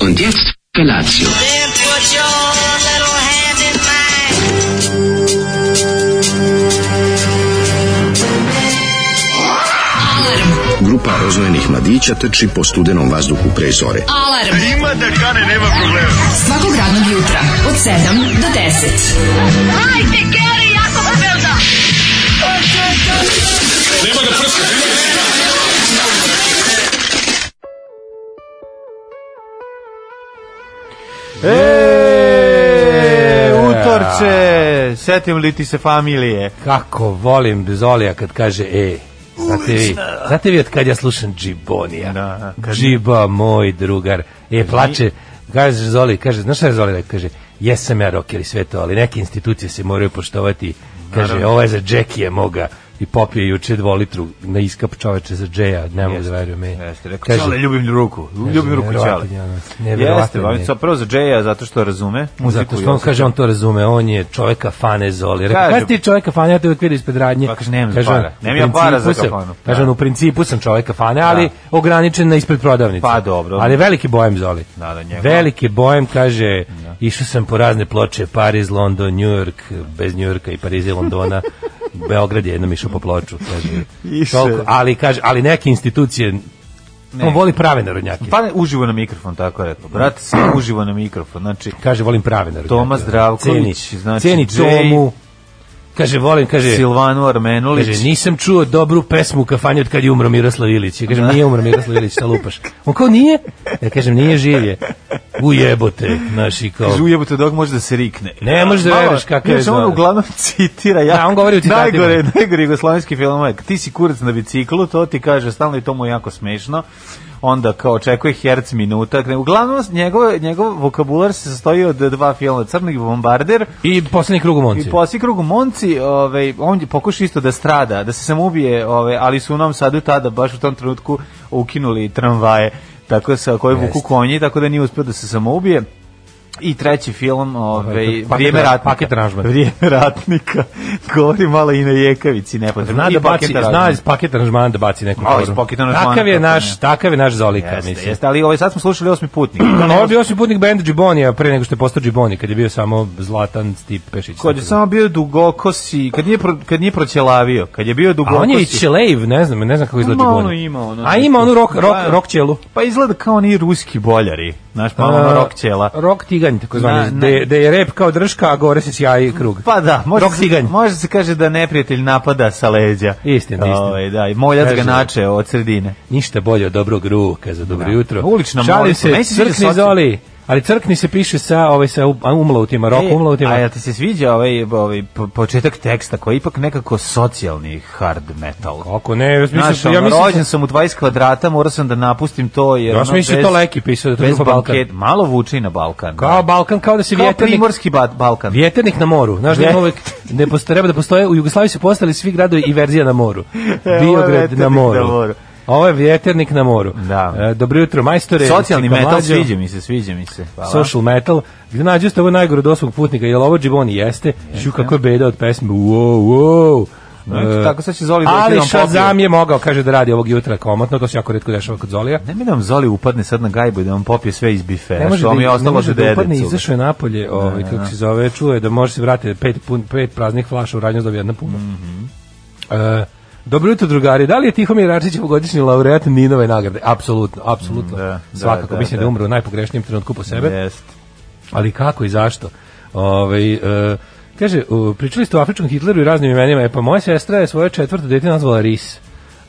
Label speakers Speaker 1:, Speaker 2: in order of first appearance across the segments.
Speaker 1: Und jetzt Felatio.
Speaker 2: Then put your little hand in mine.
Speaker 3: Grupa rozvojenih mladića trči po studenom vazduhu pre zore.
Speaker 4: Alarm. Ima da kane, nema problema. Svakog radnog jutra, od 7 do 10.
Speaker 5: E, utorče, setim li ti se familije?
Speaker 6: Kako volim Zolija kad kaže e. Znate vi, znate vi od kad ja slušam Džibonija?
Speaker 5: Da, da, kad-
Speaker 6: Džiba, moj drugar. E, plače, kaže Zoli, kaže, znaš šta je Zoli rekao? Kaže, jesam ja roker i sve to, ali neke institucije se moraju poštovati. Kaže, ovo je za Džekije moga. I popio je juče dvolitru na iskap čoveče za Džeja, ne mogu da verujem. e.
Speaker 5: Jeste, rekao,
Speaker 6: Kaže,
Speaker 5: čale, ljubim ruku, ljubim
Speaker 6: Kaže,
Speaker 5: ruku čale.
Speaker 6: neverovatno, ono,
Speaker 5: Jeste,
Speaker 6: neverovatno
Speaker 5: volim
Speaker 6: je.
Speaker 5: sa prvo za Džeja, zato što razume muziku.
Speaker 6: Zato
Speaker 5: i
Speaker 6: što on
Speaker 5: osjeća.
Speaker 6: kaže, on to razume, on je čovek kafane Zoli. Rekao,
Speaker 5: Kaže-
Speaker 6: kada ti čovek kafane, ja te uvijek vidim ispred radnje.
Speaker 5: Pa kaže, nemam za
Speaker 6: on,
Speaker 5: para.
Speaker 6: u
Speaker 5: Nemam ja para za
Speaker 6: principu sam-
Speaker 5: kafanu.
Speaker 6: Kaže, on, u principu sam čovek kafane, ali ograničen na ispred prodavnice.
Speaker 5: Pa, dobro.
Speaker 6: Ali veliki bojem Zoli.
Speaker 5: Da, da, njegov.
Speaker 6: Veliki bojem, kaže, išao sam po razne ploče, Pariz, London, Njujork, bez Njujorka i Pariza i Londona. Beograd je jednom išao po ploču, kaže.
Speaker 5: Išao je.
Speaker 6: Toliko- ali, kaže, ali neke institucije, on voli prave narodnjake.
Speaker 5: Pa ne, uživo na mikrofon, tako je rekao. Brate, sve uživo na mikrofon, znači...
Speaker 6: Kaže, volim prave narodnjake.
Speaker 5: Toma Zdravković,
Speaker 6: Ceni-
Speaker 5: znači,
Speaker 6: Ceni
Speaker 5: Jay-
Speaker 6: Tomu. Kaže, volim, kaže...
Speaker 5: Silvanu Armenulić.
Speaker 6: Kaže, nisam čuo dobru pesmu u kafanji od kad je umro Miroslav Ilić. Ja kažem, nije umro Miroslav Ilić, šta lupaš? On kao, nije? Ja kažem, nije živ je. Ujebote, naši kao...
Speaker 5: Kaže, ujebote dok može da se rikne.
Speaker 6: Ne možeš da
Speaker 5: Malo-
Speaker 6: veruješ kakav je
Speaker 5: Znaš, On
Speaker 6: Zoli.
Speaker 5: uglavnom citira. Ja,
Speaker 6: Da, on govori u citatima.
Speaker 5: Najgore, najgore jugoslovenski film. ovaj, Ti si kurac na biciklu, to ti kaže, stalno i to mu je jako smešno. Onda kao očekuje herc minuta. Uglavnom, njegov, njegov vokabular se sastoji od dva filma. Crni bombarder
Speaker 6: I poslednji krug u Monci.
Speaker 5: i poslije krugu Monci, ovaj, on je pokušao isto da strada, da se samoubije, ovaj, ali su u Novom Sadu tada, baš u tom trenutku, ukinuli tramvaje tako sa koje vuku
Speaker 6: Jeste.
Speaker 5: konji, tako da nije uspio da se samoubije. I treći film, ovaj,
Speaker 6: paket
Speaker 5: Vrijeme
Speaker 6: ra-
Speaker 5: ratnika.
Speaker 6: paket aranžman.
Speaker 5: Vrijeme ratnika. Govori malo i na Jekavici, nepotrebno.
Speaker 6: Zna
Speaker 5: I
Speaker 6: da
Speaker 5: paket
Speaker 6: baci, zna
Speaker 5: aranžman.
Speaker 6: iz paketa aranžmana da baci neku
Speaker 5: Malo iz
Speaker 6: foru.
Speaker 5: paketa aranžmana,
Speaker 6: Takav je
Speaker 5: tako
Speaker 6: naš,
Speaker 5: ne.
Speaker 6: takav je naš Zolika,
Speaker 5: Jeste,
Speaker 6: mislim. Ono,
Speaker 5: jeste, ali ovaj, sad smo slušali osmi putnik.
Speaker 6: Ovo je bio osim putnik benda Džibonija pre nego što je postao Džibonija, kad je bio samo Zlatan Stip Pešić.
Speaker 5: Kad je samo bio dugokosi, kad nije, pro, kad nije proćelavio, kad je bio
Speaker 6: A
Speaker 5: dugokosi.
Speaker 6: on je i Čelejv, ne znam, ne znam kako izgleda
Speaker 5: Malo
Speaker 6: Džibonija.
Speaker 5: ima ono
Speaker 6: A ima onu rock, rock,
Speaker 5: Da.
Speaker 6: rock čelu.
Speaker 5: Pa izgleda kao oni ruski boljari, znaš, pa ono rok ćela.
Speaker 6: Rok tiganj, tako
Speaker 5: Na-
Speaker 6: zvani.
Speaker 5: na-
Speaker 6: Da, da je rep kao drška, a gore se sjaji krug.
Speaker 5: Pa da, može,
Speaker 6: Rok
Speaker 5: se,
Speaker 6: tiganj.
Speaker 5: može se kaže da neprijatelj napada sa leđa.
Speaker 6: Istina, istina.
Speaker 5: Ovaj, da, i moljac ga
Speaker 6: Kaže-
Speaker 5: nače od sredine.
Speaker 6: Ništa bolje od dobrog ruka za dobro jutro.
Speaker 5: Ulična
Speaker 6: Šalim
Speaker 5: molitva. Meni
Speaker 6: se,
Speaker 5: se sviđa
Speaker 6: crkni
Speaker 5: socijal-
Speaker 6: zoli. Ali crkni se piše sa, ovaj, sa um- umlautima, rok
Speaker 5: E,
Speaker 6: umlautima.
Speaker 5: A jel ti se sviđa ovaj, ovaj po- početak teksta koji je ipak nekako socijalni hard metal?
Speaker 6: Ako ne, ja mislim,
Speaker 5: Znaš,
Speaker 6: ja
Speaker 5: ono,
Speaker 6: mislim,
Speaker 5: rođen sam u 20 kvadrata, morao sam da napustim to jer...
Speaker 6: Ja sam
Speaker 5: ono,
Speaker 6: mislio
Speaker 5: bez-
Speaker 6: to Leki pisao, da to
Speaker 5: bez
Speaker 6: grupa Balkan.
Speaker 5: banket- Malo vuče i na Balkan.
Speaker 6: kao Balkan, kao da se
Speaker 5: Kao
Speaker 6: vjeternik,
Speaker 5: primorski ba- Balkan.
Speaker 6: vjeternik na moru. Znaš da
Speaker 5: Vjet-
Speaker 6: ima uvek, ne postoje, treba da postoje, u Jugoslaviji su postali svi gradovi i verzija na moru.
Speaker 5: je
Speaker 6: Biograd
Speaker 5: vjeternik
Speaker 6: na
Speaker 5: na moru.
Speaker 6: moru. Ovo je vjeternik na moru.
Speaker 5: Da.
Speaker 6: E, dobro jutro, majstore.
Speaker 5: Socijalni
Speaker 6: Čika
Speaker 5: metal,
Speaker 6: Mlađo.
Speaker 5: sviđa mi se, sviđa mi se. Hvala.
Speaker 6: Social metal, gde nađu ste ovo najgore od osmog putnika, jel ovo Džiboni jeste? Žu kako je beda od pesme, wow, wow.
Speaker 5: No, eto,
Speaker 6: E,
Speaker 5: Znači, tako sad će Zoli doći da
Speaker 6: Ali
Speaker 5: nam popije.
Speaker 6: Shazam je mogao, kaže, da radi ovog jutra komotno, to se jako redko dešava kod Zolija.
Speaker 5: Ne mi da vam Zoli upadne sad na gajbu i da vam popije sve iz bifera,
Speaker 6: Ne može
Speaker 5: što vam je
Speaker 6: da, ne
Speaker 5: ostalo
Speaker 6: može
Speaker 5: za
Speaker 6: da upadne,
Speaker 5: dedecu.
Speaker 6: izašao je napolje, ovaj, kako se zove, čuo je da može se vratiti pet, pun, pet praznih flaša u radnju zdobi jedna puna.
Speaker 5: Mhm.
Speaker 6: E, dobro jutro, drugari. Da li je Tihomir Arčić ovogodišnji laureat Ninove nagrade? Apsolutno, apsolutno.
Speaker 5: Mm, da, da,
Speaker 6: Svakako,
Speaker 5: da,
Speaker 6: mislim da,
Speaker 5: da.
Speaker 6: je umro u najpogrešnijem trenutku po sebe.
Speaker 5: Jest.
Speaker 6: ali kako i zašto? Ove, e, kaže, u, pričali ste o afričkom Hitleru i raznim imenima, e pa moja sestra je svoje četvrto dete nazvala Ris.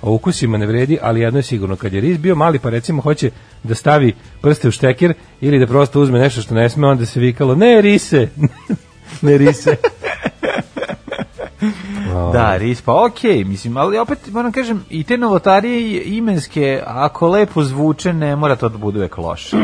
Speaker 6: O ukusima ne vredi, ali jedno je sigurno, kad je Ris bio mali, pa recimo hoće da stavi prste u štekir ili da prosto uzme nešto što ne sme, onda se vikalo, ne Rise, ne Rise. Ovaj.
Speaker 5: Da, ris, pa okej, mislim, ali opet moram kažem, i te novotarije i imenske, ako lepo zvuče, ne mora to da bude uvek loše.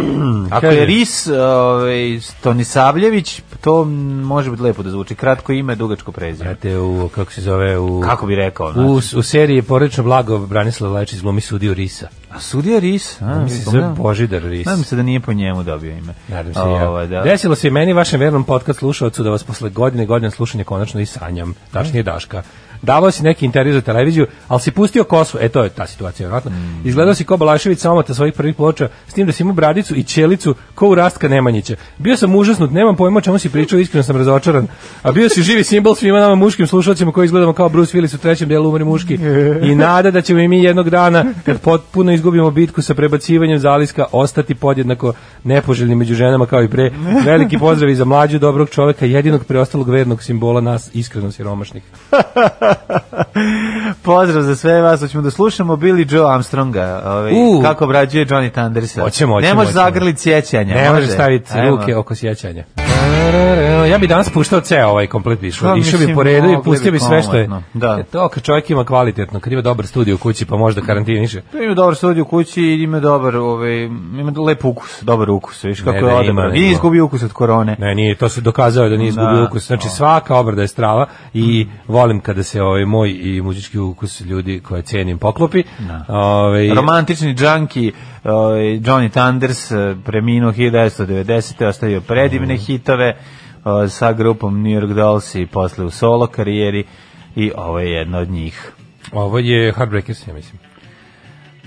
Speaker 5: ako je
Speaker 6: Kaže.
Speaker 5: ris ovaj, Tonisavljević, to m, može biti lepo da zvuči. Kratko ime, dugačko prezime.
Speaker 6: Znate, u, kako se zove, u,
Speaker 5: Kako bi rekao? Znači?
Speaker 6: u, u seriji Porečno blago Branislav Lečić izlomi sudio Risa.
Speaker 5: A sudija ris? A,
Speaker 6: Mislim, se zove Božidar Ris.
Speaker 5: Nadam se da nije po njemu dobio ime.
Speaker 6: Nadam se i ja.
Speaker 5: Ovaj, da.
Speaker 6: Desilo se i meni i vašem vernom podcast slušalcu da vas posle godine i godina slušanja konačno i sanjam. Tačnije Daška. davao si neki intervju za televiziju, ali si pustio kosu, e to je ta situacija, vjerojatno.
Speaker 5: Mm.
Speaker 6: Izgledao si ko Balašević sa omota svojih prvih ploča, s tim da si imao bradicu i ćelicu ko u Rastka Nemanjića. Bio sam užasnut, nemam pojma o čemu si pričao, iskreno sam razočaran. A bio si živi simbol svima nama muškim slušalcima koji izgledamo kao Bruce Willis u trećem delu Umri muški. I nada da ćemo i mi jednog dana, kad potpuno izgubimo bitku sa prebacivanjem zaliska, ostati podjednako nepoželjni među ženama kao i pre. Veliki pozdrav i za mlađu dobrog čoveka, jedinog preostalog vernog simbola nas iskreno siromašnih.
Speaker 5: Pozdrav za sve vas, hoćemo da slušamo Billy Joe Armstronga, ovaj,
Speaker 6: U.
Speaker 5: kako obrađuje Johnny Thundersa.
Speaker 6: Hoćemo, hoćemo,
Speaker 5: Ne može
Speaker 6: hoćemo.
Speaker 5: zagrlit sjećanja.
Speaker 6: Ne može staviti
Speaker 5: Ajmo.
Speaker 6: ruke oko sjećanja. Ja bi danas puštao ceo ovaj komplet išao.
Speaker 5: Pa,
Speaker 6: Išao bi
Speaker 5: mislim,
Speaker 6: po redu i
Speaker 5: mogli
Speaker 6: pustio
Speaker 5: bi
Speaker 6: bi sve što je.
Speaker 5: kompletno, da.
Speaker 6: E, To kad čovjek ima kvalitetno, kad ima dobar studij u kući pa možda karantiniše.
Speaker 5: Ima dobar studij u kući, i ima dobar, ovaj, ima lep ukus, dobar ukus, viš kako
Speaker 6: Ne,
Speaker 5: je
Speaker 6: ne,
Speaker 5: odabran.
Speaker 6: ima,
Speaker 5: I
Speaker 6: ima.
Speaker 5: izgubio ukus od korone.
Speaker 6: Ne, nije, to se dokazao da nije izgubio
Speaker 5: Da.
Speaker 6: ukus. Znači svaka obrada je strava i volim kada se ovaj moj i muzički ukus ljudi koje cenim poklopi. Ovaj
Speaker 5: Romantični džanki ovaj, Johnny Thunders eh, preminuo 1990. ostavio predivne
Speaker 6: Mhm.
Speaker 5: hitove eh, sa grupom New York Dolls i posle u solo karijeri i ovo je jedno od njih.
Speaker 6: ovo je Heartbreakers, ja mislim.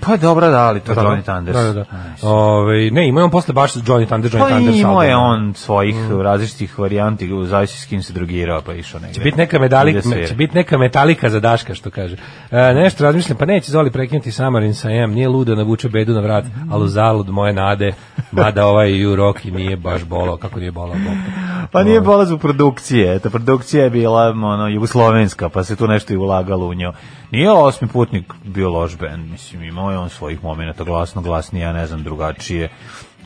Speaker 5: Pa dobro da, ali to je
Speaker 6: Da,
Speaker 5: Johnny Thunders.
Speaker 6: Da, da, da.
Speaker 5: Znaš.
Speaker 6: Ovaj, ne, ima on posle baš Johnny Thunder, Johnny
Speaker 5: Pa
Speaker 6: Thunders
Speaker 5: imao je
Speaker 6: album.
Speaker 5: on svojih različitih varijanti, u zavisi s kim se drugirao, pa je išao negde.
Speaker 6: Će biti neka medalika,
Speaker 5: Ide svira.
Speaker 6: će biti neka metalika za Daška što kaže. E, nešto razmišljam, pa neće Zoli prekinuti Samarin sa M, nije luda navuče bedu na vrat, ali u zalud moje nade, mada ovaj u roki nije baš bolo, kako nije bolo.
Speaker 5: Pa nije bolaz u produkcije, eto, produkcija je bila ono, jugoslovenska, pa se tu nešto i ulagalo u njo. Nije osmi putnik bio loš band, mislim, imao je on svojih momenta glasno, glasnije, ja ne znam, drugačije,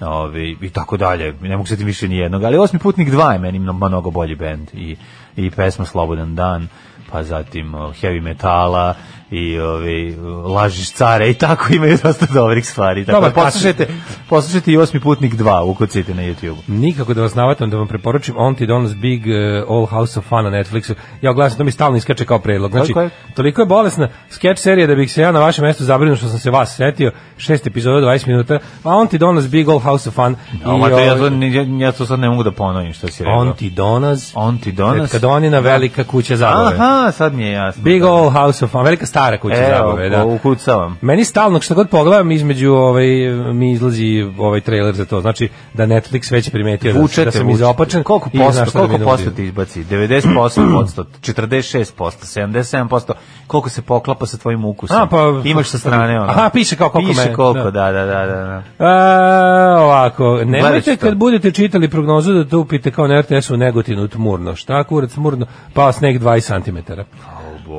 Speaker 5: ovi, i tako dalje, ne mogu se ti više ni jednog, ali osmi putnik dva je meni mno- mnogo bolji band i, i pesma Slobodan dan, pa zatim o, heavy metala i ovi, lažiš care i tako imaju dosta dobrih stvari. Tako,
Speaker 6: Dobar
Speaker 5: da poslušajte, poslušajte i osmi putnik 2 ukucajte na YouTube.
Speaker 6: Nikako da vas navatam da vam preporučim Auntie Donna's Big eh, All House of Fun na Netflixu. Ja oglasim, to mi stalno iskače kao predlog. Znači,
Speaker 5: Tako je.
Speaker 6: toliko je bolesna sketch serija da bih se ja na vašem mestu zabrinuo što sam se vas setio. Šest epizoda, 20 minuta. Pa Auntie Donna's Big All House of
Speaker 5: Ja,
Speaker 6: Fun.
Speaker 5: ma to,
Speaker 6: ovaj,
Speaker 5: ja, to, ni- ja, ja to sad ne mogu da ponovim što si rekao.
Speaker 6: Auntie Donna's
Speaker 5: Onti donas.
Speaker 6: Tetkadonina velika kuća zabave.
Speaker 5: Aha, sad mi je jasno.
Speaker 6: Big Old House of Fun, velika stara kuća
Speaker 5: Evo,
Speaker 6: zabave, da.
Speaker 5: ukucavam.
Speaker 6: Meni stalno, što god pogledam, između ovaj, mi izlazi ovaj trailer za to. Znači, da Netflix već je primetio da-
Speaker 5: Vučete,
Speaker 6: da sam
Speaker 5: vučete.
Speaker 6: izopačen.
Speaker 5: Koliko
Speaker 6: i znaš
Speaker 5: posto,
Speaker 6: šta da mi
Speaker 5: koliko
Speaker 6: nudi.
Speaker 5: posto ti izbaci? 90%, posto, 46%, 77%, koliko se poklapa sa tvojim ukusom?
Speaker 6: A, pa-
Speaker 5: Imaš sa strane ono.
Speaker 6: Aha, piše kao koliko
Speaker 5: Piše
Speaker 6: mene,
Speaker 5: koliko, da, da, da, da. da.
Speaker 6: A, ovako,
Speaker 5: Gledat
Speaker 6: nemojte
Speaker 5: ću to.
Speaker 6: kad budete čitali prognozu da to upite kao na RTS-u Negotinu tmurno. Šta kurac tmurno? Pao sneg 20 cm.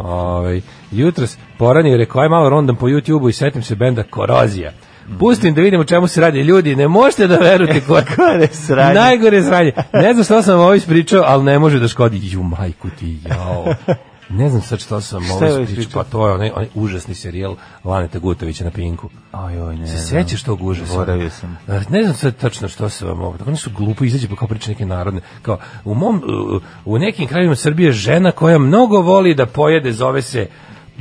Speaker 6: Ovaj jutros poranije rekao aj malo rondam po YouTubeu i setim se benda Korozija. Pustim da vidim o čemu se radi ljudi, ne možete da verujete ko
Speaker 5: Gore sranje.
Speaker 6: Najgore sranje. Ne znam što sam vam ovo ispričao, ali ne može da škodi. Ju majku ti, jao. Ne znam sad što sam ovo
Speaker 5: je ovo
Speaker 6: ispričao.
Speaker 5: ispričao?
Speaker 6: Pa to je onaj, onaj užasni serijal Laneta Gutovića na Pinku.
Speaker 5: Aj, oj, ne.
Speaker 6: Se
Speaker 5: znam.
Speaker 6: sećaš tog užasa?
Speaker 5: Zaboravio sam.
Speaker 6: E, Ne znam sad tačno što se vam ovo. Oni su glupo izađe pa kao priče neke narodne. Kao, u, mom, e, u nekim krajevima Srbije žena koja mnogo voli da pojede zove se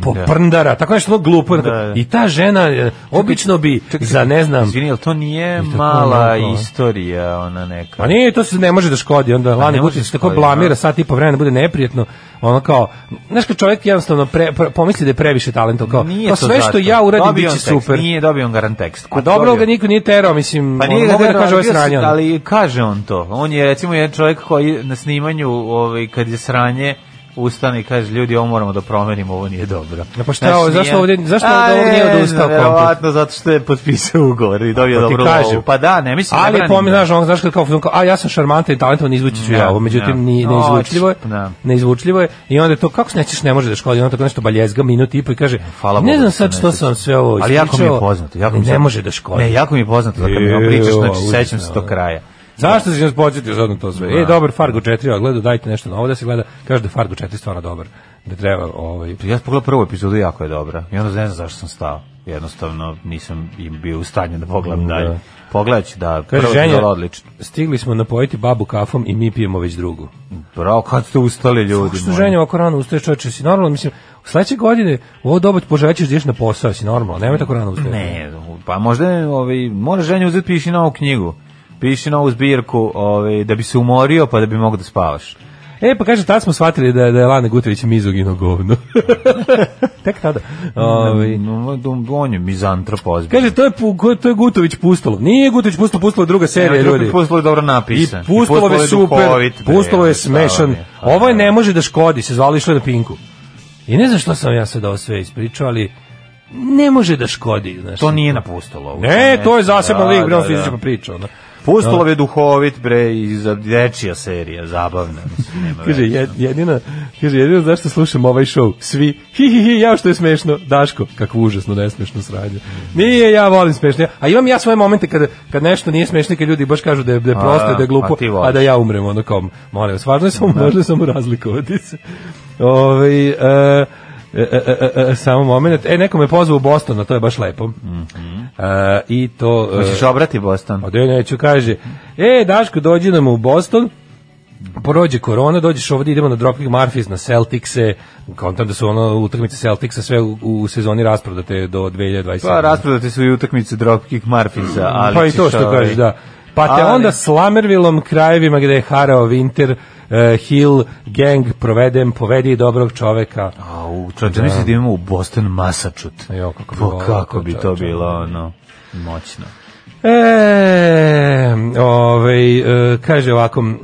Speaker 6: poprndara. Tako nešto ono glupo.
Speaker 5: da.
Speaker 6: I ta žena e, obično bi za ne znam...
Speaker 5: Izvini, ali to nije
Speaker 6: tako
Speaker 5: mala
Speaker 6: onako, a?
Speaker 5: istorija, ona neka.
Speaker 6: A Pa nije, to se ne može da škodi, onda Lani
Speaker 5: Pa ne može
Speaker 6: Vučić
Speaker 5: da
Speaker 6: se tako
Speaker 5: škodi,
Speaker 6: blamira
Speaker 5: da.
Speaker 6: sat i po vremena, bude neprijatno, ono kao, znaš kad čovjek jednostavno pre, pre- pomisli da je previše talentov, kao,
Speaker 5: Nije
Speaker 6: kao
Speaker 5: to
Speaker 6: sve što
Speaker 5: zato.
Speaker 6: ja uradim
Speaker 5: Dobio
Speaker 6: bit će
Speaker 5: on tekst,
Speaker 6: super.
Speaker 5: Nije dobio on garan tekst.
Speaker 6: A dobro
Speaker 5: Dobio.
Speaker 6: ga niko nije terao, mislim,
Speaker 5: Pa nije
Speaker 6: ono,
Speaker 5: ga
Speaker 6: mogu da
Speaker 5: terao,
Speaker 6: kaže ovo je
Speaker 5: bio sam-
Speaker 6: sranje, ono.
Speaker 5: ali kaže on to. On je recimo jedan čovjek koji na snimanju ovaj kad je sranje ustane i kaže ljudi ovo moramo da promenimo, ovo nije dobro.
Speaker 6: Ja, pa šta
Speaker 5: Znaš,
Speaker 6: ovo, zašto
Speaker 5: nije-
Speaker 6: ovdje- zašto
Speaker 5: A,
Speaker 6: od ovog nije
Speaker 5: ne
Speaker 6: odustao
Speaker 5: znam,
Speaker 6: komplet?
Speaker 5: Verovatno zato što je potpisao ugovor i dobio
Speaker 6: Pa ti
Speaker 5: dobro
Speaker 6: kažem.
Speaker 5: lovu. Pa da, ne mislim
Speaker 6: Ali
Speaker 5: ne branim
Speaker 6: pomi,
Speaker 5: ga.
Speaker 6: znaš, on, znaš kad kao, fazon kao, a ja sam šarmantan i talentovan, izvući ću ja
Speaker 5: Da,
Speaker 6: ovo, međutim,
Speaker 5: da.
Speaker 6: ni,
Speaker 5: O,
Speaker 6: neizvučljivo je,
Speaker 5: da.
Speaker 6: neizvučljivo je, i onda je to, kako se nećeš, ne može da škodi, on tako nešto baljezga, minut i po i kaže,
Speaker 5: Hvala
Speaker 6: ne
Speaker 5: Bogu
Speaker 6: znam
Speaker 5: da se
Speaker 6: sad
Speaker 5: ne
Speaker 6: što
Speaker 5: sjećam.
Speaker 6: sam sve ovo
Speaker 5: Ali jako mi je
Speaker 6: ispričao,
Speaker 5: poznato. Jako mi
Speaker 6: ne može da škodi.
Speaker 5: Ne, jako mi je poznato da kad mi ovo pričaš,
Speaker 6: Evo,
Speaker 5: znači
Speaker 6: užasno,
Speaker 5: sećam se to
Speaker 6: da.
Speaker 5: kraja.
Speaker 6: Zašto si nas podsjetio sad na to sve? E, dobar, Fargo 4, a gledaj, dajte nešto novo da se gleda. Kaže da je Fargo 4 stvarno dobar. Da treba, ovaj...
Speaker 5: Ja sam pogledao prvu epizodu, jako je dobra. I onda ne znam zašto sam stao. Jednostavno nisam im bio u stanju da pogledam
Speaker 6: Da.
Speaker 5: dalje. Pogledat ću da,
Speaker 6: Kaže,
Speaker 5: prva
Speaker 6: ženja,
Speaker 5: epizoda odlična.
Speaker 6: stigli smo napojiti babu kafom i mi pijemo već drugu.
Speaker 5: Bravo, kad ste ustali ljudi
Speaker 6: Što
Speaker 5: moji.
Speaker 6: ženja ovako rano ustaješ čoveče, si normalno, mislim, sledeće godine u ovo doba požećeš da ideš na posao, si normalno, nemoj tako rano ustaješ.
Speaker 5: Ne, pa možda je, ovaj, može ženja uzeti piši novu knjigu. Piši novu zbirku ovaj, da bi se umorio pa da bi mogo da spavaš.
Speaker 6: E, pa kaže, tad smo shvatili da, da je Lana Gutović mizogino govno. Tek tada. Ovaj,
Speaker 5: On je mizantrop ozbiljno.
Speaker 6: Kaže, to je, pu- ko- to je Gutović pustalo. Nije Gutović pustalo, pustalo je druga serija, ljudi.
Speaker 5: Pustilo je dobro
Speaker 6: I
Speaker 5: napisan.
Speaker 6: pustalo je super,
Speaker 5: duhovit, bre,
Speaker 6: pustalo je
Speaker 5: jednostavno
Speaker 6: smešan.
Speaker 5: je.
Speaker 6: Ovo je ne može da škodi, se zvali išlo je na pinku. I ne znam što sam ja sad ovo sve ispričao, ali ne može da škodi. Znaš.
Speaker 5: To nije napustilo. ovo.
Speaker 6: Ne, to je zaseban
Speaker 5: Da,
Speaker 6: lik, bre, on
Speaker 5: da,
Speaker 6: fizička
Speaker 5: da.
Speaker 6: priča. Ono.
Speaker 5: Pustolov je duhovit, bre, i za dečija serija, zabavna. Mislim, nema
Speaker 6: Kaže,
Speaker 5: veze.
Speaker 6: jed- jedina, kaže, jedino zašto slušam ovaj show, svi, hi, hi, hi, ja što je smešno, Daško, kakvo užasno nesmešno sranje. Nije, ja volim smešno. Ja- A imam ja svoje momente kada, kad nešto nije smešno, i kad ljudi baš kažu da je, da je
Speaker 5: A,
Speaker 6: prosto, i da je glupo,
Speaker 5: a ti
Speaker 6: a,
Speaker 5: voliš.
Speaker 6: da ja umrem, ono kao, molim vas, važno je samo, važno je samo razlikovati se. Ove, e, E, e, e, e, samo moment. E, neko me pozvao u Bostona, to je baš lepo. E, I to... e,
Speaker 5: Mhm. Hoćeš obrati Boston?
Speaker 6: pa da ja neću, kaže, e, Daško, dođi nam u Boston, prođe korona, dođeš ovdje, idemo na Dropkick Murphys, na Celticse, kontam da su ono utakmice Celticsa sve u, u sezoni rasprodate do 2027.
Speaker 5: Pa rasprodate su i utakmice Dropkick Marfisa, ali
Speaker 6: pa i
Speaker 5: ćeš,
Speaker 6: to što
Speaker 5: ovaj,
Speaker 6: kažeš, da. Pa te
Speaker 5: Ali-
Speaker 6: onda Slamervilom krajevima gde je harao Winter, eh, Hill, Gang, provedem, povedi dobrog čoveka.
Speaker 5: Au, čovječe, misliš da imamo u Boston Massachusetts.
Speaker 6: Jo, kako bi
Speaker 5: Pa,
Speaker 6: volao
Speaker 5: kako
Speaker 6: to,
Speaker 5: bi to
Speaker 6: čovječe.
Speaker 5: bilo, ono, moćno.
Speaker 6: E, ovaj, e, kaže ovako, em,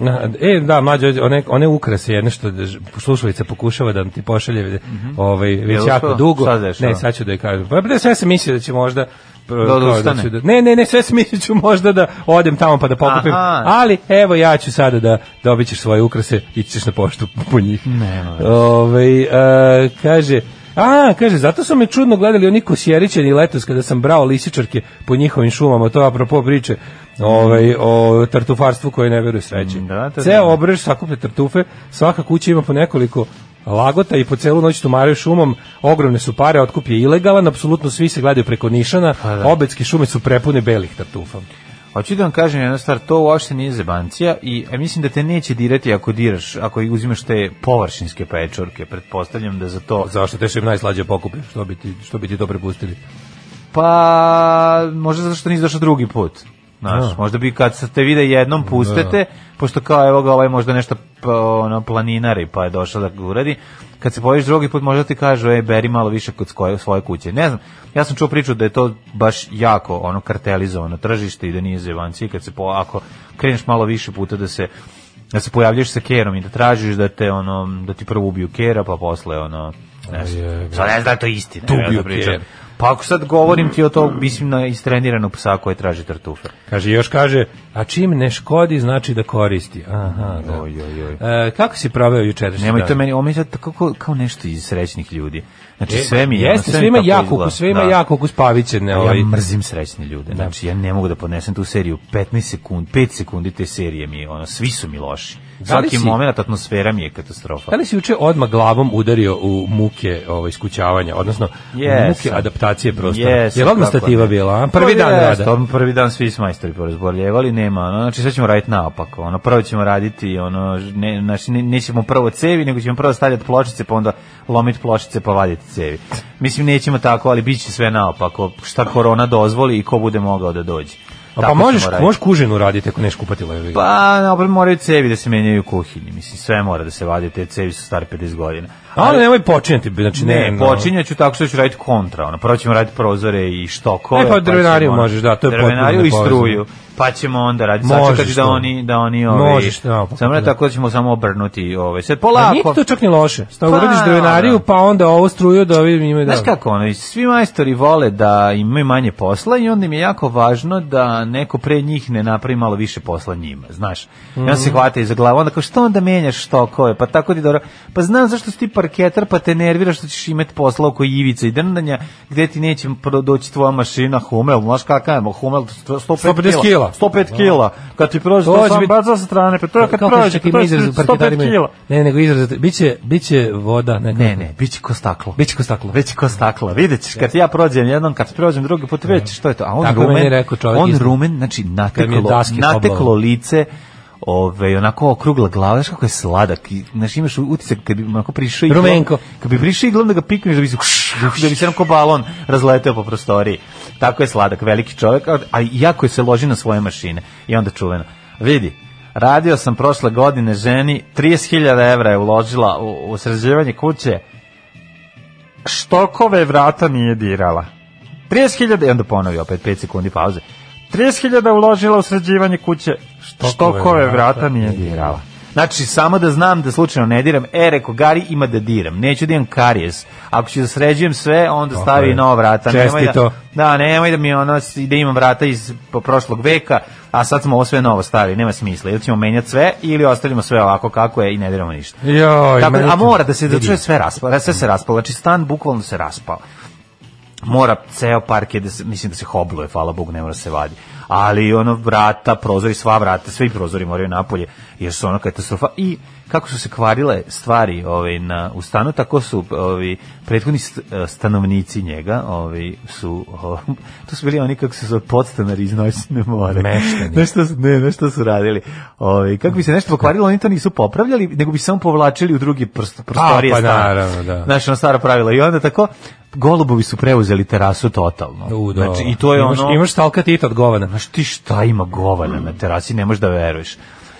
Speaker 6: na- e, da, mlađe, one, one ukrase jedne što da ž- slušalica pokušava da ti pošalje ovaj, već
Speaker 5: Jel
Speaker 6: jako
Speaker 5: Mhm. uspela?
Speaker 6: dugo.
Speaker 5: Sad dešava.
Speaker 6: ne, sad ću da je kažem. Pa, pa, sve sam mislio da će možda pr-
Speaker 5: Da
Speaker 6: kao
Speaker 5: odustane?
Speaker 6: ću ne, ne, ne, sve sam mislio da ću možda da odem tamo pa da pokupim.
Speaker 5: Aha.
Speaker 6: Ali, evo, ja ću sada da dobit ćeš svoje ukrase, ići ćeš na poštu po njih.
Speaker 5: Nema veze.
Speaker 6: Ovaj, e, kaže, a, kaže, zato su me čudno gledali oni kosjerićani letos kada sam brao lisičarke po njihovim šumama, to je apropo priče ovaj, o tartufarstvu koje ne veruje sreći.
Speaker 5: Da, to
Speaker 6: Ceo
Speaker 5: da.
Speaker 6: obrež sakuplja tartufe, svaka kuća ima po nekoliko lagota i po celu noć tumaraju šumom, ogromne su pare, otkup je ilegalan, apsolutno svi se gledaju preko nišana,
Speaker 5: Pa da.
Speaker 6: obetske šume su prepune belih tartufa.
Speaker 5: Hoću da vam kažem jednu stvar, to uopšte nije zebancija i e, mislim da te neće dirati ako diraš, ako i uzimaš te površinske pečurke, pretpostavljam da za to...
Speaker 6: Zašto te što im najslađe pokupi, što bi ti, što bi ti to prepustili?
Speaker 5: Pa, možda zato što nisi došao drugi put. Znaš,
Speaker 6: Da.
Speaker 5: možda bi kad se te vide jednom pustete, pošto kao evo ga ovaj možda nešto pa, ono, planinari pa je došao da ga uradi, kad se pojaviš drugi put možda ti kažu ej, beri malo više kod svoje, svoje kuće. Ne znam, ja sam čuo priču da je to baš jako ono kartelizovano tržište i da nije zevanci kad se po, ako kreneš malo više puta da se da se pojavljaš sa kerom i da tražiš da te ono da ti prvo ubiju kera pa posle ono ne
Speaker 6: jebe.
Speaker 5: znam. Sad ne znam da je to istina.
Speaker 6: Tu
Speaker 5: ja
Speaker 6: ubiju
Speaker 5: to pričam.
Speaker 6: ker.
Speaker 5: Pa ako sad govorim ti o to, mislim na istreniranog psa koji traži tartufe.
Speaker 6: Kaže, još kaže, a čim ne škodi znači da koristi. Aha, da.
Speaker 5: Oj, oj, oj.
Speaker 6: E, kako si proveo jučerašnji
Speaker 5: Nemoj
Speaker 6: dan?
Speaker 5: to meni, ovo mi je sad kao, kao nešto iz srećnih ljudi. Znači
Speaker 6: E,
Speaker 5: sve mi je...
Speaker 6: Jeste,
Speaker 5: ono,
Speaker 6: sve ima
Speaker 5: mi tako
Speaker 6: jak
Speaker 5: izgleda.
Speaker 6: ukus, sve ima
Speaker 5: Da.
Speaker 6: jak ukus pavićene. Ovaj.
Speaker 5: Ja mrzim srećne ljude. Znači ja ne mogu da podnesem tu seriju 15 sekundi, 5 sekundi te serije mi je, ono svi su mi loši.
Speaker 6: li
Speaker 5: Svaki
Speaker 6: si-
Speaker 5: moment atmosfera mi je katastrofa.
Speaker 6: Da li si juče odmah glavom udario u muke ovaj, skućavanja, odnosno
Speaker 5: Jesam.
Speaker 6: muke adaptacije prostora?
Speaker 5: Jesam,
Speaker 6: Jer odmah
Speaker 5: kako
Speaker 6: stativa
Speaker 5: ne.
Speaker 6: bila, a? Prvi
Speaker 5: Pa
Speaker 6: dan
Speaker 5: jeste,
Speaker 6: rada.
Speaker 5: odmah Prvi dan svi smo majstori porazboljevali, nema. Ono, znači sve ćemo raditi naopako. Ono, prvo ćemo raditi, ono, ne, znači, ne- nećemo prvo cevi, nego ćemo prvo stavljati pločice, pa onda lomiti pločice, pa vaditi cevi. Mislim, nećemo tako, ali bit će sve naopako. Šta korona dozvoli i ko bude mogao da dođe.
Speaker 6: A pa
Speaker 5: Tako
Speaker 6: možeš,
Speaker 5: ćemo raditi.
Speaker 6: možeš kužinu raditi ako neš kupatila. ili-
Speaker 5: Pa, naopred moraju cevi da se menjaju u kuhinji. Mislim, sve mora da se vadi, te cevi su stare 50 godina.
Speaker 6: A ono nemoj počinjati, znači ne,
Speaker 5: Ne,
Speaker 6: no.
Speaker 5: počinjaću tako što ću raditi kontra. Ono, prvo ćemo raditi prozore i štokove.
Speaker 6: E, pa drvenariju
Speaker 5: ćemo-
Speaker 6: možeš, da, to je potpuno
Speaker 5: Drvenariju i
Speaker 6: nepovezano.
Speaker 5: struju. Pa ćemo onda raditi.
Speaker 6: Možeš
Speaker 5: Sačekati da
Speaker 6: to.
Speaker 5: oni, da oni ove,
Speaker 6: Možeš, da, pa,
Speaker 5: Samo ne
Speaker 6: da.
Speaker 5: tako da ćemo samo obrnuti ove. Sve
Speaker 6: A nije ti
Speaker 5: polako.
Speaker 6: to čak ni loše. Stav
Speaker 5: Pa,
Speaker 6: uradiš drvenariju,
Speaker 5: dobro.
Speaker 6: pa onda ovo struju da ovim imaju da...
Speaker 5: Znaš kako, ono, i svi majstori vole da imaju manje posla i onda im je jako važno da neko pre njih ne napravi malo više posla njima, znaš. I onda
Speaker 6: Mhm.
Speaker 5: se hvata iza glava, onda kao što onda menjaš štokove, pa tako ti dobro. Pa znam zašto si ti parketar, pa te nervira što ćeš imati posla oko ivica i drndanja, gde ti neće pro- doći tvoja mašina Humel, znaš kakav je, Humel
Speaker 6: 150
Speaker 5: 105
Speaker 6: kila.
Speaker 5: kila. 105 kila. Kad ti prođe
Speaker 6: To
Speaker 5: to
Speaker 6: će
Speaker 5: sam
Speaker 6: biti-
Speaker 5: baca sa strane, pa to je kad
Speaker 6: Kako
Speaker 5: prođe,
Speaker 6: čak
Speaker 5: kad
Speaker 6: ima
Speaker 5: prođe
Speaker 6: izraz u
Speaker 5: 105
Speaker 6: parketarima?
Speaker 5: kila.
Speaker 6: Ne, nego izraz, za- biće, biće voda, ne,
Speaker 5: Ne, ne, bit će ko staklo.
Speaker 6: Biće ko staklo.
Speaker 5: Već ko stakla, vidjet ćeš, kad ja prođem jednom, kad prođem drugi put, vidjet ćeš što je to. A on
Speaker 6: Tako meni
Speaker 5: rumen,
Speaker 6: je rekao čovjek
Speaker 5: on
Speaker 6: iznad.
Speaker 5: rumen, znači
Speaker 6: Kad mi je
Speaker 5: nateklo,
Speaker 6: daske
Speaker 5: nateklo
Speaker 6: oblao.
Speaker 5: lice, ove, onako okrugla glava, znaš kako je sladak, i, znaš imaš utisak kad bi onako prišao iglom,
Speaker 6: Rumenko.
Speaker 5: kad bi prišao iglom da ga pikneš, da bi se, da bi se onako balon razleteo po prostoriji. Tako je sladak, veliki čovjek, a- a jako je se loži na svoje mašine i onda čuveno. Vidi, Radio sam prošle godine ženi, 30.000 evra je uložila u, u sređivanje kuće. Štokove vrata nije dirala. 30.000, i onda ponovi opet 5 sekundi pauze. 30.000 uložila u sređivanje kuće, štokove, vrata nije dirala. Znači, samo da znam da slučajno ne diram, e, reko, Gari ima da diram, neću da imam karijes. Ako ću da sređujem sve, onda
Speaker 6: Tako
Speaker 5: stavi
Speaker 6: je.
Speaker 5: nova vrata. Nemoj da-
Speaker 6: Čestito.
Speaker 5: da, nemoj da mi ono, s- da imam vrata iz po- prošlog veka, a sad smo ovo sve novo stavili, nema smisla. Ili ćemo menjati sve, ili ostavimo sve ovako kako je i ne diramo ništa.
Speaker 6: Joj,
Speaker 5: Tako,
Speaker 6: meni
Speaker 5: a
Speaker 6: to-
Speaker 5: mora da se da
Speaker 6: vidi.
Speaker 5: čuje sve raspalo, sve se raspalo, znači stan bukvalno se raspao. Mora ceo park je da se, mislim da se hobluje, hvala Bogu, ne mora se vadi. Ali ono vrata, prozori, sva vrata, svi prozori moraju napolje, jer su ono katastrofa. I kako su se kvarile stvari ovaj, na, u stanu, tako su ovi, prethodni st- e, stanovnici njega, ovi, su, o, to su bili oni kako su se podstanari iz noćne more.
Speaker 6: Meštani.
Speaker 5: Nešto, su- ne, nešto su radili. Ovi, kako bi se nešto pokvarilo, oni to nisu popravljali, nego bi samo povlačili u drugi prst, prostorije
Speaker 6: pa
Speaker 5: stana.
Speaker 6: naravno, da.
Speaker 5: Znaš, ono staro pravilo. I onda tako, golubovi su preuzeli terasu totalno.
Speaker 6: U, da.
Speaker 5: Znači, i to je
Speaker 6: imaš,
Speaker 5: ono...
Speaker 6: Imaš stalka tita od govana.
Speaker 5: Znaš ti šta ima govana na terasi, ne možeš da veruješ.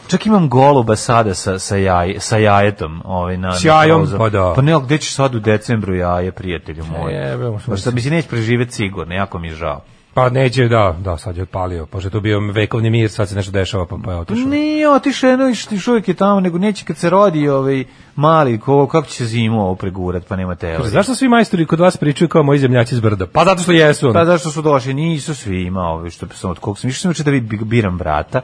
Speaker 5: Čak imam goluba sada sa, sa, jaj, sa jajetom. Ovaj, na,
Speaker 6: S jajom?
Speaker 5: na prozor.
Speaker 6: Pa da.
Speaker 5: Pa ne, ali gde ćeš sad u decembru jaje, prijatelju moj?
Speaker 6: Jebe, možda
Speaker 5: Pa šta, mislim, neće preživeti sigurno, jako mi je žao.
Speaker 6: Pa neće, da, da, sad je odpalio. Pošto je tu bio vekovni mir, sad se nešto dešava, pa, pa je otišao.
Speaker 5: Nije otišao, eno što još uvijek je tamo, nego neće kad se rodi ovaj mali, ko, kako će se zimu ovo pregurat, pa nema teorije.
Speaker 6: Zašto svi majstori kod vas pričaju kao moji zemljaci iz brda? Pa zato što jesu. ono.
Speaker 5: Pa zašto su došli? Nisu svi ima ovi što sam od kog sam išao sam juče da vid biram vrata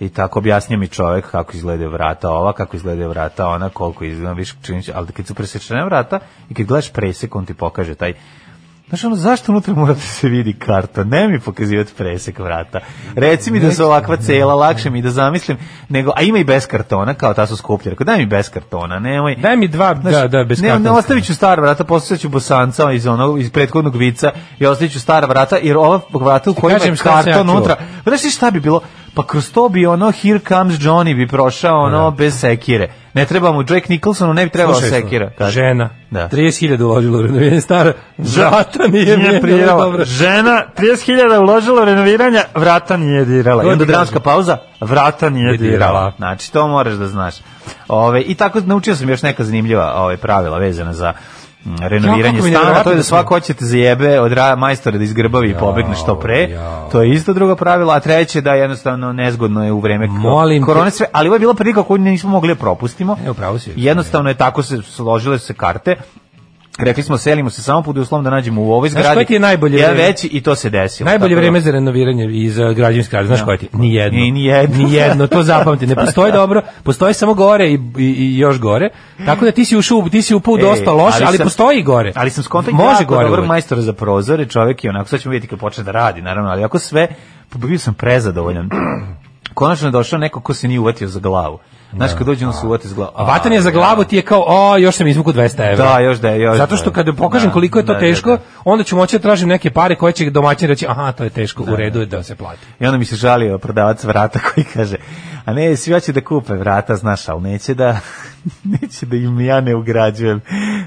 Speaker 5: i tako objasnio mi čovek kako izgledaju vrata ova, kako izgledaju vrata ona, koliko izgleda, više činiš, ali kad su presečene vrata i kad gledaš presek, on ti pokaže taj Znaš, ono, zašto unutra mora da se vidi karta? Ne mi pokazivati presek vrata. Reci mi da su ovakva cela, lakše mi da zamislim. Nego, a ima i bez kartona, kao ta su skuplja. Rekao, daj mi bez kartona, nemoj.
Speaker 6: Daj mi dva, da, da, bez
Speaker 5: Ne, ne
Speaker 6: kartonskog.
Speaker 5: ostavit ću stara vrata, postavit ću bosanca iz onog iz prethodnog vica i ostavit ću stara vrata jer ova vrata u kojima je
Speaker 6: kažem šta sam ja
Speaker 5: karton
Speaker 6: čuo.
Speaker 5: unutra. Znaš ti šta bi bilo? Pa kroz to bi ono Here Comes Johnny bi prošao ono bez sekire. Ne treba mu Jack Nicholsonu, ne bi trebao
Speaker 6: Slušaj, ono.
Speaker 5: sekira. Kaži.
Speaker 6: Žena.
Speaker 5: Da.
Speaker 6: 30.000 uložila u renoviranje stara. Vrata nije,
Speaker 5: Nije
Speaker 6: nije
Speaker 5: prijela.
Speaker 6: dobro.
Speaker 5: Žena 30.000 uložila u renoviranja, vrata nije dirala. I onda
Speaker 6: Godinama.
Speaker 5: dramska pauza, vrata nije
Speaker 6: Nije dirala.
Speaker 5: dirala. Znači, to moraš da znaš. Ove, I tako naučio sam još neka zanimljiva ove, pravila vezana za mm,
Speaker 6: Ja,
Speaker 5: renoviranje
Speaker 6: kako mi je
Speaker 5: stana, to
Speaker 6: nevjerojatno
Speaker 5: je da
Speaker 6: da smo-
Speaker 5: svako hoćete zajebe od ra, majstora da izgrbavi i pobegne što pre.
Speaker 6: jao.
Speaker 5: To je isto drugo pravilo, a treće da jednostavno nezgodno je u vreme ko-
Speaker 6: Molim te.
Speaker 5: korone sve, ali ovo je bila prilika koju nismo mogli da propustimo.
Speaker 6: Evo, pravo si.
Speaker 5: Jednostavno je tako se složile su se karte. Rekli smo selimo se samo pod uslovom da nađemo u ovoj
Speaker 6: Znaš,
Speaker 5: zgradi.
Speaker 6: koje ti je najbolje
Speaker 5: jedan
Speaker 6: vreme?
Speaker 5: veći i to se desilo.
Speaker 6: Najbolje
Speaker 5: Tako da-
Speaker 6: vreme za renoviranje i za građevinske radove, znaš koje ti? Nijedno.
Speaker 5: Ni- nijedno.
Speaker 6: Nijedno, to zapamti. Ne postoji dobro, postoji samo gore i, i, i još gore. Tako da ti si ušao, u- ti si upao
Speaker 5: E,
Speaker 6: dosta loše, ali,
Speaker 5: sam-
Speaker 6: postoji i gore.
Speaker 5: Ali sam skontakt
Speaker 6: Može
Speaker 5: jako
Speaker 6: gore.
Speaker 5: dobrog
Speaker 6: uvek.
Speaker 5: majstora za prozore, čovjek je onako, sad ćemo vidjeti kad počne da radi, naravno, ali ako sve, pa bio sam prezadovoljan. Konačno je došao neko ko se nije uvatio za glavu. Znaš, kad dođe on se uvati za glavu.
Speaker 6: A vatanje za glavu ti je kao, o, još sam izvukao 200 evra.
Speaker 5: Da, još da je, još
Speaker 6: Zato
Speaker 5: da
Speaker 6: što
Speaker 5: je.
Speaker 6: kada pokažem
Speaker 5: Da,
Speaker 6: koliko je to
Speaker 5: da, da,
Speaker 6: teško,
Speaker 5: da.
Speaker 6: onda ću moći da tražim neke pare koje će domaćin reći, aha, to je teško, u redu je da se plati.
Speaker 5: I onda mi se žalio prodavac vrata koji kaže, a ne, svi hoće da kupe vrata, znaš, ali neće da, neće da im ja ne ugrađujem.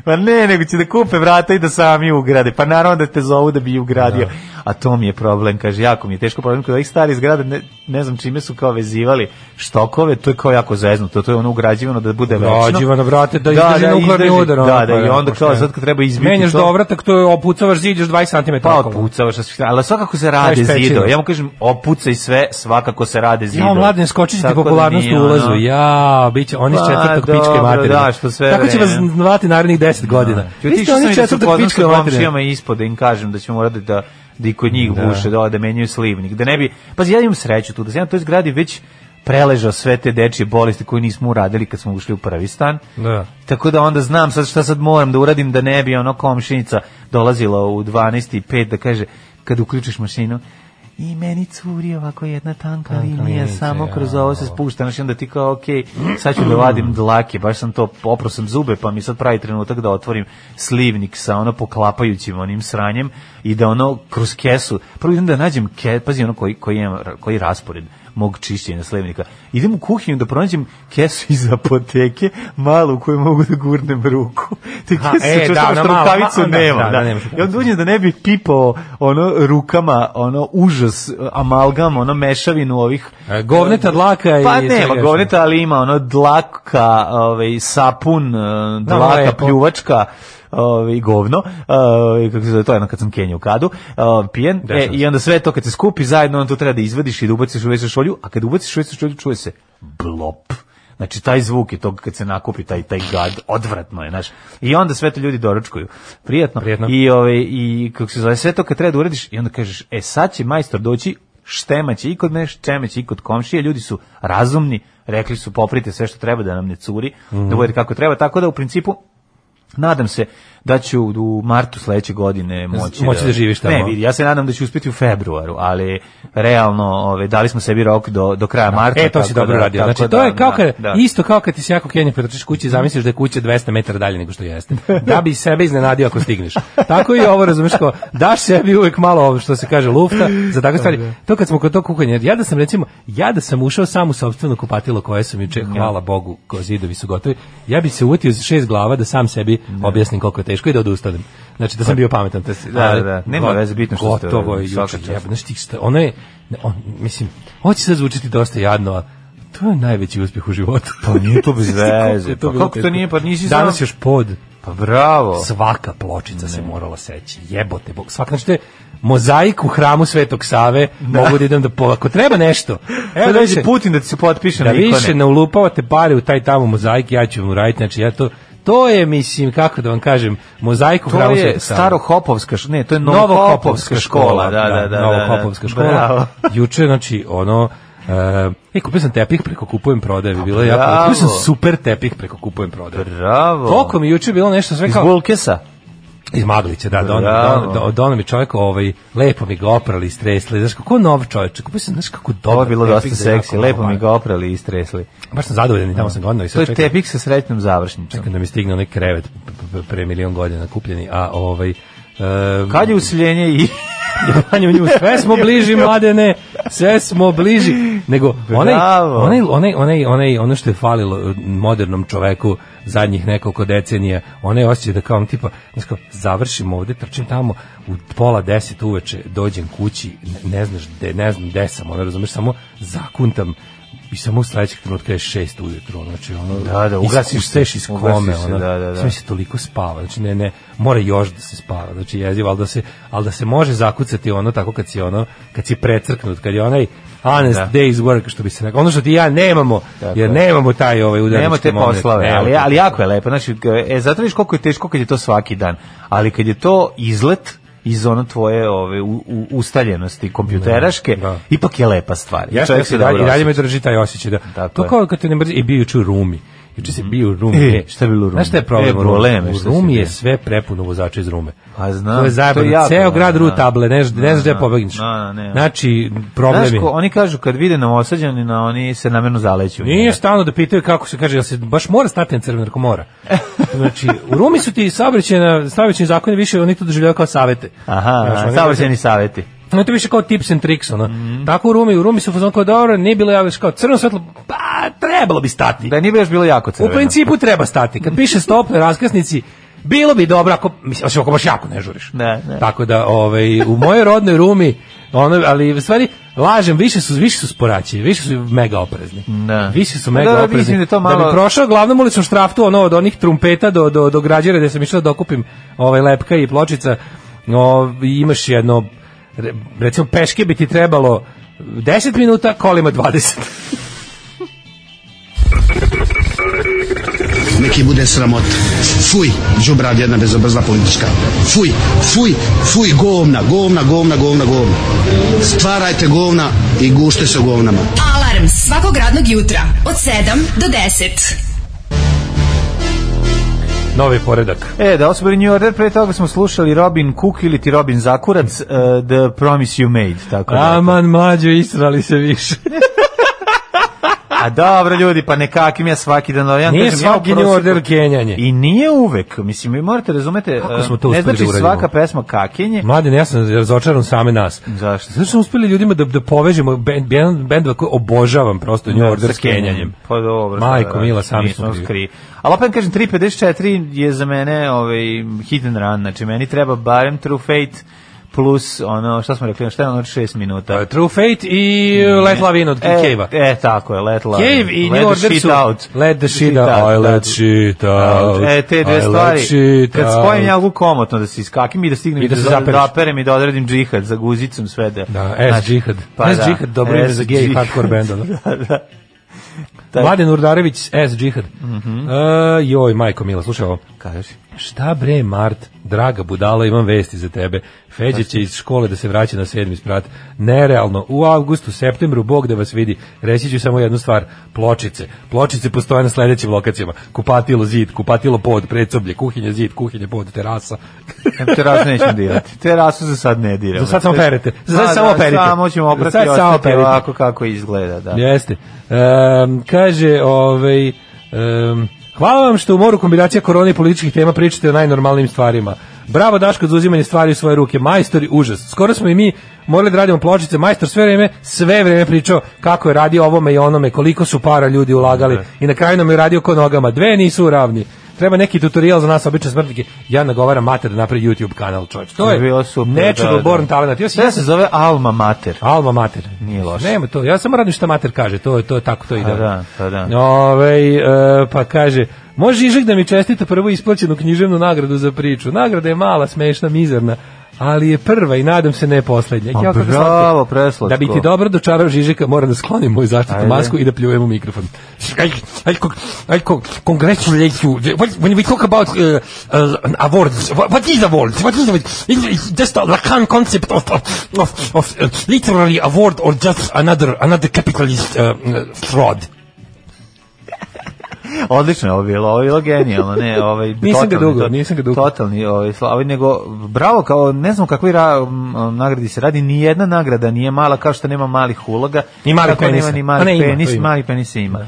Speaker 5: Pa ne, nego će da kupe vrata i da sami ugrade. Pa naravno da te zovu da bi ih ugradio. A to mi je problem, kaže, jako mi je teško problem. Kod ovih starih zgrada, ne, ne znam čime su kao vezivali štokove, to je kao jako zeznuto, to je ono ugrađivano da bude večno.
Speaker 6: Ugrađivano, ono, brate, da izdrži nuklearni
Speaker 5: izdrži.
Speaker 6: udar, ono,
Speaker 5: Da, da,
Speaker 6: pa
Speaker 5: i
Speaker 6: da,
Speaker 5: onda kao
Speaker 6: pošteno.
Speaker 5: sad kad treba izbiti
Speaker 6: Menjaš
Speaker 5: to-
Speaker 6: dovratak, to je opucavaš zid još 20 cm.
Speaker 5: pa otpucavaš, a sve- ali svakako se rade
Speaker 6: Znaš, pečivo.
Speaker 5: zidovi. Ja mu kažem, opuca i sve, svakako se rade zidovi.
Speaker 6: Ja, mladen, skočit će ti
Speaker 5: Tako da
Speaker 6: popularnost
Speaker 5: nije,
Speaker 6: u ulazu.
Speaker 5: ono-
Speaker 6: Ja, bit će, oni iz
Speaker 5: Pa,
Speaker 6: četvrtog pičke
Speaker 5: dobro,
Speaker 6: materine.
Speaker 5: da, što sve
Speaker 6: Tako će vas
Speaker 5: vreme.
Speaker 6: zvati narednih 10 godina.
Speaker 5: Ljudi,
Speaker 6: Vi ste
Speaker 5: išao sam
Speaker 6: oni
Speaker 5: i da se
Speaker 6: četvrtog
Speaker 5: upoznam
Speaker 6: pičke
Speaker 5: sa
Speaker 6: materine.
Speaker 5: komšijama ispod, da im kažem da ćemo morati da da i kod njih buše, da, da menjaju slivnik, da ne bi... Pa ja imam sreću tu, da sam ja na toj zgradi već preležao sve te dečije bolesti koje nismo uradili kad smo ušli u prvi stan.
Speaker 6: Da.
Speaker 5: Tako da onda znam sad šta sad moram da uradim da ne bi ono komšinica dolazila u 12 i 5 da kaže kad uključiš mašinu i meni curi ovako jedna tanka linija,
Speaker 6: linica,
Speaker 5: samo kroz
Speaker 6: jao.
Speaker 5: ovo se spušta, znači onda ti kao, ok, sad ću da vadim dlake, baš sam to, oprao sam zube, pa mi sad pravi trenutak da otvorim slivnik sa ono poklapajućim onim sranjem i da ono kroz kesu, prvo idem da nađem, ke, pazi ono koji, koji, imam, koji raspored mog čišćenja slivnika. Idem u kuhinju da pronađem kesu iz apoteke, malu u kojoj mogu da gurnem ruku. Te
Speaker 6: Ha,
Speaker 5: kesu,
Speaker 6: e,
Speaker 5: e,
Speaker 6: da,
Speaker 5: da,
Speaker 6: ona
Speaker 5: što
Speaker 6: mala,
Speaker 5: rukavicu
Speaker 6: ma- da,
Speaker 5: nema.
Speaker 6: da,
Speaker 5: Da,
Speaker 6: da, nemaš
Speaker 5: I onda uđem da ne bih pipao ono rukama, ono užas, amalgam, ono mešavinu ovih
Speaker 6: E, govneta dlaka i
Speaker 5: pa
Speaker 6: svega
Speaker 5: nema
Speaker 6: još.
Speaker 5: govneta, ali ima ono dlaka, ovaj sapun, e, dlaka,
Speaker 6: lepo.
Speaker 5: pljuvačka, ovaj govno, ovaj kako se zove, to je ono kad sam Kenju kadu, ovaj, pijen, e,
Speaker 6: Desno.
Speaker 5: i onda sve to kad se skupi zajedno, onda to treba da izvadiš i da ubaciš u WC šolju, a kad ubaciš u WC šolju čuje se blop. Znači taj zvuk je tog kad se nakupi taj taj gad, odvratno je, znaš. I onda sve to ljudi doručkuju. Prijatno.
Speaker 6: Prijetno.
Speaker 5: I ovaj i kako se zove sve to kad treba da uradiš i onda kažeš e sad će majstor doći štemaće i kod mene, štemaće i kod komšije, ljudi su razumni, rekli su poprite sve što treba da nam ne curi, da bude kako treba, tako da u principu Nadam se da ću u martu sledeće godine moći,
Speaker 6: Moći da živiš tamo.
Speaker 5: Ne, vidi, ja se nadam da ću uspeti u februaru, ali realno ove, dali smo sebi rok do, do kraja marta.
Speaker 6: E, to si
Speaker 5: tako
Speaker 6: dobro
Speaker 5: da-
Speaker 6: radio.
Speaker 5: tako
Speaker 6: Znači, to je
Speaker 5: da,
Speaker 6: kao
Speaker 5: da,
Speaker 6: kad,
Speaker 5: da.
Speaker 6: isto kao kad ti se jako kenje pretrčeš kući i zamisliš da je kuća 200 metara dalje nego što jeste. Da bi sebe iznenadio ako stigneš. Tako i ovo, razumeš, kao, daš sebi uvek malo, ovo što se kaže, lufta za takve stvari. To kad smo kod tog kuhanja, ja da sam, recimo, ja da sam ušao sam u sobstveno kupatilo koje sam juče, hvala Bogu, ko zidovi su gotovi, ja bi se utio za šest glava da sam sebi objasnim koliko je teško i da odustanem. Znači, da sam bio pametan. Da,
Speaker 5: da, da, nema veze, bitno što ste
Speaker 6: Gotovo je
Speaker 5: svaka
Speaker 6: juče,
Speaker 5: čast.
Speaker 6: jebeno, znaš ti šta, ono je, ne, on, mislim, ovo će sad zvučiti dosta jadno, a to je najveći uspjeh u životu.
Speaker 5: Pa nije to bez
Speaker 6: Koliko
Speaker 5: veze.
Speaker 6: je
Speaker 5: Pa
Speaker 6: bilo
Speaker 5: kako to
Speaker 6: teško.
Speaker 5: nije, pa nisi sam...
Speaker 6: Danas još pod,
Speaker 5: Pa bravo.
Speaker 6: svaka pločica se morala seći, jebote bog, svaka, znači to je mozaik u hramu Svetog Save, mogu da idem da po, ako treba nešto,
Speaker 5: Evo
Speaker 6: evo
Speaker 5: da
Speaker 6: da
Speaker 5: dođe
Speaker 6: više,
Speaker 5: Pa Putin da ti se potpiše
Speaker 6: da
Speaker 5: na ikone.
Speaker 6: više ne ulupavate pare u taj tamo mozaik, ja ću vam uraditi, znači ja to, to je, mislim, kako da vam kažem, mozaik u
Speaker 5: To
Speaker 6: hramu
Speaker 5: je
Speaker 6: Svetog Save.
Speaker 5: starohopovska, š- ne, to je
Speaker 6: Novokopovska
Speaker 5: novokopovska škola. Da, da, da. da,
Speaker 6: Novokopovska
Speaker 5: da.
Speaker 6: škola.
Speaker 5: Bravo.
Speaker 6: Juče, znači, ono, Uh, e, kupio sam tepih preko kupujem prodaje, bi bilo je jako.
Speaker 5: bravo.
Speaker 6: Kupio sam super tepih preko kupujem prodaje.
Speaker 5: Bravo.
Speaker 6: Toliko mi juče bilo nešto sve
Speaker 5: Iz
Speaker 6: kao
Speaker 5: Bulkesa.
Speaker 6: iz Maglića, da, don,
Speaker 5: Bravo.
Speaker 6: don, don, don mi čovjek ovaj lepo mi ga oprali, stresli, znaš kako nov čovjek. Kupio sam znaš kako dobro.
Speaker 5: Ovo je bilo dosta seksi, lepo mi ga oprali i istresli.
Speaker 6: Baš sam zadovoljan i tamo sam ga odnao i
Speaker 5: To
Speaker 6: sad
Speaker 5: je
Speaker 6: čekam-
Speaker 5: tepik sa sretnom završnicom.
Speaker 6: čekam da mi stigne onaj krevet p- p- p- pre milion godina kupljeni, a ovaj em,
Speaker 5: Kad je usiljenje i...
Speaker 6: Vanja u nju, sve smo bliži, mladene, sve smo bliži. Nego, onaj,
Speaker 5: Bravo.
Speaker 6: onaj, onaj, onaj, onaj, ono što je falilo eh, modernom čoveku zadnjih nekoliko decenija, onaj osjećaj da kao, on tipa, znaš kao, završim ovde, trčim tamo, u pola deset uveče dođem kući, ne, ne znaš gde, ne znam gde sam, ono, razumeš, samo zakuntam i samo u sledećeg trenutka je šest ujutru, znači ono,
Speaker 5: Da, da, ugasiš
Speaker 6: iskuseš
Speaker 5: se,
Speaker 6: iz kome,
Speaker 5: ugasiš se,
Speaker 6: ono,
Speaker 5: da, da, da.
Speaker 6: sve se toliko spava, znači ne, ne, mora još da se spava, znači jezivo, ali da se, ali da se može zakucati ono tako kad si ono, kad si precrknut, kad je onaj honest
Speaker 5: Da.
Speaker 6: days work, što bi se rekao, ono što ti i ja nemamo,
Speaker 5: Tako je.
Speaker 6: jer nemamo taj ovaj udarnički
Speaker 5: Nema te
Speaker 6: moment,
Speaker 5: poslave,
Speaker 6: nemamo
Speaker 5: ali,
Speaker 6: te-
Speaker 5: ali jako je lepo. Znači, g- e, zato vidiš koliko je teško kad je to svaki dan. Ali kad je to izlet iz ono tvoje ove, u, u, ustaljenosti kompjuteraške,
Speaker 6: Da, da.
Speaker 5: ipak je lepa stvar. I
Speaker 6: Ja
Speaker 5: čovjek
Speaker 6: se
Speaker 5: se
Speaker 6: dalje,
Speaker 5: dobro
Speaker 6: i dalje
Speaker 5: osjeća.
Speaker 6: me drži taj osjećaj da
Speaker 5: Tako
Speaker 6: to
Speaker 5: je.
Speaker 6: kao kad te ne mrzi i bio juče u Rumi. Juče se bio u Rumi.
Speaker 5: E, šta je bilo u Rumi?
Speaker 6: Znaš šta je problem?
Speaker 5: E,
Speaker 6: u Rumi?
Speaker 5: probleme,
Speaker 6: u
Speaker 5: šta si
Speaker 6: Rumi je
Speaker 5: bio?
Speaker 6: sve prepuno vozača iz Rume.
Speaker 5: Pa znam,
Speaker 6: To je
Speaker 5: to je
Speaker 6: zajebano.
Speaker 5: jako,
Speaker 6: Ceo grad
Speaker 5: da,
Speaker 6: ru
Speaker 5: da.
Speaker 6: table, ne, znaš- ne znaš gde
Speaker 5: Da,
Speaker 6: pobegneš.
Speaker 5: da, ne.
Speaker 6: Znači, problem je.
Speaker 5: Znaš ko, oni kažu kad vide novosađanina, oni se namjerno zaleću.
Speaker 6: Nije stalno da pitaju kako se kaže, jel se baš mora stati na crveno, ako mora. Znači, u Rumi su ti saobraćajna, saobraćajni zakoni više oni to doživljavaju kao savete.
Speaker 5: Aha,
Speaker 6: Znaš, oni-
Speaker 5: savršeni saveti.
Speaker 6: Ono to više kao tips and tricks, ono. Tako u Rumi, u Rumi su fazon kao dobro, nije bilo javiš kao crveno svetlo, pa trebalo bi stati.
Speaker 5: Da nije bi još bilo jako
Speaker 6: U
Speaker 5: crveno.
Speaker 6: principu treba stati. Kad piše stop na raskrsnici, bilo bi dobro ako mislim osim ako baš jako ne žuriš.
Speaker 5: Ne, ne.
Speaker 6: Tako da ovaj u mojoj rodnoj Rumi ono, ali u stvari lažem, više su više su sporaći, više su mega oprezni.
Speaker 5: Da.
Speaker 6: Više su
Speaker 5: Pa
Speaker 6: mega
Speaker 5: da, da,
Speaker 6: oprezni.
Speaker 5: mislim da je to malo-
Speaker 6: bi prošao glavnom ulicom štraftu ono od onih trumpeta do do do građere gde sam išao da dokupim ovaj lepka i pločica. No imaš jedno re- recimo peške bi ti trebalo 10 minuta, kolima 20.
Speaker 1: neki bude sramot. Fuj, džubrav jedna bezobrzla politička. Fuj, fuj, fuj, govna, govna, govna, govna, govna. Stvarajte govna i gušte se u govnama.
Speaker 4: Alarm svakog radnog jutra od 7 do 10.
Speaker 6: Novi poredak.
Speaker 5: E, da osvori New Order, pre toga smo slušali Robin Cook ili ti Robin Zakurac, uh, The Promise You Made, tako da.
Speaker 6: Aman mlađo, israli se više.
Speaker 5: A dobro ljudi, pa nekakim ja svaki dan, ovaj, ja
Speaker 6: Nije
Speaker 5: kažem, ja u
Speaker 6: svaki New
Speaker 5: prosjeku-
Speaker 6: Order Kenjanje.
Speaker 5: I nije uvek, mislim, vi morate razumete,
Speaker 6: Kako smo
Speaker 5: eh,
Speaker 6: to
Speaker 5: ne
Speaker 6: uspeli
Speaker 5: znači
Speaker 6: da uradimo?
Speaker 5: svaka pesma kakenje,
Speaker 6: Mladen, ja sam razočaran same nas.
Speaker 5: Zašto?
Speaker 6: Zašto smo uspeli ljudima da, da povežemo bend, bend, bendova koje obožavam prosto New
Speaker 5: Da,
Speaker 6: Order
Speaker 5: sa
Speaker 6: s Kenjanjem.
Speaker 5: Pa dobro. šta
Speaker 6: Majko
Speaker 5: da
Speaker 6: mila,
Speaker 5: radiš,
Speaker 6: sami smo
Speaker 5: nismo
Speaker 6: krivi.
Speaker 5: skri. Ali opet kažem, 3.54 je za mene ovaj, hit and run, znači meni treba barem True Fate plus ono, šta smo rekli, šta je ono od 6 minuta.
Speaker 6: Uh, True Fate i uh, Let Lavin od
Speaker 5: E,
Speaker 6: Cave-a.
Speaker 5: E, tako je, Let Love.
Speaker 6: Cave i
Speaker 5: Let
Speaker 6: New
Speaker 5: the
Speaker 6: Order
Speaker 5: shit
Speaker 6: su
Speaker 5: out.
Speaker 6: Let the shit out, I let shit out.
Speaker 5: E, te
Speaker 6: I
Speaker 5: dve
Speaker 6: let
Speaker 5: stvari,
Speaker 6: shit
Speaker 5: kad
Speaker 6: out.
Speaker 5: spojim ja ovu komotno da se iskakim i da stignem
Speaker 6: I
Speaker 5: i
Speaker 6: da
Speaker 5: da, da,
Speaker 6: se zapereš.
Speaker 5: da operem i da odredim džihad za guzicom sve da...
Speaker 6: Da, S
Speaker 5: Znači,
Speaker 6: Džihad. S Džihad, dobro ime
Speaker 5: S
Speaker 6: za gej
Speaker 5: džihad.
Speaker 6: hardcore bendova.
Speaker 5: da, da. Taj-
Speaker 6: Mladen Urdarević, S Džihad.
Speaker 5: Mhm.
Speaker 6: Uh, joj, majko mila, slušaj ovo.
Speaker 5: Kažeš.
Speaker 6: Šta bre, Mart, draga budala, imam vesti za tebe. Feđa će iz škole da se vraća na sedmi sprat. Nerealno, u avgustu, septembru, Bog da vas vidi. Reći ću samo jednu stvar, pločice. Pločice postoje na sledećim lokacijama. Kupatilo zid, kupatilo pod, predsoblje, kuhinja zid, kuhinja pod, terasa.
Speaker 5: Em, Terasu nećemo dirati. Terasu za sad ne diramo.
Speaker 6: Za sad samo perete. Za sad
Speaker 5: Da,
Speaker 6: samo
Speaker 5: da,
Speaker 6: perete.
Speaker 5: Samo ćemo
Speaker 6: Za
Speaker 5: oprati
Speaker 6: sad
Speaker 5: sad
Speaker 6: samo
Speaker 5: samo
Speaker 6: perete.
Speaker 5: ovako kako izgleda. Da.
Speaker 6: Jeste. Ehm, kaže, ovaj, ehm, hvala vam što u moru kombinacija korone i političkih tema pričate o najnormalnijim stvarima. Bravo Daško za uzimanje stvari u svoje ruke. Majstori, užas. Skoro smo i mi morali da radimo pločice. Majstor sve vreme, sve vreme pričao kako je radio ovome i onome, koliko su para ljudi ulagali i na kraju nam je radio ko nogama. Dve nisu ravni. Treba neki tutorial za nas obične smrtnike. Ja nagovaram mater da napravi YouTube kanal, čovječ. To je
Speaker 5: bilo super.
Speaker 6: natural born talent. Ja, sam-
Speaker 5: Sve se zove Alma Mater.
Speaker 6: Alma mater.
Speaker 5: Nije loše.
Speaker 6: Nema to. Ja samo radim šta mater kaže. To je to je tako to ide.
Speaker 5: da, pa da.
Speaker 6: Ovaj, e, pa kaže Može Žižek da mi čestita prvu isplaćenu književnu nagradu za priču. Nagrada je mala, smešna, mizerna, ali je prva i nadam se ne poslednja.
Speaker 5: A
Speaker 6: kako
Speaker 5: Pa bravo,
Speaker 6: slatko.
Speaker 5: preslatko.
Speaker 6: Da bi ti dobro dočarao Žižeka, moram da sklonim moju zaštitnu
Speaker 5: Ajde.
Speaker 6: masku i da pljujem u mikrofon. Aj, aj, ko- aj, ko- congratulate you. What- When we talk about uh, uh, awards, what what is awards? What is awards? It- It's just a Lacan concept of, of, of, of uh, literary award or just another, another capitalist uh, uh, fraud.
Speaker 5: Odlično je ovo bilo, ovo je bilo genijalno, ne, ovaj
Speaker 6: Nisam ga
Speaker 5: totalni,
Speaker 6: dugao,
Speaker 5: to-
Speaker 6: nisam ga dugao.
Speaker 5: Totalni, ovaj slavi nego bravo kao ne znam kakvi ra, m, nagradi se radi, ni jedna nagrada nije mala kao što nema malih uloga.
Speaker 6: Ni malih
Speaker 5: tako nema
Speaker 6: penisa.
Speaker 5: Ni
Speaker 6: A
Speaker 5: mali
Speaker 6: ne, ima, to
Speaker 5: penis,
Speaker 6: ima.
Speaker 5: mali penis ima.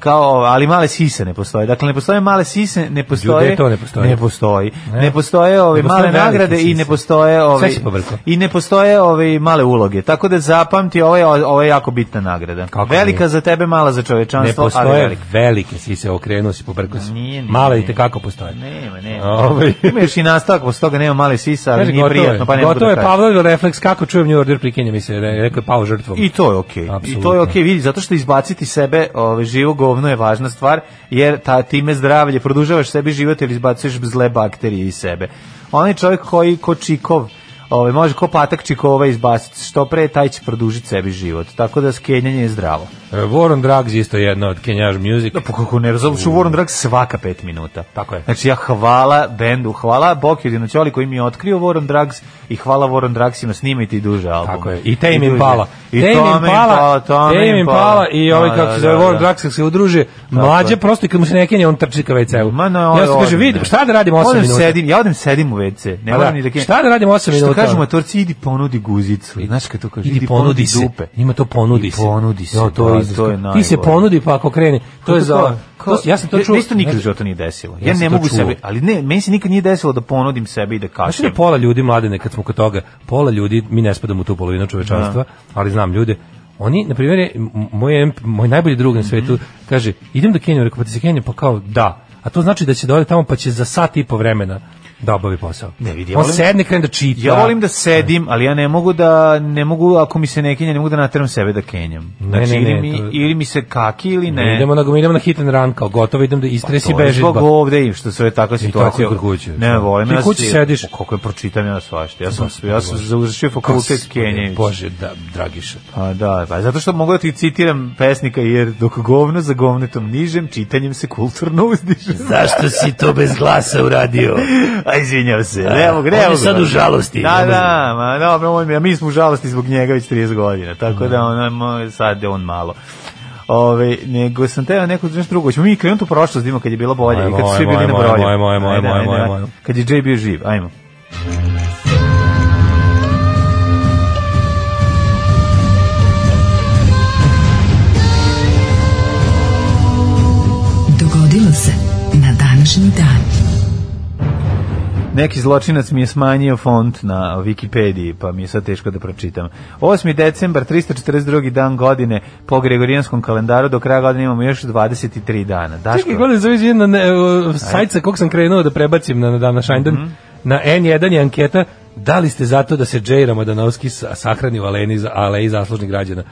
Speaker 5: Kao, ali male sise ne postoje. Dakle ne postoje male sise, ne postoje.
Speaker 6: Ljude, to ne postoji.
Speaker 5: Ne postoji.
Speaker 6: Ne.
Speaker 5: Ne, postoje ove
Speaker 6: Ne postoje
Speaker 5: male
Speaker 6: velike
Speaker 5: nagrade i
Speaker 6: sise.
Speaker 5: ne postoje ove
Speaker 6: si pobrkao.
Speaker 5: i ne postoje ove male uloge. Tako da zapamti, ovo je ovo je jako bitna nagrada.
Speaker 6: Kako
Speaker 5: velika
Speaker 6: nije?
Speaker 5: za tebe, mala za
Speaker 6: Ne
Speaker 5: čovečanstvo, ali
Speaker 6: postoje
Speaker 5: velika.
Speaker 6: velike sise, okrenuo si, pobrkao si.
Speaker 5: Nije, nije,
Speaker 6: Male i
Speaker 5: nije.
Speaker 6: tekako postoje.
Speaker 5: Nema, nema.
Speaker 6: Ovaj.
Speaker 5: Ima još i nastavak, posle toga nema male sisa, ali
Speaker 6: Kaže,
Speaker 5: nije
Speaker 6: gotovo je.
Speaker 5: prijatno, pa ne mogu
Speaker 6: Gotovo
Speaker 5: da
Speaker 6: je
Speaker 5: kažem.
Speaker 6: Pavlovil refleks, kako čujem New Order, prikenja mi se, re- rekao je pao žrtvom.
Speaker 5: I to je okej. I
Speaker 6: Apsolutno.
Speaker 5: to je okej, vidi, zato što izbaciti sebe, ove, živo govno je važna stvar, jer ta, time zdravlje, produžavaš sebi život ili izbacuješ zle bakterije iz sebe. Onaj čovjek koji, ko čikov, ove, može ko patak čikova izbaciti, što pre, taj će produžiti sebi život. Tako da skenjanje je zdravo.
Speaker 6: E, War on Drugs isto je jedna od Kenjaž Music.
Speaker 5: Da, pa kako ne, razumiješ u Warren Drag svaka pet minuta.
Speaker 6: Tako je.
Speaker 5: Znači ja hvala bendu, hvala Bok Jedino Ćoli koji mi je otkrio Warren Drugs i hvala Warren Drugsima snimajte i duže albume.
Speaker 6: Tako je. I Tame
Speaker 5: duže.
Speaker 6: Impala.
Speaker 5: I
Speaker 6: Tame
Speaker 5: Tame
Speaker 6: Impala,
Speaker 5: Impala, Tame
Speaker 6: Tame Impala i ovaj
Speaker 5: Da,
Speaker 6: kako
Speaker 5: da,
Speaker 6: se zove
Speaker 5: da,
Speaker 6: War
Speaker 5: da.
Speaker 6: Drugs kako se udruže. Mlađe
Speaker 5: je.
Speaker 6: prosto i kad mu se ne kenja, on trči ka WC-u.
Speaker 5: Ma no,
Speaker 6: ja sam kaže, vidi, šta da radim 8
Speaker 5: odem
Speaker 6: minuta?
Speaker 5: Sedim, ja odem sedim u WC. Ne
Speaker 6: Pa
Speaker 5: moram
Speaker 6: da.
Speaker 5: ni da kenjam.
Speaker 6: Šta da radim 8 minuta,
Speaker 5: Što kažu
Speaker 6: ono?
Speaker 5: matorci, idi ponudi guzicu. Znaš kad to kaže,
Speaker 6: Idi ponudi se.
Speaker 5: dupe.
Speaker 6: Ima to ponudi
Speaker 5: I
Speaker 6: se.
Speaker 5: ponudi se,
Speaker 6: Jo, to,
Speaker 5: da,
Speaker 6: je
Speaker 5: to
Speaker 6: izraz.
Speaker 5: je
Speaker 6: Ti se
Speaker 5: najgore.
Speaker 6: ponudi pa ako krene. To
Speaker 5: Kako
Speaker 6: je za... ono,
Speaker 5: kao-
Speaker 6: to- Ja sam to čuo.
Speaker 5: Meni se to ono, nikad u
Speaker 6: Ne-
Speaker 5: životu nije desilo.
Speaker 6: Ja
Speaker 5: Ja
Speaker 6: sam
Speaker 5: ne
Speaker 6: to
Speaker 5: mogu
Speaker 6: čuo.
Speaker 5: sebi, ali ne, meni se nikad nije desilo da ponudim sebi i da
Speaker 6: Znaš da
Speaker 5: kažem.
Speaker 6: pola ljudi mladene kad smo kod toga, pola ljudi mi ne spadamo u tu polovinu čovečanstva, ali znam ljude. Oni, na primjer, je, m- moj, em- moj najbolji drug na svetu
Speaker 5: Mhm.
Speaker 6: kaže, idem do Kenije, rekao, pa ti se Kenija, pa kao, da. A to znači da će da ode tamo, pa će za sat i po vremena da obavi posao.
Speaker 5: Ne vidi, ja
Speaker 6: On
Speaker 5: volim-
Speaker 6: sedne, krene da čita.
Speaker 5: Ja volim da sedim, ali ja ne mogu da ne mogu ako mi se ne kenja, ne mogu da nateram sebe da kenjam. Znači,
Speaker 6: ne, ne,
Speaker 5: ili, mi,
Speaker 6: to-
Speaker 5: ili mi se kaki ili
Speaker 6: Ne.
Speaker 5: ne.
Speaker 6: Idemo na, idemo na hit and run, kao gotovo, idem da istresi
Speaker 5: To je
Speaker 6: beži.
Speaker 5: Zbog ovde i što sve takva situacija.
Speaker 6: tako i kod kuće.
Speaker 5: Ne, volim
Speaker 6: Ti
Speaker 5: ja.
Speaker 6: kući
Speaker 5: se-
Speaker 6: sediš.
Speaker 5: Koliko je pročitam ja svašta. Ja sam ja sam završio fakultet Kenjević.
Speaker 6: Bože, da, Dragiša.
Speaker 5: Pa da, pa zato što mogu da ti citiram pesnika jer dok govno za govnetom nižem, čitanjem se kulturno uzdižem.
Speaker 6: Zašto si to bez glasa uradio?
Speaker 5: A izvinjavam se, ne mogu, ne
Speaker 6: on je
Speaker 5: mogu.
Speaker 6: sad u žalosti, ne
Speaker 5: Da,
Speaker 6: može.
Speaker 5: da, ma dobro, on, je- mi smo u žalosti zbog njega već 30 godina, tako da ono, mo- sad je on malo. Ove, nego sam teo neko nešto drugo. Ćemo mi krenuti u prošlost, da vidimo kad je bilo bolje
Speaker 6: Ajmo,
Speaker 5: i kad su svi
Speaker 6: ajmo,
Speaker 5: bili na
Speaker 6: ajmo,
Speaker 5: broju.
Speaker 6: ajmo, ajmo,
Speaker 5: Ajde,
Speaker 6: ajmo,
Speaker 5: ajde,
Speaker 6: ajmo,
Speaker 5: ajde.
Speaker 6: ajmo.
Speaker 5: Kad je Jay bio živ, ajmo. neki zločinac mi je smanjio font na Wikipediji, pa mi je sad teško da pročitam. 8. decembar, 342. dan godine, po Gregorijanskom kalendaru, do kraja godine imamo još 23 dana. Daško,
Speaker 6: Čekaj, godine zove izvijem na ne, o, sajt sa kog sam krenuo da prebacim na, na dan na Šajndan.
Speaker 5: Mhm.
Speaker 6: Na N1 je anketa da li ste zato da se Džej Ramadanovski sa- sahrani u aleni, za- aleji zaslužnih građana.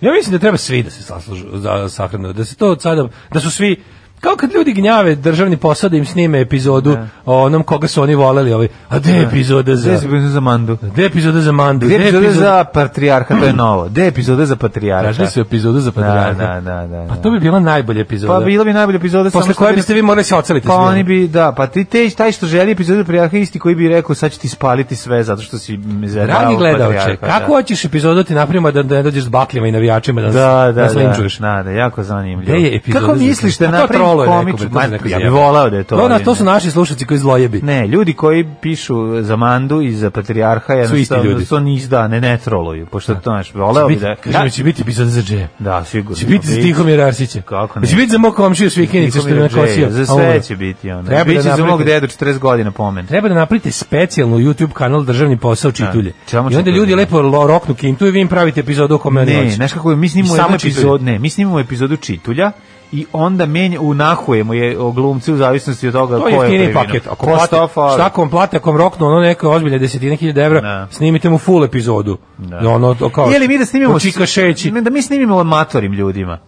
Speaker 6: Ja mislim da treba svi da se saslužu, za, sahrane, da se to od sada, da su svi Kao kad ljudi gnjave državni posao da im snime epizodu o onom koga su oni voleli. Ovaj. A gde je epizoda za...
Speaker 5: Gde si bio za mandu?
Speaker 6: Gde je epizoda za Mandu?
Speaker 5: Gde
Speaker 6: je
Speaker 5: epizode za patrijarha, to je novo. Gde epizode za patrijarha?
Speaker 6: Tražili su epizodu za patrijarha.
Speaker 5: Da, da, da, da,
Speaker 6: Pa
Speaker 5: da.
Speaker 6: to bi bila najbolja epizoda.
Speaker 5: Pa bila bi najbolja epizoda samo
Speaker 6: Posle
Speaker 5: što
Speaker 6: koje
Speaker 5: bi-
Speaker 6: biste vi morali se oceliti.
Speaker 5: Pa
Speaker 6: svi.
Speaker 5: oni bi, da, pa ti te, taj što želi epizodu patrijarha je isti koji bi rekao sad ću ti spaliti sve zato što si me zajebao
Speaker 6: Dragi
Speaker 5: u
Speaker 6: gledaoče,
Speaker 5: Patrijarha,
Speaker 6: kako
Speaker 5: da.
Speaker 6: hoćeš epizodu ti napravimo da, da ne dođeš s bakljama i navijačima da, nas-
Speaker 5: Da, da,
Speaker 6: nas linčuješ?
Speaker 5: da, da, da, jako zanimljivo.
Speaker 6: Gde je epizoda
Speaker 5: Kako
Speaker 6: za-
Speaker 5: misliš
Speaker 6: A
Speaker 5: da
Speaker 6: to
Speaker 5: napravim
Speaker 6: trolo je rekao,
Speaker 5: komiču?
Speaker 6: bre, to
Speaker 5: Ma,
Speaker 6: je neko
Speaker 5: ja bih
Speaker 6: zajebao.
Speaker 5: volao da je to.
Speaker 6: To, na, to
Speaker 5: ali
Speaker 6: su
Speaker 5: ne.
Speaker 6: naši slušalci koji zlojebi.
Speaker 5: Ne, ljudi koji pišu za Mandu i za Patrijarha jednostavno
Speaker 6: ljudi.
Speaker 5: su niz da, ne, ne troluju, pošto to, znaš, voleo bi
Speaker 6: Bit,
Speaker 5: da...
Speaker 6: kažem, će biti epizoda za Džeja.
Speaker 5: Da, sigurno.
Speaker 6: Će biti za
Speaker 5: Biće.
Speaker 6: Tihomir Arsića.
Speaker 5: Kako ne?
Speaker 6: Će biti za mog komšiju s Vikinice što je
Speaker 5: Tihomira
Speaker 6: nakosio.
Speaker 5: Džeja, Za
Speaker 6: a
Speaker 5: sve
Speaker 6: umro.
Speaker 5: će biti ono.
Speaker 6: Treba da
Speaker 5: Biće za
Speaker 6: napravite-
Speaker 5: mog dedu 40 godina pomen.
Speaker 6: Treba da napravite specijalnu YouTube kanal Državni posao čitulje.
Speaker 5: samo
Speaker 6: I onda
Speaker 5: čitulje.
Speaker 6: ljudi lepo lo- roknu kintu i vi im pravite epizodu o kome oni
Speaker 5: Ne,
Speaker 6: hoće.
Speaker 5: znaš kako je, mi
Speaker 6: I
Speaker 5: snimamo
Speaker 6: samo
Speaker 5: jednu
Speaker 6: čitulje.
Speaker 5: epizodu, ne, mi snimamo epizodu Čitulja i onda menja, unahujemo je o glumci u zavisnosti od toga
Speaker 6: To
Speaker 5: ko
Speaker 6: je
Speaker 5: je
Speaker 6: jeftiniji
Speaker 5: previnuo.
Speaker 6: paket. Ako
Speaker 5: Ko
Speaker 6: plate,
Speaker 5: Stofa,
Speaker 6: šta ako vam plate, ako vam roknu ono neko ozbilje desetine hiljada evra,
Speaker 5: Da.
Speaker 6: snimite mu full epizodu. Da. Ono, to kao,
Speaker 5: Je li mi da snimimo
Speaker 6: o čikašeći.
Speaker 5: Ne, da mi snimimo o matorim ljudima.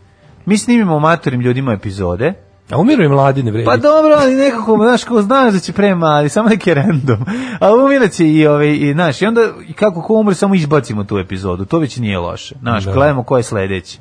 Speaker 5: Mi snimimo o matorim ljudima epizode.
Speaker 6: A umiru i mladi ne vredi.
Speaker 5: Pa dobro, ali nekako, znaš, ko znaš da će prema, ali samo neki random. A umireće i, ovaj, i, znaš, i onda i kako ko umre, samo izbacimo tu epizodu. To već nije loše. Znaš,
Speaker 6: Da.
Speaker 5: gledamo ko je sledeći.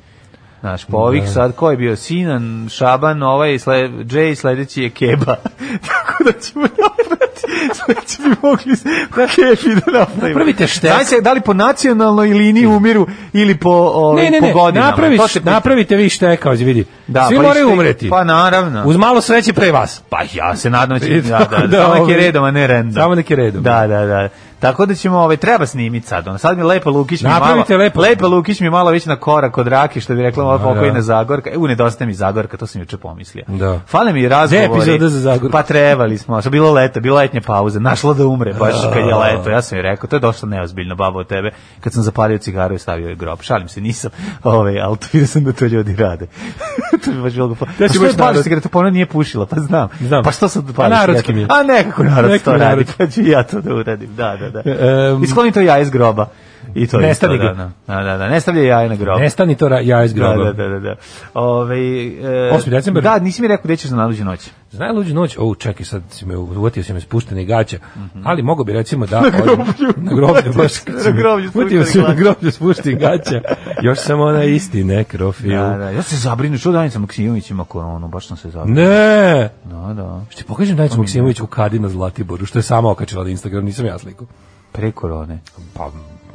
Speaker 5: Znaš, po ovih sad, ko je bio Sinan, Šaban, ovaj, sle, Jay, sledeći je Keba. Tako da ćemo napraviti, sledeći bi mogli na Kebi da napravimo.
Speaker 6: Napravite štek.
Speaker 5: Znači, da li po nacionalnoj liniji umiru ili po, ovaj,
Speaker 6: ne, ne,
Speaker 5: po
Speaker 6: ne,
Speaker 5: godinama?
Speaker 6: napraviš,
Speaker 5: To se pita.
Speaker 6: napravite vi štekao, vidi.
Speaker 5: Da,
Speaker 6: Svi
Speaker 5: pa i
Speaker 6: moraju
Speaker 5: štek-
Speaker 6: umreti.
Speaker 5: Pa naravno.
Speaker 6: Uz malo sreće pre vas.
Speaker 5: Pa ja se nadam da će
Speaker 6: I
Speaker 5: da,
Speaker 6: tako
Speaker 5: da,
Speaker 6: da,
Speaker 5: samo neki
Speaker 6: ovaj,
Speaker 5: redom, a ne random.
Speaker 6: samo neki redom.
Speaker 5: Da, da, da. Tako da ćemo, ovaj, treba snimiti sad. Ono, sad mi Lepa Lukić mi malo...
Speaker 6: Napravite Lepa.
Speaker 5: Lepa Lukić mi je malo već na korak od raki, što bi rekla ova
Speaker 6: Da,
Speaker 5: pokojna
Speaker 6: da.
Speaker 5: Zagorka. E, u, nedostaje mi Zagorka, to sam juče pomislio.
Speaker 6: Da.
Speaker 5: Fale mi razgovori.
Speaker 6: Gde je epizoda za Zagorku?
Speaker 5: Pa trebali smo, što bilo leto, bila letnja pauza, našla da umre, baš kad je leto. Ja sam joj rekao, to je došlo neozbiljno, babo, od tebe. Kad sam zapalio cigaru i stavio je grob. Šalim se, nisam, ovaj, ali to vidio sam da to ljudi rade. to bi baš bilo... glupo.
Speaker 6: Ja si
Speaker 5: što
Speaker 6: baš
Speaker 5: je pališ
Speaker 6: narod.
Speaker 5: cigaretu? Pa ona nije pušila, pa znam.
Speaker 6: Znam.
Speaker 5: Pa što sad
Speaker 6: A
Speaker 5: pališ?
Speaker 6: narodski mi je.
Speaker 5: A nekako narod
Speaker 6: Neki
Speaker 5: to radi,
Speaker 6: narod.
Speaker 5: pa ću i ja to da uradim. Da, da, da.
Speaker 6: Em,
Speaker 5: Iskloni to jaje iz groba. I to je
Speaker 6: Ne
Speaker 5: isto,
Speaker 6: stavi ga.
Speaker 5: Da, da, da, da, ne stavlja jaje na grob.
Speaker 6: Ne stani to ra- ja iz groba.
Speaker 5: Da, da, da, da, da. Ove, e,
Speaker 6: 8. decembar?
Speaker 5: Da, nisi mi rekao gde ćeš za naluđu noć.
Speaker 6: Znaj luđu noć, o, čekaj, sad si me uvatio, si me spuštene gaće, ali mogu bi recimo da... odem- Na groblju, baš.
Speaker 5: Mhm. Na groblju
Speaker 6: Uvatio si me na
Speaker 5: spuštene
Speaker 6: groblju spuštenih gaća, još samo ona isti nekrofil.
Speaker 5: Da, da, ja se zabrinu, što Danica Maksimović ima koronu, ono, baš sam se zabrinuo.
Speaker 6: Ne!
Speaker 5: Da, da.
Speaker 6: Što ti pokažem Danica Maksimović u kadi na Zlatiboru, što je sama okačila na Instagram, nisam ja sliku.
Speaker 5: Pre korone.
Speaker 6: Pa,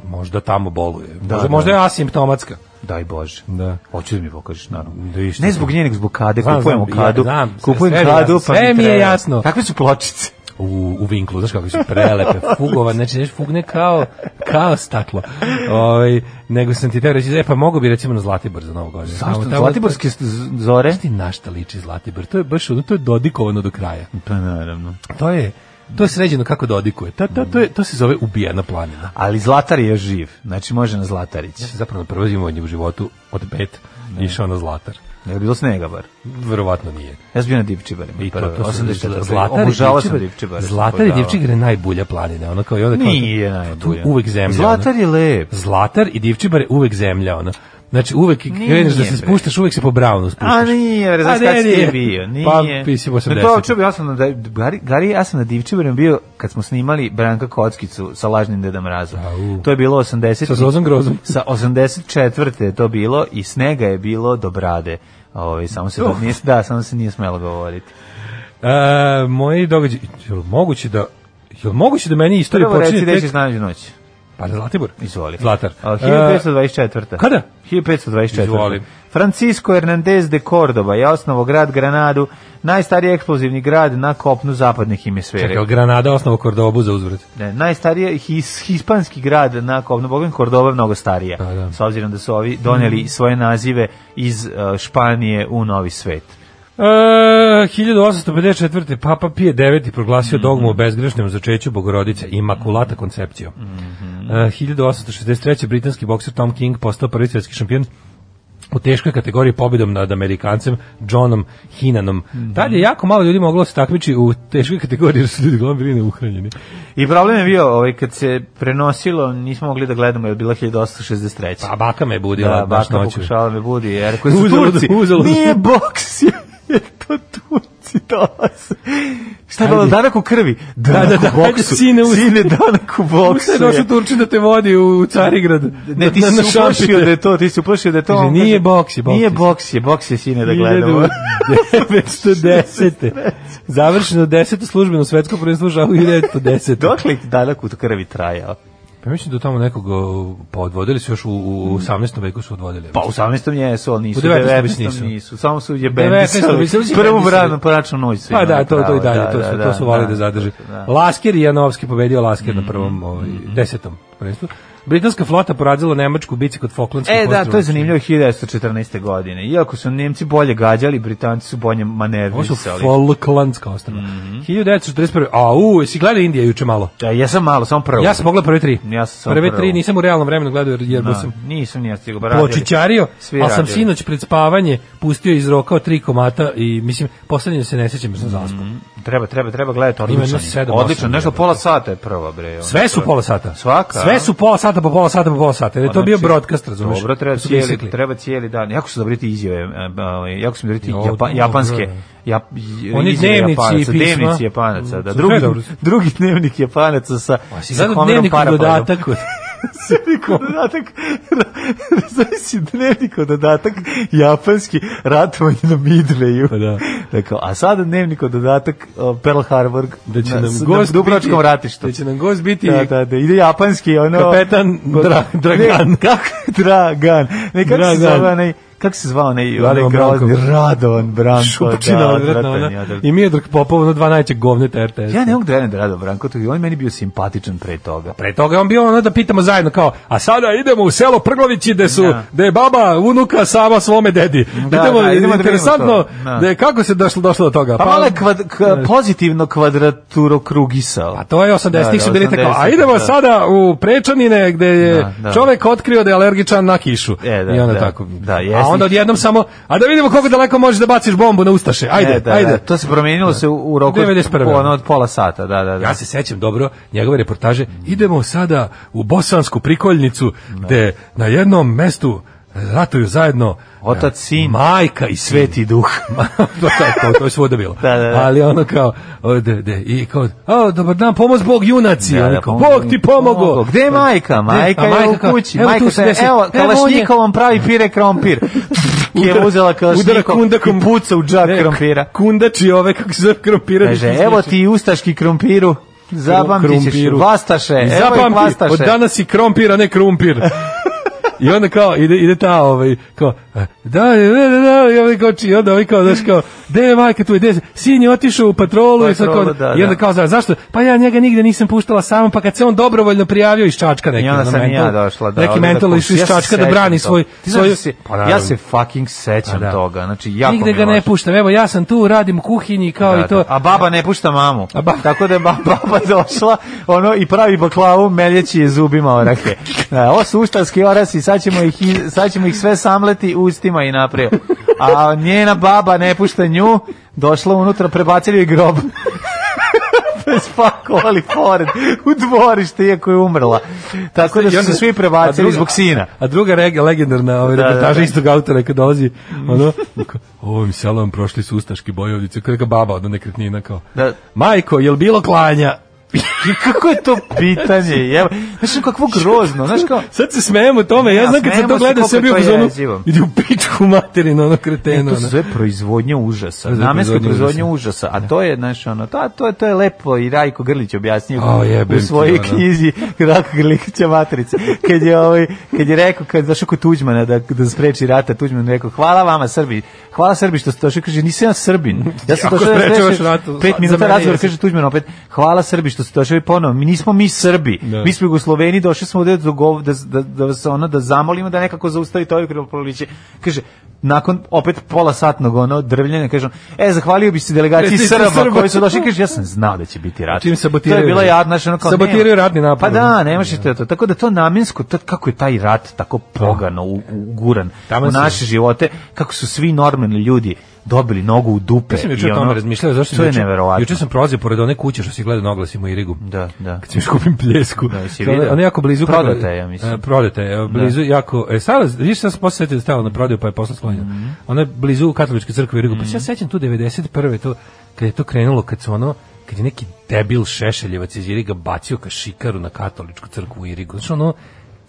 Speaker 6: možda tamo boluje. Da, možda,
Speaker 5: da.
Speaker 6: možda je asimptomatska.
Speaker 5: Daj Bože.
Speaker 6: Da.
Speaker 5: Hoću da mi pokažeš, naravno.
Speaker 6: Da isto.
Speaker 5: ne zbog nje, nego zbog kade.
Speaker 6: Znam,
Speaker 5: Kupujemo
Speaker 6: znam,
Speaker 5: kadu.
Speaker 6: ja znam, sve-
Speaker 5: kupujem
Speaker 6: sve mi je
Speaker 5: kadu,
Speaker 6: jasno,
Speaker 5: pa
Speaker 6: sve
Speaker 5: mi
Speaker 6: mi je
Speaker 5: treba.
Speaker 6: jasno.
Speaker 5: Kakve su pločice?
Speaker 6: u, u vinklu, znaš kako su prelepe, fugova, znači znaš, fugne kao, kao staklo. Ovaj nego sam ti teo reći, e pa mogu bi recimo na Zlatibor za novu godinu.
Speaker 5: Zašto?
Speaker 6: Tamo- tamo-
Speaker 5: Zlatiborske z- z- zore?
Speaker 6: Znaš ti na šta liči Zlatibor? To je baš ono, to je dodikovano do kraja.
Speaker 5: Pa naravno.
Speaker 6: To je, to je sređeno kako dodikuje. Ta, ta, to, je, to se zove ubijena planina.
Speaker 5: Ali Zlatar je još živ. Znači može na Zlatarić.
Speaker 6: Ja sam zapravo na prvo zimovanje u životu od pet išao na Zlatar.
Speaker 5: Je li bilo snega bar?
Speaker 6: Verovatno nije.
Speaker 5: Ja sam bio na Divčibarima.
Speaker 6: I to,
Speaker 5: prve,
Speaker 6: to su
Speaker 5: 84.
Speaker 6: Zlatar i
Speaker 5: Obožavao sam
Speaker 6: Divčibar-
Speaker 5: Divčibare.
Speaker 6: Zlatar i
Speaker 5: obožavao.
Speaker 6: Divčigar je najbolja planina. Ono kao, i onda kao,
Speaker 5: ono. Nije najbolje.
Speaker 6: Tu uvek zemlja. ono.
Speaker 5: Zlatar je lep.
Speaker 6: Zlatar i Divčibar je uvek zemlja, ona. Znači, uvek
Speaker 5: Nije,
Speaker 6: kreneš da se
Speaker 5: bre.
Speaker 6: spuštaš, uvek se po Brownu spuštaš.
Speaker 5: A nije, bre, znaš
Speaker 6: A ne,
Speaker 5: kada si ti
Speaker 6: nije.
Speaker 5: bio? Nije.
Speaker 6: Pa, mislim,
Speaker 5: Na to
Speaker 6: 80.
Speaker 5: čuo bi, ja sam na, Gari, Gari, ja sam na Divčibarima bio kad smo snimali Branka Kockicu sa lažnim Deda Mrazom.
Speaker 6: Au.
Speaker 5: To je bilo 80.
Speaker 6: Sa Zozom Grozom.
Speaker 5: Sa 84. je to bilo i snega je bilo do brade. Ovaj samo se da, nije, da, samo se nije smelo govoriti.
Speaker 6: E, moji događaj, jel moguće da Jel moguće da meni istorija
Speaker 5: Prvo
Speaker 6: počinje
Speaker 5: reci da ćeš
Speaker 6: tek...
Speaker 5: nađu noć.
Speaker 6: Pa na Zlatibor?
Speaker 5: Izvoli.
Speaker 6: Zlatar.
Speaker 5: A,
Speaker 6: E,
Speaker 5: 1524.
Speaker 6: kada?
Speaker 5: 1524.
Speaker 6: Izvoli.
Speaker 5: Francisco Hernandez de Cordoba je osnovo grad Granadu, najstariji eksplozivni grad na kopnu zapadne hemisfere.
Speaker 6: Čekaj, jel E, Granada osnovu Kordobu za uzvrat.
Speaker 5: Ne, najstariji his, hispanski grad na kopnu, bogem Cordoba je mnogo starija,
Speaker 6: Da, Mm. da.
Speaker 5: s obzirom da su ovi doneli svoje nazive iz eh, Španije u uh, Novi svet.
Speaker 6: E, 1854. Papa Pije IX proglasio dogmu
Speaker 5: Mhm.
Speaker 6: o bezgrešnom začeću bogorodice Imakulata koncepcijom.
Speaker 5: Mhm.
Speaker 6: E, 1863. britanski bokser Tom King postao prvi svjetski šampion u teškoj kategoriji pobjedom nad Amerikancem Johnom Hinanom.
Speaker 5: Mhm.
Speaker 6: Tad je jako malo ljudi moglo se takmiči u teškoj kategoriji jer su ljudi uglavnom bili neuhranjeni.
Speaker 5: I problem je bio, ovaj, kad se prenosilo, nismo mogli da gledamo, je bila 1863.
Speaker 6: Pa baka me je budila
Speaker 5: da,
Speaker 6: baš
Speaker 5: baka
Speaker 6: noću.
Speaker 5: pokušala me budi, jer koji su
Speaker 6: Uzalud-
Speaker 5: Turci,
Speaker 6: uzalud.
Speaker 5: nije boks, je to Turci dolaze. Šta je bilo,
Speaker 6: Ajde.
Speaker 5: danak u krvi? Danak
Speaker 6: da, da,
Speaker 5: u boksu.
Speaker 6: ajde, sine, uz-
Speaker 5: Sine, danak u boksu.
Speaker 6: Sve je došao
Speaker 5: je.
Speaker 6: Turčin da te vodi u Carigrad.
Speaker 5: Ne, ti
Speaker 6: Na- na
Speaker 5: si se uplašio
Speaker 6: šampite.
Speaker 5: da je to, ti si uplašio da je to.
Speaker 6: Kaže,
Speaker 5: on
Speaker 6: nije
Speaker 5: kaže,
Speaker 6: boks, je boks.
Speaker 5: Nije boks, je boks je sine da gledamo.
Speaker 6: 1910. Završeno 10. službeno svetsko prvenstvo u žahu 1910.
Speaker 5: Dokle je danak u krvi trajao?
Speaker 6: Pa mislim da tamo nekog o, pa odvodili su još u, u 18. veku su odvodili.
Speaker 5: Hmm. Pa u 18. jesu, ali nisu.
Speaker 6: U 19. nisu.
Speaker 5: nisu. Samo su je
Speaker 6: 19.
Speaker 5: bendisali.
Speaker 6: bi se uđe
Speaker 5: Prvu
Speaker 6: bendisali.
Speaker 5: branu pračnu noć su
Speaker 6: Pa
Speaker 5: imali
Speaker 6: da, to, to i
Speaker 5: pravo,
Speaker 6: dalje, to, su, to su voli da, zadrži.
Speaker 5: da. E, Hmm.
Speaker 6: Lasker i Janovski pobedio Lasker na prvom, ovaj, desetom prvenstvu. Britanska flota porazila Nemačku u bici kod Falklandskih
Speaker 5: E, da, to je
Speaker 6: ostrva.
Speaker 5: zanimljivo 1914. godine. Iako su Nemci bolje gađali, Britanci su bolje
Speaker 6: Ovo su
Speaker 5: manervisali.
Speaker 6: Falklandska ostrava.
Speaker 5: Hmm.
Speaker 6: 1941. A, u, si gledao Indije juče malo?
Speaker 5: Da, ja sam malo, samo prvo.
Speaker 6: Ja sam pogledao prve tri.
Speaker 5: Ja sam samo
Speaker 6: prve
Speaker 5: prvu.
Speaker 6: tri nisam u realnom vremenu gledao jer, jer
Speaker 5: Da,
Speaker 6: sam
Speaker 5: nisam nije stigao. ba, radili.
Speaker 6: pločićario,
Speaker 5: Svi
Speaker 6: ali sam
Speaker 5: radili.
Speaker 6: sinoć pred spavanje pustio iz roka tri komata i mislim, poslednje se ne sjećam jer
Speaker 5: Mhm.
Speaker 6: sam zaspao.
Speaker 5: Treba, treba, treba gledati,
Speaker 6: Ima jedno
Speaker 5: odlično. je.
Speaker 6: sedam,
Speaker 5: Odlično,
Speaker 6: osam
Speaker 5: nešto
Speaker 6: gledam.
Speaker 5: pola sata je prva, bre. ono.
Speaker 6: Sve su pola sata.
Speaker 5: Svaka, a?
Speaker 6: Sve su pola sata, po pola sata, po pola sata. Jer je E, to
Speaker 5: Znači,
Speaker 6: bio broadcast, razumiješ?
Speaker 5: Dobro, treba
Speaker 6: Su
Speaker 5: cijeli,
Speaker 6: isekli.
Speaker 5: treba cijeli dan. Jako su dobri ti izjave, e, ba, ovaj, jako su mi dobri ti
Speaker 6: Jo,
Speaker 5: japa-
Speaker 6: dobro,
Speaker 5: japanske,
Speaker 6: da.
Speaker 5: jap,
Speaker 6: Oni
Speaker 5: izjave
Speaker 6: dnevnici i
Speaker 5: japanaca,
Speaker 6: pisma.
Speaker 5: dnevnici japanaca, da.
Speaker 6: Sve
Speaker 5: Drugi,
Speaker 6: dobro.
Speaker 5: drugi dnevnik japanaca sa,
Speaker 6: A si
Speaker 5: sa
Speaker 6: gledao
Speaker 5: Homerom
Speaker 6: dnevnik u
Speaker 5: Parapletom.
Speaker 6: dodatak? od-
Speaker 5: Dnevnik u dodatak, zavisi dnevnik u dodatak, japanski ratovanje na Midwayu.
Speaker 6: Pa da.
Speaker 5: Dakle, a sada dnevnik u dodatak o, Pearl Harbor
Speaker 6: Da će
Speaker 5: na,
Speaker 6: nam
Speaker 5: s- na
Speaker 6: gost
Speaker 5: Dubrovačkom
Speaker 6: biti-
Speaker 5: ratištu.
Speaker 6: Da će nam gost biti
Speaker 5: Da, da, da, ide japanski, ono...
Speaker 6: kapetan Dra- Dragan.
Speaker 5: Ne, kako Dragan? Ne, kako se
Speaker 6: Dragan.
Speaker 5: zvao onaj... Kako se zvao onaj...
Speaker 6: Radovan
Speaker 5: onaj grozni-
Speaker 6: Branko.
Speaker 5: Radovan Branko.
Speaker 6: Šupčina, ono.
Speaker 5: da,
Speaker 6: odvratna
Speaker 5: odvratan je,
Speaker 6: ona.
Speaker 5: odvratan.
Speaker 6: I Mijedrag Popov, ono dva najveće govneta RTS.
Speaker 5: Ja ne mogu da gledam Rado Branko, to je- on je meni bio simpatičan pre toga.
Speaker 6: Pre toga je on bio ono da pitamo zajedno kao, a sada idemo u selo Prglovići gde su,
Speaker 5: Da.
Speaker 6: gde je baba, unuka sama svome dedi.
Speaker 5: Da,
Speaker 6: idemo,
Speaker 5: da, idemo da vidimo
Speaker 6: interesantno,
Speaker 5: to. Da.
Speaker 6: da je kako se došlo, došlo do toga.
Speaker 5: Pa, malo je kvad, k, pozitivno kvadraturo krugisao.
Speaker 6: A Pa to je 80-ih su
Speaker 5: Da, da,
Speaker 6: bili tako, a idemo
Speaker 5: 80-ih, da.
Speaker 6: sada u Prečanine gde je
Speaker 5: Da, da.
Speaker 6: čovek otkrio da je alergičan na kišu.
Speaker 5: E, da,
Speaker 6: I onda
Speaker 5: da.
Speaker 6: tako.
Speaker 5: Da,
Speaker 6: a
Speaker 5: jesi.
Speaker 6: onda odjednom samo, a da vidimo koliko daleko možeš da baciš bombu na Ustaše. Ajde,
Speaker 5: E, da,
Speaker 6: ajde.
Speaker 5: Da, to se promenilo se u, u roku od-
Speaker 6: 91..
Speaker 5: ono, od pola sata, da, da, da.
Speaker 6: Ja se sećam dobro njegove reportaže. Idemo sada u bosansku prikoljnicu gde na jednom mestu ratuju zajedno
Speaker 5: Otac,
Speaker 6: e,
Speaker 5: sin.
Speaker 6: majka i svet.
Speaker 5: Sveti duh.
Speaker 6: Ma, to, to, to, to je svuda bilo.
Speaker 5: Da, da, da.
Speaker 6: Ali ono kao, o, de, de, i kao, o, dobar dan, pomoz Bog junaci.
Speaker 5: Da,
Speaker 6: Oni
Speaker 5: da,
Speaker 6: kao,
Speaker 5: pomoz-
Speaker 6: Bog ti pomogao.
Speaker 5: pomogao. Gde je majka? Majka
Speaker 6: A
Speaker 5: je u
Speaker 6: kao,
Speaker 5: kući.
Speaker 6: evo
Speaker 5: majka
Speaker 6: tu su
Speaker 5: se,
Speaker 6: deset.
Speaker 5: evo,
Speaker 6: Evo, on je-
Speaker 5: Kalašnjikovom pravi pire krompir. Ki je
Speaker 6: Udara-
Speaker 5: uzela
Speaker 6: udara
Speaker 5: Kalašnjikov
Speaker 6: kundakom-
Speaker 5: i puca u džak
Speaker 6: Ne,
Speaker 5: krompira.
Speaker 6: Kundači ove, kako se zove krompira.
Speaker 5: Kaže, evo ti ustaški krompiru, zapamtit ćeš,
Speaker 6: krompiru.
Speaker 5: vastaše,
Speaker 6: I
Speaker 5: evo ih
Speaker 6: zapamti,
Speaker 5: vastaše.
Speaker 6: od danas si krompir, a ne krumpir. I onda kao, ide, ide ta, ovaj, kao, e, da, da, da, da, i onda kao, či, i onda ovaj kao, znaš, kao, gde je majka tvoj, gde je, sin je otišao u patrolu, i, sad kao,
Speaker 5: Patrolu, da,
Speaker 6: i onda
Speaker 5: da.
Speaker 6: kao, za- zašto, pa ja njega nigde nisam puštala sama, pa kad se on dobrovoljno prijavio iz Čačka neki,
Speaker 5: I onda
Speaker 6: ono,
Speaker 5: sam i ja
Speaker 6: mental-
Speaker 5: došla. Da,
Speaker 6: neki
Speaker 5: ovdje
Speaker 6: mental
Speaker 5: da
Speaker 6: išao
Speaker 5: kući.
Speaker 6: iz
Speaker 5: Ja se
Speaker 6: Čačka da
Speaker 5: sećam
Speaker 6: brani
Speaker 5: toga.
Speaker 6: svoj,
Speaker 5: Ti znaš
Speaker 6: svoju-
Speaker 5: da se-
Speaker 6: Pa naravno.
Speaker 5: ja se fucking sećam
Speaker 6: Pa da.
Speaker 5: toga. Znači, jako
Speaker 6: Nigde
Speaker 5: mi
Speaker 6: ga ne
Speaker 5: loše.
Speaker 6: puštam, evo ja sam tu, radim u kuhinji, kao
Speaker 5: Da,
Speaker 6: i to.
Speaker 5: da. A baba ne pušta mamu.
Speaker 6: A ba-
Speaker 5: Tako da je ba- baba došla ono, i pravi baklavu, meljeći je zubima orake. Da, ovo su uštarski orasi, sad ćemo, ih, iz- sad ćemo ih sve samleti ustima i naprije. A njena baba ne pušta nju, došla unutra, prebacili je grob. spakovali pored u dvorište iako je umrla. Tako da
Speaker 6: I
Speaker 5: su
Speaker 6: onda-
Speaker 5: se svi
Speaker 6: a
Speaker 5: prebacili
Speaker 6: druga-
Speaker 5: zbog sina.
Speaker 6: A druga reg, legendarna ovaj,
Speaker 5: Da, da,
Speaker 6: reportaža
Speaker 5: da. Mm.
Speaker 6: istog autora kad dolazi ono, kao, ovim selom prošli su ustaški bojovnici, kada ga baba od nekretnina kao,
Speaker 5: Da.
Speaker 6: majko, jel bilo klanja?
Speaker 5: I kako je to pitanje? Jeba. Znaš, ono kakvo grozno. Znaš, kao,
Speaker 6: Sad se smejemo tome, ja,
Speaker 5: Ja,
Speaker 6: znam kad sam
Speaker 5: smejemo
Speaker 6: to
Speaker 5: se
Speaker 6: gledao
Speaker 5: koliko
Speaker 6: sebi u
Speaker 5: je to
Speaker 6: zonu,
Speaker 5: jezivo.
Speaker 6: idi u pičku materinu, ono kreteno.
Speaker 5: E, To
Speaker 6: ono.
Speaker 5: su sve proizvodnja užasa,
Speaker 6: Sve
Speaker 5: namenska
Speaker 6: proizvodnja
Speaker 5: proizvodnja užasa, a to je, znaš, ono, ta, to, je, to je lepo i Rajko Grlić objasnio
Speaker 6: A, jebem
Speaker 5: u
Speaker 6: ti,
Speaker 5: svojoj
Speaker 6: ono.
Speaker 5: knjizi Rajko Grlića Matrica, kad je, ovaj, kad je rekao, kad je došao kod Tuđmana da, da spreči rata, Tuđman je rekao, hvala vama Srbi, hvala Srbi što ste došli, kaže, nisam ja Srbin, ja sam
Speaker 6: Ako
Speaker 5: došao da
Speaker 6: sprečavaš
Speaker 5: sprečim
Speaker 6: rat,
Speaker 5: pet
Speaker 6: za
Speaker 5: minuta
Speaker 6: mene
Speaker 5: razgovor,
Speaker 6: jesi.
Speaker 5: kaže Tuđman opet, hvala Srbi što ste došli ponovo, mi nismo mi Srbi,
Speaker 6: Da.
Speaker 5: mi smo Jugosloveni, došli smo ovde da, dogov- da, da, da, se ono, da zamolimo da nekako zaustavi to proliče, kaže, nakon opet pola satnog ono drvljenja kažem e zahvalio bi se delegaciji
Speaker 6: Predsjednici
Speaker 5: Srba,
Speaker 6: Srba.
Speaker 5: koji su došli kaže ja sam znao da će biti rat
Speaker 6: Čim sabotiraju.
Speaker 5: to je bila jadna ono kao
Speaker 6: Sabotiraju
Speaker 5: nema.
Speaker 6: ratni napad.
Speaker 5: pa da nemaš što to tako da to namensko to kako je taj rat tako pogano u- uguran
Speaker 6: Taman
Speaker 5: u
Speaker 6: si.
Speaker 5: naše živote kako su svi normalni ljudi dobili nogu u dupe
Speaker 6: Ja sam
Speaker 5: i
Speaker 6: juče o
Speaker 5: ono-
Speaker 6: tome razmišljao, zašto
Speaker 5: to
Speaker 6: sam
Speaker 5: je
Speaker 6: juče-
Speaker 5: neverovatno
Speaker 6: Juče sam prolazio pored one kuće što se gleda na oglasima u Irigu.
Speaker 5: da da
Speaker 6: Kad sam još kupim pljesku.
Speaker 5: Da, jesi
Speaker 6: Ona-
Speaker 5: video?
Speaker 6: Ona je ono jako blizu.
Speaker 5: Prodata je, ja mislim.
Speaker 6: E, Prodata je, e, blizu jako. E, sad, vidiš, sad sam posle setio da stavila na prodaju, pa je posle sklonjena.
Speaker 5: Mhm.
Speaker 6: Ona je blizu katoličke crkve u Irigu. Pa se ja sećam tu 91. To, kad je to krenulo, kad su ono, kad je neki debil šešeljevac iz Iriga bacio kašikaru na katoličku crkvu u Irigu. Znači ono,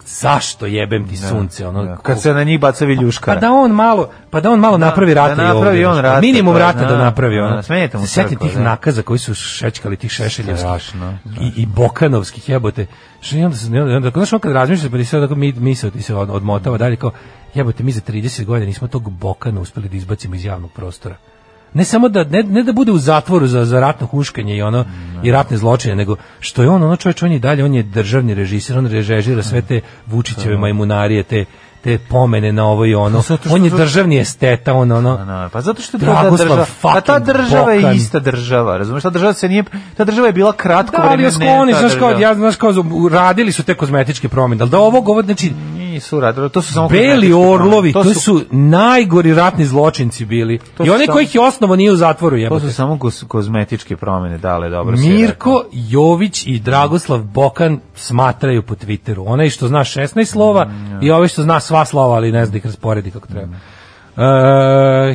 Speaker 6: zašto jebem ti sunce? Ono,
Speaker 5: Da, kad se na njih baca viljuškara
Speaker 6: Pa da on malo, pa da on malo napravi rata
Speaker 5: da
Speaker 6: i
Speaker 5: napravi
Speaker 6: ovde,
Speaker 5: on
Speaker 6: znaš,
Speaker 5: rata,
Speaker 6: minimum
Speaker 5: da,
Speaker 6: rata da
Speaker 5: da,
Speaker 6: napravi
Speaker 5: da,
Speaker 6: ono.
Speaker 5: smeta mu
Speaker 6: Se setim
Speaker 5: crkva,
Speaker 6: tih
Speaker 5: da.
Speaker 6: nakaza koji su šećkali tih šešeljevskih
Speaker 5: Strašno,
Speaker 6: i, i bokanovskih jebote. Što i onda se, i onda, i onda, znaš, on kad razmišljaš, pa ti se tako mi, misao ti se od- odmotava dalje, kao, jebote, mi za 30 godina nismo tog bokana uspeli da izbacimo iz javnog prostora. Ne samo da, ne, ne da bude u zatvoru za, za ratno huškanje i ono, i ratne zločine, nego što je on, ono čovječ, on je i dalje, on je državni režisir, on režira sve te Vučićeve majmunarije, te, te pomene na ovo i ono.
Speaker 5: Pa zato što
Speaker 6: on je
Speaker 5: to-
Speaker 6: državni esteta, on ono.
Speaker 5: Na, pa zato što je ta
Speaker 6: Dragoslav
Speaker 5: država, pa ta
Speaker 6: fucking
Speaker 5: država
Speaker 6: Bokan.
Speaker 5: je ista država, razumeš? Ta država se nije ta država je bila kratko
Speaker 6: Da, ali
Speaker 5: vremena,
Speaker 6: je skloni,
Speaker 5: ta
Speaker 6: znaš kao,
Speaker 5: država.
Speaker 6: ja, znaš kao, u- radili su te kozmetičke promjene, ali da ovo govor, znači,
Speaker 5: Nisu radili, to su samo
Speaker 6: beli
Speaker 5: kozmetički
Speaker 6: orlovi, to
Speaker 5: promene.
Speaker 6: su najgori ratni zločinci bili.
Speaker 5: To
Speaker 6: I
Speaker 5: su
Speaker 6: oni
Speaker 5: samo-
Speaker 6: kojih je osnovo nije u zatvoru,
Speaker 5: to
Speaker 6: jebote.
Speaker 5: su samo kos- kozmetičke promene, dale, dobro si rekao.
Speaker 6: Mirko Jović i Dragoslav Bokan smatraju po Twitteru. Onaj što zna 16 slova
Speaker 5: Mm,
Speaker 6: i ovaj što zna sva slova, ali ne zna da ih rasporedi kako treba. Uh,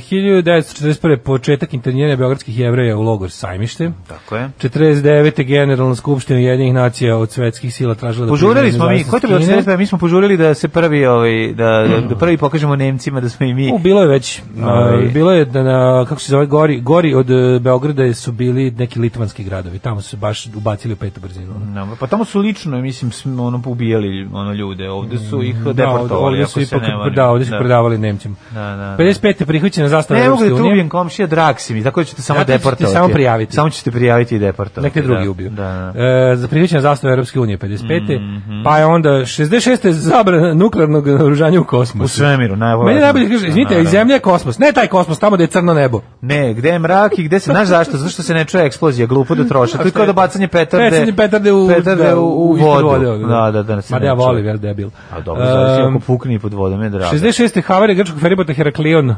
Speaker 6: 1941. početak interniranja beogradskih jevreja u logor sajmište.
Speaker 5: Tako je.
Speaker 6: 49. generalna skupština Jedinih nacija od svetskih sila tražila da
Speaker 5: Požurili
Speaker 6: priznaju
Speaker 5: smo mi, ko je to
Speaker 6: nezavisnost
Speaker 5: bilo
Speaker 6: Kine.
Speaker 5: 45? mi smo požurili da se prvi ovaj da da prvi pokažemo Nemcima da smo i mi.
Speaker 6: U, bilo je već.
Speaker 5: Ovaj.
Speaker 6: Uh, bilo je da na, kako se zove, gori, gori od e, Beograda su bili neki litvanski gradovi. Tamo su se baš ubacili u petu brzinu. ono.
Speaker 5: No, pa tamo su lično, mislim, sm- ono ubijali ono ljude. Ovde su ih
Speaker 6: ovde-
Speaker 5: deportovali,
Speaker 6: Mm, ovde
Speaker 5: ako
Speaker 6: su
Speaker 5: se
Speaker 6: ipak
Speaker 5: ne varam.
Speaker 6: da, ovde su predavali Nemcima.
Speaker 5: Da, da, da.
Speaker 6: 55. prihvaćena zastava
Speaker 5: Pa Ne mogu da
Speaker 6: Evropske
Speaker 5: te
Speaker 6: unije.
Speaker 5: ubijem komšija, drag si mi, tako da ću te samo
Speaker 6: Zato ću ti
Speaker 5: deportovati.
Speaker 6: samo prijaviti.
Speaker 5: Samo ću te prijaviti i deportovati.
Speaker 6: Nek te drugi
Speaker 5: da.
Speaker 6: ubiju.
Speaker 5: Da, da. Mhm.
Speaker 6: E, za prihvaćena zastava Evropske unije 55. Pa je onda 66. zabrana nuklearnog naoružanja u kosmosu.
Speaker 5: U svemiru, najbolje.
Speaker 6: Meni je najbolje kaže, izvinite, iz zemlje je kosmos. Ne taj kosmos, tamo gde je crno nebo.
Speaker 5: Ne, gde je mrak i gde se, znaš zašto? Zato što se ne čuje eksplozija, glupo da troše. To je kao da bacanje petarde,
Speaker 6: Petarde, petarde u,
Speaker 5: petarde
Speaker 6: da,
Speaker 5: u, u
Speaker 6: ispod
Speaker 5: vodu.
Speaker 6: ono.
Speaker 5: Da, da, da. se
Speaker 6: Mada
Speaker 5: ne
Speaker 6: ja
Speaker 5: čuje.
Speaker 6: volim, jel debil.
Speaker 5: A dobro, zavisi
Speaker 6: Ehm,
Speaker 5: ako pukne i pod vodom je drago.
Speaker 6: 66. havarija grčkog feribota Heraklion. E,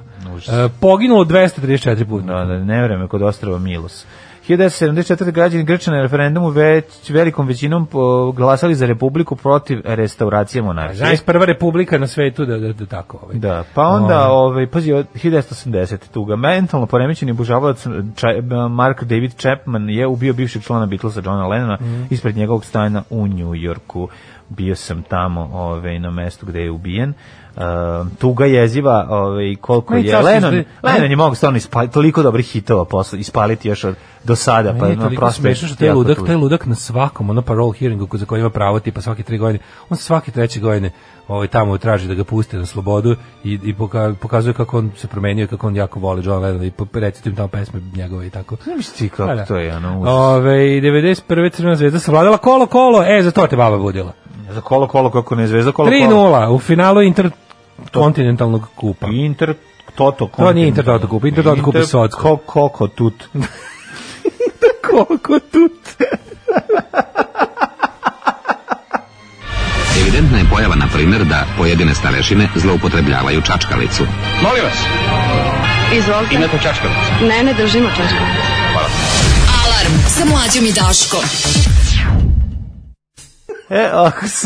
Speaker 6: poginulo 234 puta.
Speaker 5: Da, da, nevreme kod ostrava Milos. 1974. građani Grča na referendumu već velikom većinom po- glasali za republiku protiv restauracije monarhije.
Speaker 6: Znaš, prva republika na svetu da, da, da tako. Ovaj.
Speaker 5: Da, pa onda, ovaj, pazi, od 1980. tuga. Mentalno poremećeni obožavalac Ča- Mark David Chapman je ubio bivšeg člana Beatlesa Johna Lennona
Speaker 6: Mhm.
Speaker 5: ispred njegovog stana u New Yorku. Bio sam tamo ovaj, na mestu gde je ubijen. Uh, tuga jeziva ovaj, koliko
Speaker 6: Meni
Speaker 5: je
Speaker 6: čast
Speaker 5: Lennon,
Speaker 6: izgleda-
Speaker 5: Lennon je mogao stvarno ispaliti, toliko dobrih hitova posle, ispaliti još od, do sada
Speaker 6: Meni
Speaker 5: pa
Speaker 6: je
Speaker 5: no,
Speaker 6: toliko
Speaker 5: prosto je
Speaker 6: smešno što taj
Speaker 5: jako
Speaker 6: ludak,
Speaker 5: tužno.
Speaker 6: taj ludak na svakom, ono parole hearingu ko- za koji ima pravo tipa svake tri godine, on svake treće godine ovaj, tamo traži da ga puste na slobodu i, i poka- pokazuje kako on se promenio i kako on jako voli John Lennon i po- recite im tamo pesme njegove i tako.
Speaker 5: Znaš ti kako
Speaker 6: Pa da.
Speaker 5: to je, ono, užas.
Speaker 6: Ove, 91. Crvena zvezda savladala kolo kolo, e, za to te baba budila.
Speaker 5: za kolo, kolo, kako ne zvezda, kolo, kolo.
Speaker 6: 3-0 u finalu interkontinentalnog kupa.
Speaker 5: Inter Toto Kup.
Speaker 6: To nije Inter Toto Kup, Inter Toto Kup je Socko.
Speaker 5: Ko, koko tut.
Speaker 6: Koliko tut?
Speaker 7: Evidentna je pojava, na primjer, da pojedine starešine zloupotrebljavaju čačkalicu.
Speaker 3: Molim vas,
Speaker 4: Izvolite.
Speaker 3: imate čačkalicu.
Speaker 4: Ne, ne držimo čačka.
Speaker 8: Alarm sa mlađom i Daškom.
Speaker 5: E, oko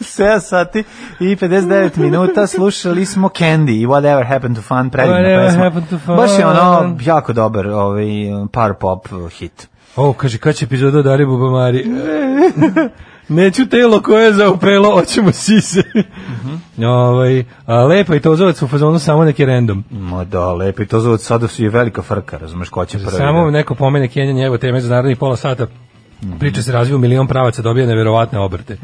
Speaker 5: 7 sati i 59 minuta slušali smo Candy i Whatever Happened to Fun, predivna
Speaker 6: Whatever
Speaker 5: pesma.
Speaker 6: Happened to Fun.
Speaker 5: Baš je ono jako dobar ovaj, par pop hit.
Speaker 6: O, kaže, kad će epizoda Dari Bubamari? Neću telo koje je zaupelo, oćemo sise.
Speaker 5: Mhm.
Speaker 6: Ovaj, a, lepa i tozovac u fazonu samo neki random.
Speaker 5: Ma da, lepi, to zove sada su je velika frka, razumeš ko će prvi.
Speaker 6: Samo
Speaker 5: da- Mhm.
Speaker 6: neko pomene Kenjanje, evo teme za narednih pola sata. Priča se razvija u milion pravaca, dobija neverovatne obrte.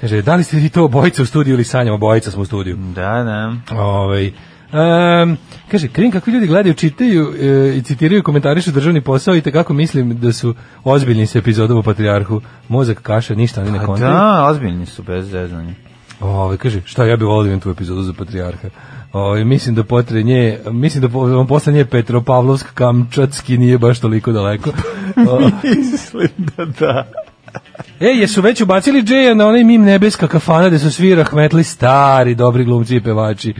Speaker 6: Kaže, da li ste vi to obojica u studiju ili sanjamo? Obojica smo u
Speaker 5: Mhm.
Speaker 6: studiju.
Speaker 5: Da, da.
Speaker 6: Ovaj Um, kaže, krim kakvi ljudi gledaju, čitaju e, i citiraju, komentarišu državni posao i kako mislim da su ozbiljni sa epizodom o Patriarhu. Mozak kaša, ništa oni ne
Speaker 5: A
Speaker 6: kontaju.
Speaker 5: da, ozbiljni Pa su bez zeznanja.
Speaker 6: Ovaj, kaže, šta ja bih volio da imam tu epizodu za Patriarha. Ovaj mislim da potre nje, mislim da po- on posle nje Petropavlovsk Kamčatski nije baš toliko daleko. O,
Speaker 5: Mislim da da.
Speaker 6: e, jesu već ubacili Džeja na onaj mim nebeska kafana gde su svi rahmetli stari, dobri glumci i pevači.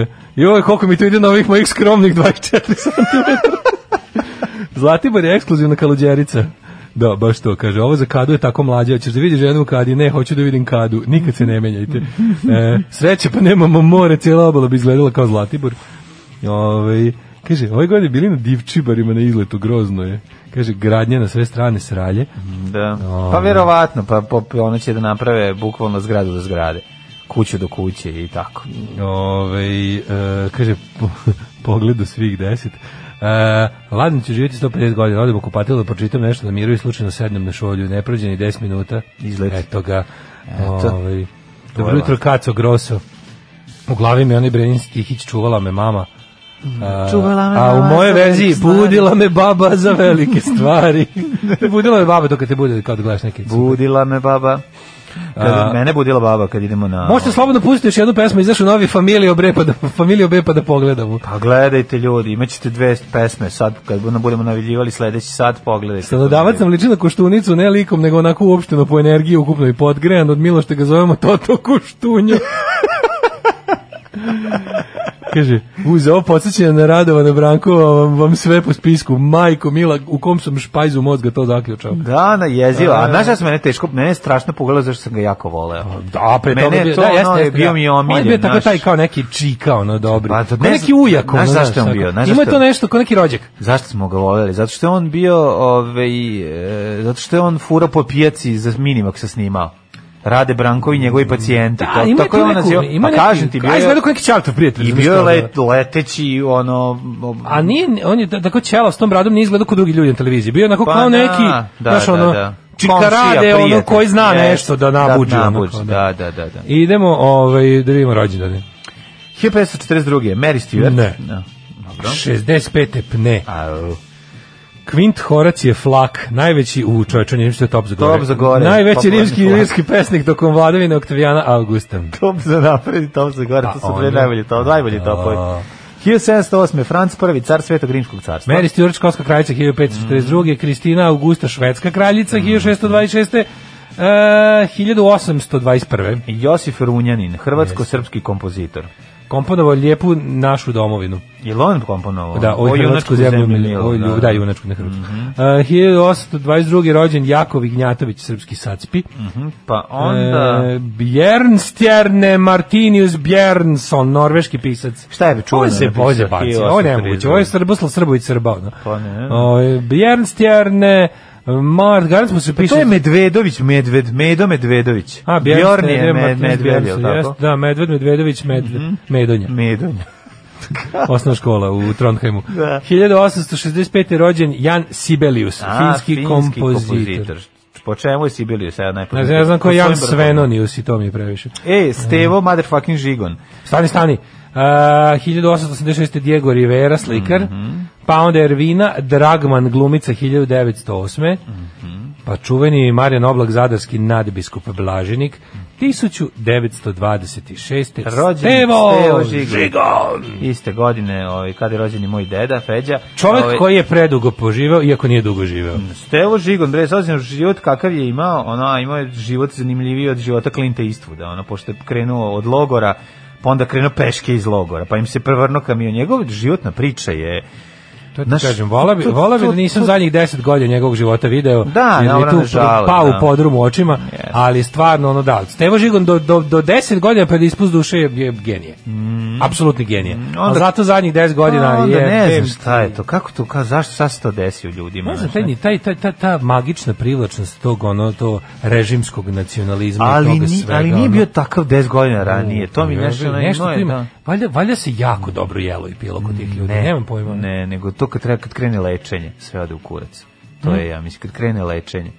Speaker 6: E, joj, koliko mi tu ide na ovih mojih skromnih 24 cm. Zlatibor je ekskluzivna kaludjerica. Da, baš to, kaže, ovo za kadu je tako mlađe, hoćeš da vidiš ženu u kadi, ne, hoću da vidim kadu, nikad se ne menjajte. E, sreće, pa nemamo more, cijela obala bi izgledala kao Zlatibor. Ove, kaže, ove godine bili na divčibarima na izletu, grozno je. Kaže, gradnja na sve strane sralje.
Speaker 5: Da. Pa verovatno, pa, pa ono će da naprave bukvalno zgradu do zgrade, kuću do kuće i tako.
Speaker 6: Ove, e, kaže, po, pogledu svih deset. E, ladno ću živjeti 150 godina, odem u kupatilo da pročitam nešto na miru i slučajno sednem na šolju, ne prođe ni 10 minuta.
Speaker 5: Izlet.
Speaker 6: Eto ga.
Speaker 5: Eto.
Speaker 6: Ovaj,
Speaker 5: To je
Speaker 6: dobro jutro, Kaco Grosso. U glavi mi je onaj Brenin Stihić, čuvala me mama. A,
Speaker 5: Mm, Čuvala me
Speaker 6: a u
Speaker 5: mama
Speaker 6: moje
Speaker 5: za
Speaker 6: verziji
Speaker 5: velike stvari.
Speaker 6: budila me baba za velike stvari. budila me baba dok te bude kad gledaš neki.
Speaker 5: Budila me baba. Kad,
Speaker 6: A-
Speaker 5: mene budila baba kad idemo na...
Speaker 6: Možete slobodno pustiti još jednu pesmu, izašu novi Familio Bre pa da, Familio B pa da pogledamo.
Speaker 5: Pa gledajte ljudi, imaćete dve pesme sad, kad budemo- budemo navjeljivali sledeći sat, pogledajte.
Speaker 6: Stanodavac sam liči na koštunicu, ne likom, nego onako uopšteno po energiji ukupno i podgrejan. Od Milošte ga zovemo Toto Koštunje. Kaže, uz ovo podsjećanje na Radovana Brankova vam, vam sve po spisku. Majko, Mila, u kom sam špajzu mozga to zaključao.
Speaker 5: Da, na jeziva. A znaš da se mene teško, mene je strašno pogledalo zašto sam ga jako voleo.
Speaker 6: Da, pre
Speaker 5: Mene
Speaker 6: toga
Speaker 5: je
Speaker 6: bio,
Speaker 5: to
Speaker 6: da,
Speaker 5: ono,
Speaker 6: jeste, jeste,
Speaker 5: bio
Speaker 6: da.
Speaker 5: mi je omiljen,
Speaker 6: On je bio tako
Speaker 5: znaš.
Speaker 6: taj kao neki čika, ono, dobri.
Speaker 5: Pa, to
Speaker 6: Ko
Speaker 5: ne
Speaker 6: neki
Speaker 5: znam-
Speaker 6: ujak,
Speaker 5: znaš
Speaker 6: ono,
Speaker 5: zašto je on
Speaker 6: tako.
Speaker 5: bio, znaš
Speaker 6: Ima
Speaker 5: zašto-
Speaker 6: to nešto, ko neki rođak.
Speaker 5: Zašto smo ga voleli? Zato što je on bio, ovaj, e, zato što je on fura po pijaci za Minimak se snimao. Rade Brankovi, njegovi pacijenti.
Speaker 6: Da,
Speaker 5: To-
Speaker 6: ima
Speaker 5: tako
Speaker 6: tu
Speaker 5: je on
Speaker 6: neku-
Speaker 5: nazivao.
Speaker 6: ima
Speaker 5: Pa
Speaker 6: neki-
Speaker 5: kažem ti, bio
Speaker 6: a izgleda
Speaker 5: je...
Speaker 6: kao neki čartov prijatelj,
Speaker 5: I
Speaker 6: znaš
Speaker 5: bio je
Speaker 6: kao da-
Speaker 5: let, leteći, ono...
Speaker 6: A nije, on je da- tako ćela s tom bradom nije izgledao kao drugi ljudi na televiziji. Bio je onako
Speaker 5: Pa
Speaker 6: kao
Speaker 5: da,
Speaker 6: neki,
Speaker 5: da,
Speaker 6: znaš
Speaker 5: da,
Speaker 6: ono,
Speaker 5: da.
Speaker 6: čika
Speaker 5: Komšija,
Speaker 6: rade, ono
Speaker 5: prijatelj.
Speaker 6: koji zna
Speaker 5: Jest,
Speaker 6: nešto da ono,
Speaker 5: da
Speaker 6: nabuđe. onako,
Speaker 5: nabuđe, da, da, da, da.
Speaker 6: Idemo ovaj, da vidimo rođendane.
Speaker 5: 1542. Mary Stewart.
Speaker 6: Ne.
Speaker 5: Da. Dobro.
Speaker 6: 65. pne.
Speaker 5: Au.
Speaker 6: Kvint Horacije Flak, najveći u čovečanju, nešto je top za gore.
Speaker 5: Top za gore.
Speaker 6: Najveći
Speaker 5: Popularni
Speaker 6: rimski
Speaker 5: Flak.
Speaker 6: rimski pesnik tokom vladavine Oktavijana Augusta.
Speaker 5: Top za napred i top za gore,
Speaker 6: A,
Speaker 5: to su dve
Speaker 6: oni-
Speaker 5: najbolje, to, najbolji topovi.
Speaker 6: A.
Speaker 5: 1708. Franc prvi, car Svetog Rimskog carstva.
Speaker 6: Mary Stuart, škotska kraljica
Speaker 5: Mm.
Speaker 6: 1542. Kristina Augusta, švedska kraljica 1626. Uh, 1821.
Speaker 5: Josif Runjanin, hrvatsko-srpski kompozitor.
Speaker 6: komponovao lijepu našu domovinu.
Speaker 5: Je li on komponovao?
Speaker 6: Da, o junačku zemlju, Milu, o lju- da, junačku na Hrvatsku. Uh,
Speaker 5: Mhm.
Speaker 6: 1822. rođen Jakov Ignjatović, srpski sacpi.
Speaker 5: Pa onda...
Speaker 6: E, Bjernstjerne Martinius Bjernson, norveški pisac.
Speaker 5: Šta je čuveno
Speaker 6: Ovo se
Speaker 5: napisao?
Speaker 6: bože baci, ovo ne moguće, ovo je Srboslav Srbo i Srba. No.
Speaker 5: Pa ne.
Speaker 6: Bjernstjerne Mar, garant mu se piše...
Speaker 5: Pa To je Medvedović, Medved, Medo Medvedović.
Speaker 6: A,
Speaker 5: Bjorn
Speaker 6: Bjernstjerne
Speaker 5: je Med,
Speaker 6: Martinius
Speaker 5: Medvedev,
Speaker 6: Bjernson,
Speaker 5: tako? Mhm.
Speaker 6: jest, Da, Medved, Medvedović, Medve- Medonja.
Speaker 5: Medon.
Speaker 6: osnovna škola u Trondheimu. 1865. je rođen Jan Sibelius,
Speaker 5: A,
Speaker 6: finski, kompozitor.
Speaker 5: Po čemu je Sibelius? Ja,
Speaker 6: Ne
Speaker 5: najpoznatiji?
Speaker 6: znam, ja znam ko je
Speaker 5: Po
Speaker 6: Jan
Speaker 5: svojim brdovima.
Speaker 6: Svenonius i to mi je previše.
Speaker 5: E, Stevo, motherfucking Žigon.
Speaker 6: Stani, stani. Uh, 1886. Diego Rivera, slikar.
Speaker 5: Mhm.
Speaker 6: Pa onda Ervina Dragman, glumica 1908.
Speaker 5: Mhm.
Speaker 6: Pa čuveni Marijan Oblak, zadarski nadbiskup Blaženik. 1926.
Speaker 5: Rođen
Speaker 6: Stevo,
Speaker 5: Stevo Žigon.
Speaker 6: Žigon.
Speaker 5: Iste godine, ovaj, kada je rođen i moj deda, Feđa.
Speaker 6: Čovek
Speaker 5: Ovaj,
Speaker 6: koji je predugo poživeo, iako nije dugo živeo.
Speaker 5: Stevo Žigon, bre, s obzirom na život kakav je imao, ono, imao je život zanimljiviji od života Klinta Eastwooda, ono, pošto je krenuo od logora, pa onda krenuo peške iz logora, pa im se prevrnuo kamion. Njegov životna priča je...
Speaker 6: To ti
Speaker 5: Znaš,
Speaker 6: kažem, vola bi,
Speaker 5: to-
Speaker 6: vola bi
Speaker 5: to-
Speaker 6: da nisam
Speaker 5: to-
Speaker 6: zadnjih 10 godina njegovog života video,
Speaker 5: Da,
Speaker 6: jer mi je
Speaker 5: naravno,
Speaker 6: tu
Speaker 5: nažalost,
Speaker 6: pao
Speaker 5: da.
Speaker 6: u podrum u očima,
Speaker 5: Jeste.
Speaker 6: ali stvarno ono da. Stevo Žigon do, do, do 10 godina pred ispust duše je, je genije. Apsolutni genije.
Speaker 5: Mm. onda-
Speaker 6: Ali zato zadnjih 10 godina
Speaker 5: A, onda
Speaker 6: je...
Speaker 5: ne
Speaker 6: tem-
Speaker 5: znam šta je to, kako to, ka, zašto sad se to desi u ljudima?
Speaker 6: Ne znam,
Speaker 5: znaš,
Speaker 6: taj, ni- taj, taj, ta, ta magična privlačnost tog, ono, to režimskog nacionalizma i
Speaker 5: ali,
Speaker 6: toga
Speaker 5: ni,
Speaker 6: svega.
Speaker 5: ali nije
Speaker 6: ono.
Speaker 5: bio takav 10 godina ranije, to mi nešto... ono,
Speaker 6: nešto
Speaker 5: imao je,
Speaker 6: tu ima.
Speaker 5: da. Mm,
Speaker 6: Valjda, valjda se jako dobro jelo i pilo kod tih ljudi, nemam pojma.
Speaker 5: Ne, nego to kad treba kad krene lečenje, sve ode u kurac. To je ja mislim kad krene lečenje.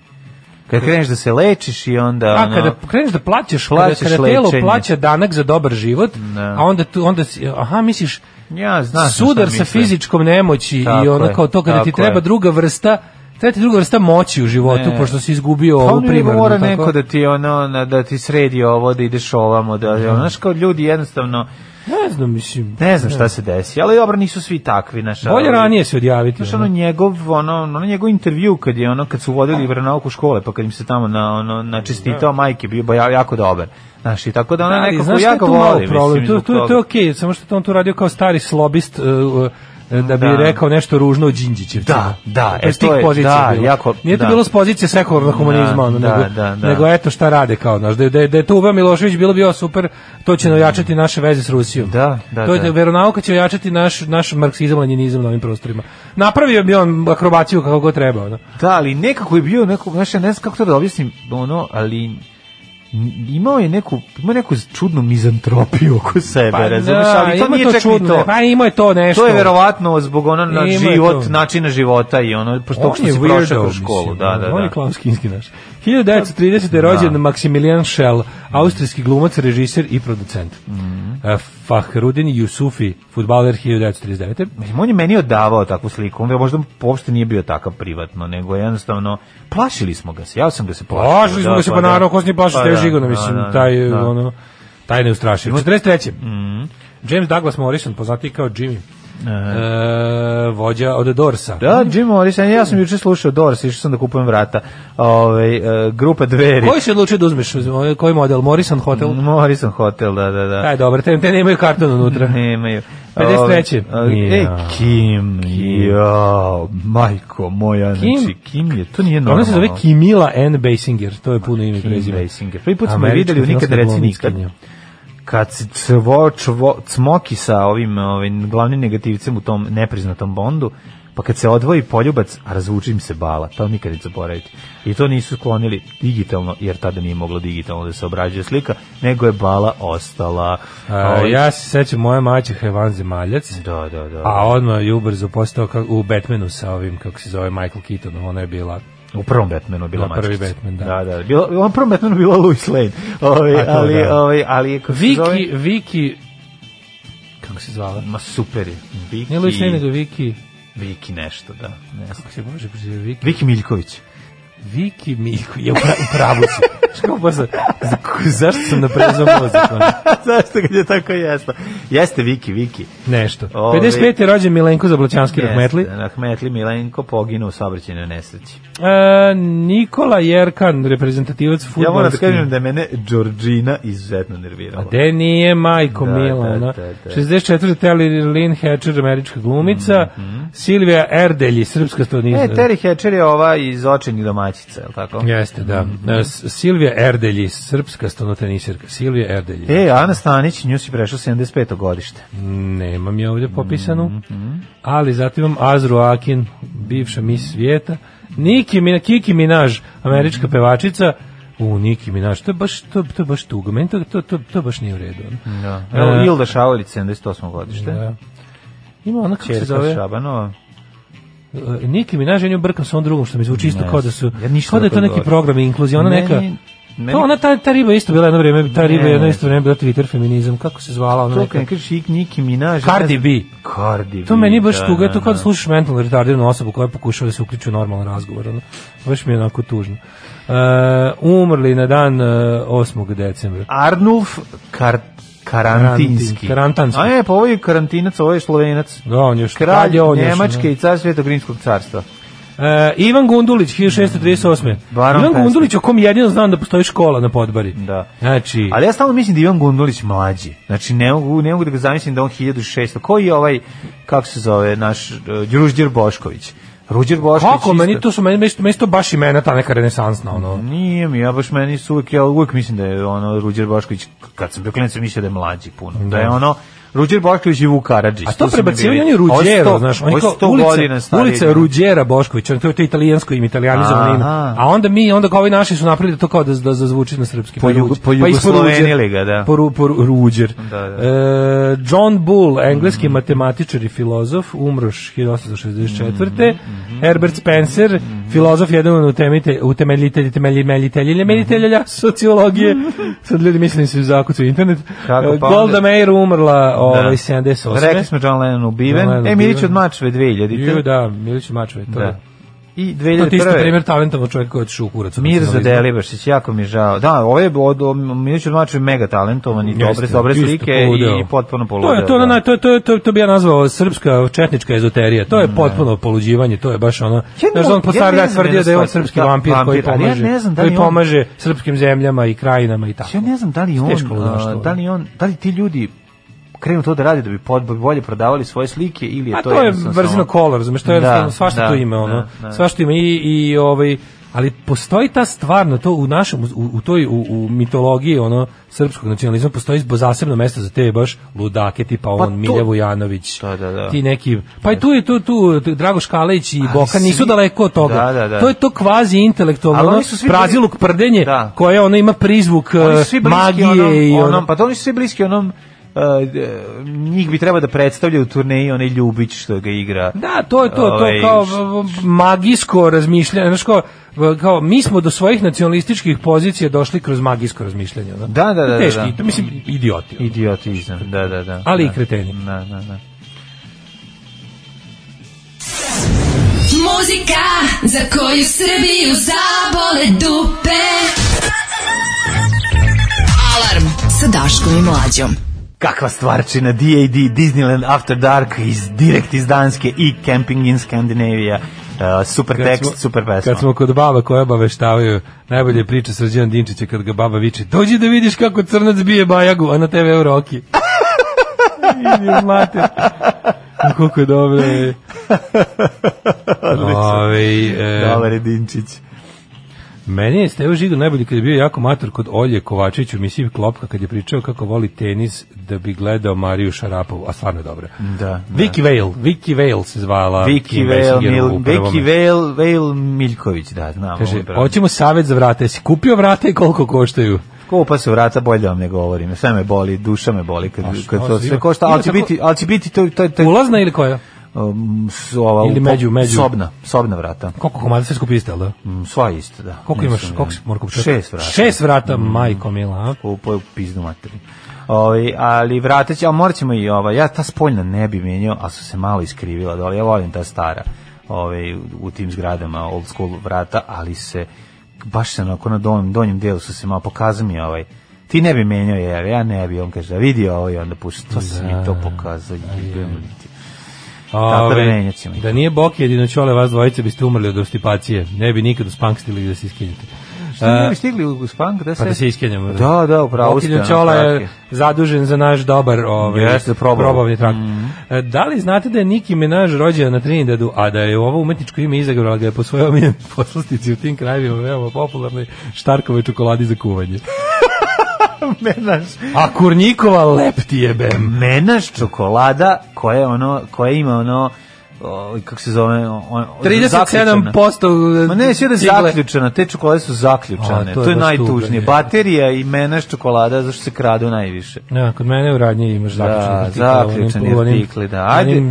Speaker 5: Kad kreneš da se lečiš i onda
Speaker 6: A
Speaker 5: ono,
Speaker 6: kada kreneš da plaćaš,
Speaker 5: Plaćaš
Speaker 6: kada, kada telo
Speaker 5: lečenje.
Speaker 6: plaća danak za dobar život,
Speaker 5: Da.
Speaker 6: a onda tu onda si, aha misliš
Speaker 5: ja znam
Speaker 6: sudar sa fizičkom nemoći
Speaker 5: Tako
Speaker 6: i ono
Speaker 5: je,
Speaker 6: kao to kada ti
Speaker 5: tako
Speaker 6: treba
Speaker 5: je.
Speaker 6: druga vrsta Treba ti druga vrsta moći u životu,
Speaker 5: Ne.
Speaker 6: pošto si izgubio
Speaker 5: Pa
Speaker 6: ovu
Speaker 5: ono nego
Speaker 6: primarnu.
Speaker 5: mora
Speaker 6: tako?
Speaker 5: neko da ti ono na, da ti sredi ovo da ideš ovamo da ono, znaš kao ljudi jednostavno
Speaker 6: Ne znam, mislim.
Speaker 5: ne znam šta se desi ali dobro nisu svi takvi naša
Speaker 6: Bolje ranije se odjaviti.
Speaker 5: Znaš
Speaker 6: ono.
Speaker 5: ono njegov, ono, ono njegov intervju kad je ono, kad su vodili vernauku škole, pa kad im se tamo na, ono, načestitao majke, bio ba- jako dobar. Znaš, i tako da ono
Speaker 6: Da, ali
Speaker 5: nekako
Speaker 6: znaš šta je
Speaker 5: jako
Speaker 6: tu malo
Speaker 5: voli.
Speaker 6: problem?
Speaker 5: Mislim,
Speaker 6: Tu,
Speaker 5: zbog
Speaker 6: tu, tu je
Speaker 5: toga.
Speaker 6: okej, samo što je on tu radio kao stari slobist, e, e, da bi
Speaker 5: Da.
Speaker 6: rekao nešto ružno o Đinđićevcu.
Speaker 5: Da, da,
Speaker 6: To je
Speaker 5: e,
Speaker 6: s tih
Speaker 5: to je-
Speaker 6: pozicija
Speaker 5: da,
Speaker 6: bilo.
Speaker 5: jako-
Speaker 6: Nije to
Speaker 5: da.
Speaker 6: bilo s pozicije sekularnog humanizma,
Speaker 5: Da,
Speaker 6: ono,
Speaker 5: da,
Speaker 6: nego,
Speaker 5: da, da.
Speaker 6: nego eto šta rade kao, znaš, da, je- da, je- da je to uveo Milošević bilo bio super, to će ojačati naše veze s Rusijom.
Speaker 5: Da, da,
Speaker 6: to je,
Speaker 5: da.
Speaker 6: veronauka će ojačati naš, naš marksizam, lenjinizam na ovim prostorima. Napravio bi on akrobaciju kako god treba, ono.
Speaker 5: Da, ali nekako je bio, neko, znaš, ja ne znam kako to da objasnim, ono, ali n- imao je neku, imao neku čudnu mizantropiju oko sebe, razumeš,
Speaker 6: Pa da,
Speaker 5: ali to
Speaker 6: ima
Speaker 5: nije čak ni
Speaker 6: čudno,
Speaker 5: to.
Speaker 6: ne, Pa ima je to nešto.
Speaker 5: To je verovatno zbog ono na
Speaker 6: Ima
Speaker 5: život,
Speaker 6: to.
Speaker 5: načina života i ono, pošto
Speaker 6: On
Speaker 5: što
Speaker 6: je
Speaker 5: si
Speaker 6: weirdo,
Speaker 5: prošao kroz školu.
Speaker 6: mislim,
Speaker 5: Da, da,
Speaker 6: On je
Speaker 5: da.
Speaker 6: klaunski naš. 1930. je rođen Maximilian Schell, austrijski glumac, režiser i producent. Mm
Speaker 5: Mhm.
Speaker 6: Fahrudin Jusufi, futbaler 1939.
Speaker 5: Mislim, on je meni odavao takvu sliku, onda možda uopšte nije bio takav privatno, nego jednostavno, plašili smo ga se, ja sam ga se plašio.
Speaker 6: Plašili smo
Speaker 5: da,
Speaker 6: ga se,
Speaker 5: pa
Speaker 6: pa
Speaker 5: da.
Speaker 6: naravno, ko se nije plašio
Speaker 5: Pa
Speaker 6: s Teo
Speaker 5: da,
Speaker 6: Žigona,
Speaker 5: da,
Speaker 6: mislim,
Speaker 5: da,
Speaker 6: taj,
Speaker 5: da. Mhm.
Speaker 6: ono, taj neustrašiv. 43. James Douglas Morrison, poznati kao Jimmy. E, vođa od Dorsa.
Speaker 5: Da, Jim Morrison, ja sam juče slušao Doors, išao sam da kupujem vrata. Ove, e, grupa Dveri.
Speaker 6: Koji se odlučio da uzmeš? Koji model? Morrison Hotel?
Speaker 5: Morrison Hotel, da, da, da.
Speaker 6: Taj je dobar, te, te nemaju karton unutra.
Speaker 5: Nemaju.
Speaker 6: 53..
Speaker 5: Ove, e,
Speaker 6: Ja.
Speaker 5: Kim, jao, majko moja,
Speaker 6: Kim?
Speaker 5: znači, Kim je, to nije normalno.
Speaker 6: Ona se zove Kimila N. Basinger, to je puno ime i
Speaker 5: Kim
Speaker 6: prezime.
Speaker 5: Basinger. Prvi put smo je
Speaker 6: Američka
Speaker 5: videli u nikad
Speaker 6: filmska
Speaker 5: reci nikad.
Speaker 6: glumitkinja.
Speaker 5: kad se cvo, čvo, cmoki sa ovim, ovim glavnim negativcem u tom nepriznatom bondu, pa kad se odvoji poljubac, a razvuči im se bala, to nikad neće zaboraviti. I to nisu sklonili digitalno, jer tada nije moglo digitalno da se obrađuje slika, nego je bala ostala.
Speaker 6: A,
Speaker 5: Ovaj-
Speaker 6: ja se sećam moje maćeha je Van Zemaljac,
Speaker 5: Da, da, da.
Speaker 6: a odmah je ubrzo postao ka- u Batmanu sa ovim, kako se zove, Michael Keatonom, ona je bila
Speaker 5: U prvom Batmanu je bila
Speaker 6: Da, prvi
Speaker 5: mačkica.
Speaker 6: Batman, da.
Speaker 5: Da, da. Bila, u prvom Batmanu je bila Lois Lane. Ovaj,
Speaker 6: A to
Speaker 5: ali,
Speaker 6: da.
Speaker 5: ovaj, ali, kako se zove-
Speaker 6: Viki, Viki, kako se zvala?
Speaker 5: Ma super je. Viki,
Speaker 6: Nije Luis Lane, nego Viki,
Speaker 5: Viki nešto, da. Ne znam.
Speaker 6: kako se može prezivati, Viki,
Speaker 5: Viki Miljković.
Speaker 6: Viki Miljko, je u pra- u pravu si. Što kao posle, za- zašto sam naprezao mozak? ono?
Speaker 5: Zašto kad je tako jasno? Jeste Viki, Viki.
Speaker 6: Nešto.
Speaker 5: Ovi-
Speaker 6: 55. je rođen Milenko Zablaćanski Rahmetli.
Speaker 5: Jeste, Rahmetli Milenko poginuo u saobraćajnoj nesreći.
Speaker 6: E, Nikola Jerkan, reprezentativac
Speaker 5: Ja
Speaker 6: futbolski.
Speaker 5: moram da kažem da je mene Đorđina izuzetno nervirala.
Speaker 6: A de nije majko
Speaker 5: Da,
Speaker 6: Mila, ono?
Speaker 5: da,
Speaker 6: ona.
Speaker 5: da, da.
Speaker 6: 64. Telly Lynn Hatcher, američka glumica. Silvija Erdelji, srpska stanovnica.
Speaker 5: Mhm. E, Terry Hatcher je ova iz očenih domaćica, je li tako?
Speaker 6: Jeste, da.
Speaker 5: Mhm.
Speaker 6: E, S- Silvija Erdelji, srpska stanovnica. Silvija Erdelji.
Speaker 5: E, Ana Stanić, nju si prešao 75. godište.
Speaker 6: Nemam je ovdje popisanu.
Speaker 5: Mhm,
Speaker 6: Ali zatim imam Azru Akin, bivša mis svijeta. Niki, Mina- Kiki Minaj, američka
Speaker 5: Mhm.
Speaker 6: pevačica. U, Niki Minaj, to je baš, to, to je baš tuga. Meni to, to, to, to baš nije u redu. ono.
Speaker 5: Da.
Speaker 6: E.
Speaker 5: Evo, Ilda Šaolić, 78. godište.
Speaker 6: Da. Ima ona kako se
Speaker 5: Čerka
Speaker 6: zove?
Speaker 5: Šabanova.
Speaker 6: E, Niki Minaj, ja nju brkam sa onom drugom što mi zvuči isto
Speaker 5: Ne
Speaker 6: kao da su,
Speaker 5: znam. Ja ništa
Speaker 6: kao da je to
Speaker 5: ne
Speaker 6: neki
Speaker 5: govorim.
Speaker 6: program inkluzije, ona
Speaker 5: Meni-
Speaker 6: neka,
Speaker 5: meni-
Speaker 6: to ona ta, ta riba je isto bila jedno vrijeme, ta riba je
Speaker 5: Ne.
Speaker 6: jedno isto vrijeme bila Twitter feminizam, kako se zvala ona
Speaker 5: To kad
Speaker 6: neka,
Speaker 5: mi kažeš Ik Niki Minaj.
Speaker 6: Cardi B.
Speaker 5: Cardi B.
Speaker 6: To meni je baš
Speaker 5: da,
Speaker 6: tuga, to
Speaker 5: da,
Speaker 6: kao da
Speaker 5: da.
Speaker 6: slušaš mentalno retardiranu osobu koja pokušava da se uključi u normalan razgovor. Ono. Baš mi je onako tužno. E, umrli na dan e, 8. decembra.
Speaker 5: Arnulf Kar Karantinski.
Speaker 6: Karantin- karantanski.
Speaker 5: A ne, pa ovo je karantinac, ovo je slovenac.
Speaker 6: Da, on je još tad
Speaker 5: Kralj
Speaker 6: je on još,
Speaker 5: Njemačke
Speaker 6: da.
Speaker 5: i car Svetog Rimskog carstva.
Speaker 6: E, Ivan Gundulić, 1638.
Speaker 5: Baron
Speaker 6: Ivan
Speaker 5: Pesnik.
Speaker 6: Gundulić, o kom jedino znam da postoji škola na Podbari.
Speaker 5: Da.
Speaker 6: Znači,
Speaker 5: Ali ja stalno mislim da je Ivan Gundulić mlađi. Znači, ne mogu, ne mogu da ga zamislim da je on 1600. Koji je ovaj, kako se zove, naš, uh, Ružđer Bošković? Ruđer Bošković
Speaker 6: Kako,
Speaker 5: isto.
Speaker 6: meni to su meni mesto, mesto baš imena ta neka renesansna ono.
Speaker 5: Nije mi, ja baš meni su uvijek, ja uvijek mislim da je ono Ruđer Bošković, kad sam bio klinac sam mislio da je mlađi puno. Da, je ono, Ruđer Bošković i Vuk Karadžić.
Speaker 6: A to
Speaker 5: su mi bili-
Speaker 6: prebacivanje
Speaker 5: Ovo je
Speaker 6: Ruđera,
Speaker 5: sto-
Speaker 6: znaš,
Speaker 5: ovo
Speaker 6: oni
Speaker 5: je
Speaker 6: kao
Speaker 5: sto godina
Speaker 6: ulica,
Speaker 5: stariji
Speaker 6: ulica
Speaker 5: ljudi.
Speaker 6: Ruđera Bošković, on to je to italijansko ime, italijanizovano
Speaker 5: Aha.
Speaker 6: ime. A onda mi, onda kao ovi naši su napravili to kao da, da zazvuči na srpski.
Speaker 5: Po
Speaker 6: Pa
Speaker 5: jugo-
Speaker 6: Ruđer.
Speaker 5: po
Speaker 6: ispod Ruđer.
Speaker 5: jugoslovenili ga, da.
Speaker 6: Po, ru, po ru- Ruđer.
Speaker 5: Da, da. Mhm.
Speaker 6: E, John Bull, engleski matematičar i filozof, umroš 1864.
Speaker 5: Mhm,
Speaker 6: Herbert Spencer, filozof, jedan od utemite- utemeljitelj, temelji, melitelj ili
Speaker 5: Mhm.
Speaker 6: melitelja sociologije. Sad ljudi mislim se u zakucu internet.
Speaker 5: Kako,
Speaker 6: E,
Speaker 5: pa
Speaker 6: Golda
Speaker 5: onda-
Speaker 6: Meir umrla ovaj,
Speaker 5: Rekli
Speaker 6: 78.
Speaker 5: smo John Lennon ubiven.
Speaker 6: John Lennon
Speaker 5: e, Milić
Speaker 6: ubiven.
Speaker 5: od Mačve 2000.
Speaker 6: Ju, da, Milić Mačve, to
Speaker 5: Da.
Speaker 6: je.
Speaker 5: I
Speaker 6: To ti isto
Speaker 5: 2001.
Speaker 6: primjer talentovog čovjeka koji je otišao u kurac. od
Speaker 5: Mirza
Speaker 6: nacionalizma.
Speaker 5: Delibašić, jako mi je žao. Da, ovaj je od od- Milić Odmačev je mega talentovan i dobre,
Speaker 6: Jeste,
Speaker 5: dobre
Speaker 6: isto
Speaker 5: slike
Speaker 6: poludeo.
Speaker 5: i potpuno
Speaker 6: To
Speaker 5: poludeo.
Speaker 6: je to,
Speaker 5: da.
Speaker 6: da. to, to, to, to bi ja nazvao srpska četnička ezoterija. To je potpuno poluđivanje, to je baš ono.
Speaker 5: Ja ne
Speaker 6: znaš, da
Speaker 5: mogu-
Speaker 6: on
Speaker 5: ja ne
Speaker 6: postavlja
Speaker 5: znam
Speaker 6: tvrdio da je on
Speaker 5: jednostavno,
Speaker 6: srpski
Speaker 5: da,
Speaker 6: vampir, koji
Speaker 5: vampir, ali ja
Speaker 6: pomaže,
Speaker 5: ne znam da li
Speaker 6: koji
Speaker 5: on-
Speaker 6: pomaže srpskim zemljama i krajinama i tako.
Speaker 5: Ja ne znam da li on,
Speaker 6: Teško ludaštvo.
Speaker 5: a, da li on, da li ti ljudi krenu to da rade da bi pod, bolje prodavali svoje slike ili je
Speaker 6: A
Speaker 5: to
Speaker 6: Pa to je
Speaker 5: jednostavno
Speaker 6: brzino
Speaker 5: samo-
Speaker 6: kola, razumeš, to je
Speaker 5: Da,
Speaker 6: jednostavno svašta
Speaker 5: da,
Speaker 6: to ima, ono,
Speaker 5: da, da.
Speaker 6: svašta ima i, i ovaj, ali postoji ta stvarno, to u našem, u, u toj, u, u mitologiji, ono, srpskog nacionalizma, postoji zbo- zasebno mesto za te baš ludake, tipa on,
Speaker 5: to-
Speaker 6: Milja Vujanović,
Speaker 5: Pa Da, da, da.
Speaker 6: ti neki, pa i tu je tu, tu, tu Dragoš Kalejić i
Speaker 5: Ali
Speaker 6: Boka nisu
Speaker 5: svi-
Speaker 6: daleko od toga,
Speaker 5: Da, da, da.
Speaker 6: to je to kvazi intelektualno,
Speaker 5: Ali oni
Speaker 6: ono,
Speaker 5: su svi bili-
Speaker 6: praziluk prdenje,
Speaker 5: Da.
Speaker 6: koje ono ima prizvuk
Speaker 5: Oni
Speaker 6: eh,
Speaker 5: su svi bliski
Speaker 6: magije
Speaker 5: onom,
Speaker 6: i ono,
Speaker 5: onom, pa to oni su svi bliski onom e, e, njih bi treba da predstavljaju u turneji onaj Ljubić što ga igra.
Speaker 6: Da, to je to, to
Speaker 5: Ovaj,
Speaker 6: kao v- v- magijsko razmišljanje, znači kao, v- kao mi smo do svojih nacionalističkih pozicija došli kroz magijsko razmišljanje, ono.
Speaker 5: Da, da, da, da,
Speaker 6: Teški,
Speaker 5: da.
Speaker 6: to mislim idioti. ono.
Speaker 5: Idiotizam, da, da, da.
Speaker 6: Ali i
Speaker 5: Da.
Speaker 6: kreteni.
Speaker 5: Da, da, da.
Speaker 8: Muzika za koju Srbiju zabole dupe. Alarm sa Daškom i Mlađom.
Speaker 5: Kakva stvarčina, D.A.D. Disneyland After Dark, iz, direkt iz Danske i Camping in Scandinavia. E, super
Speaker 6: Kad
Speaker 5: tekst,
Speaker 6: smo-
Speaker 5: super pesma.
Speaker 6: Kad smo kod baba koje obaveštavaju, najbolje je priča Srđan Dinčića kad ga baba viče, dođi da vidiš kako crnac bije bajagu, a na TV je Roki. Mate. Koliko je dobro. je. Ovaj, e,
Speaker 5: Dobar je Dinčić.
Speaker 6: Meni je Stevo Žigo najbolji kad je bio jako mator kod Olje Kovačić u emisiji Klopka kad je pričao kako voli tenis da bi gledao Mariju Šarapovu, a stvarno je dobro.
Speaker 5: Da,
Speaker 6: Vicky Vale, Vicky Vale se zvala.
Speaker 5: Vicky
Speaker 6: Kim
Speaker 5: Vale,
Speaker 6: Basingerovu
Speaker 5: Mil,
Speaker 6: u prvome.
Speaker 5: Vicky Vale, Vale Miljković, da, znamo.
Speaker 6: Kaže,
Speaker 5: bravo.
Speaker 6: hoćemo savjet za vrata, jesi kupio vrata i koliko koštaju?
Speaker 5: Kopa se vrata, bolje da vam ne govorim. Sve me boli, duša me boli kad,
Speaker 6: A šta
Speaker 5: kad to
Speaker 6: ima-
Speaker 5: sve košta,
Speaker 6: ima
Speaker 5: ali će
Speaker 6: tako-
Speaker 5: biti, ali će biti to, to, to,
Speaker 6: Ulazna ili koja?
Speaker 5: um, s- ova,
Speaker 6: Ili
Speaker 5: u-
Speaker 6: među- među.
Speaker 5: Sobna, sobna vrata.
Speaker 6: Koliko komada sve skupiste, ali da?
Speaker 5: Mm, Sva je isto, da.
Speaker 6: Koliko
Speaker 5: Nisam
Speaker 6: imaš,
Speaker 5: ja.
Speaker 6: koliko si mora kupiti?
Speaker 5: Šest vrata. Mm.
Speaker 6: Šest vrata, majko mila, a?
Speaker 5: Kupo je u pizdu materiju. Ovi, ali vratit će, ali morat ćemo i ova, ja ta spoljna ne bi menjao, ali su se malo iskrivila, ali ja volim ta stara ove, u tim zgradama old school vrata, ali se baš se onako na donjem, donjem delu su se malo pokazao mi ovaj ti ne bi menjao jer ja ne bi, on kaže, vidi ovo i onda puši, to si mi to pokazao, jebem li ti. Tako da
Speaker 6: Ove,
Speaker 5: menjat ćemo ih.
Speaker 6: Da nije Bok jedino čole, vas dvojice biste umrli od obstipacije. Ne bi nikad uspankstili da se iskinjete.
Speaker 5: Šta ne bi stigli u Spank da se...
Speaker 6: Pa da se iskenjamo.
Speaker 5: Da, da, upravo ste.
Speaker 6: Okinjon
Speaker 5: ono,
Speaker 6: Ćola je
Speaker 5: kratke.
Speaker 6: zadužen za naš dobar ovaj,
Speaker 5: Jeste, Mhm. probavni.
Speaker 6: probavni trakt. E, Da li znate da je Niki Menaž rođena na Trinidadu, a da je ovo umetničko ime izagrala ga je po svojoj omiljenoj poslastici u tim krajevima veoma popularnoj štarkovoj čokoladi za kuvanje.
Speaker 5: Menaš.
Speaker 6: A Kurnjikova lepti jebem.
Speaker 5: Menaš čokolada koja je ono, koja ima ono, o, kako se zove, on,
Speaker 6: 37%
Speaker 5: Ma ne, sve da je
Speaker 6: cigle.
Speaker 5: zaključena, te čokolade su zaključane,
Speaker 6: A,
Speaker 5: to je, najtužnije.
Speaker 6: tužno.
Speaker 5: Baterija i menaš čokolada, zašto se kradu najviše.
Speaker 6: Ja, kod mene u radnji imaš
Speaker 5: Da,
Speaker 6: zaključene ono,
Speaker 5: zaključani artikli, da. Ajde,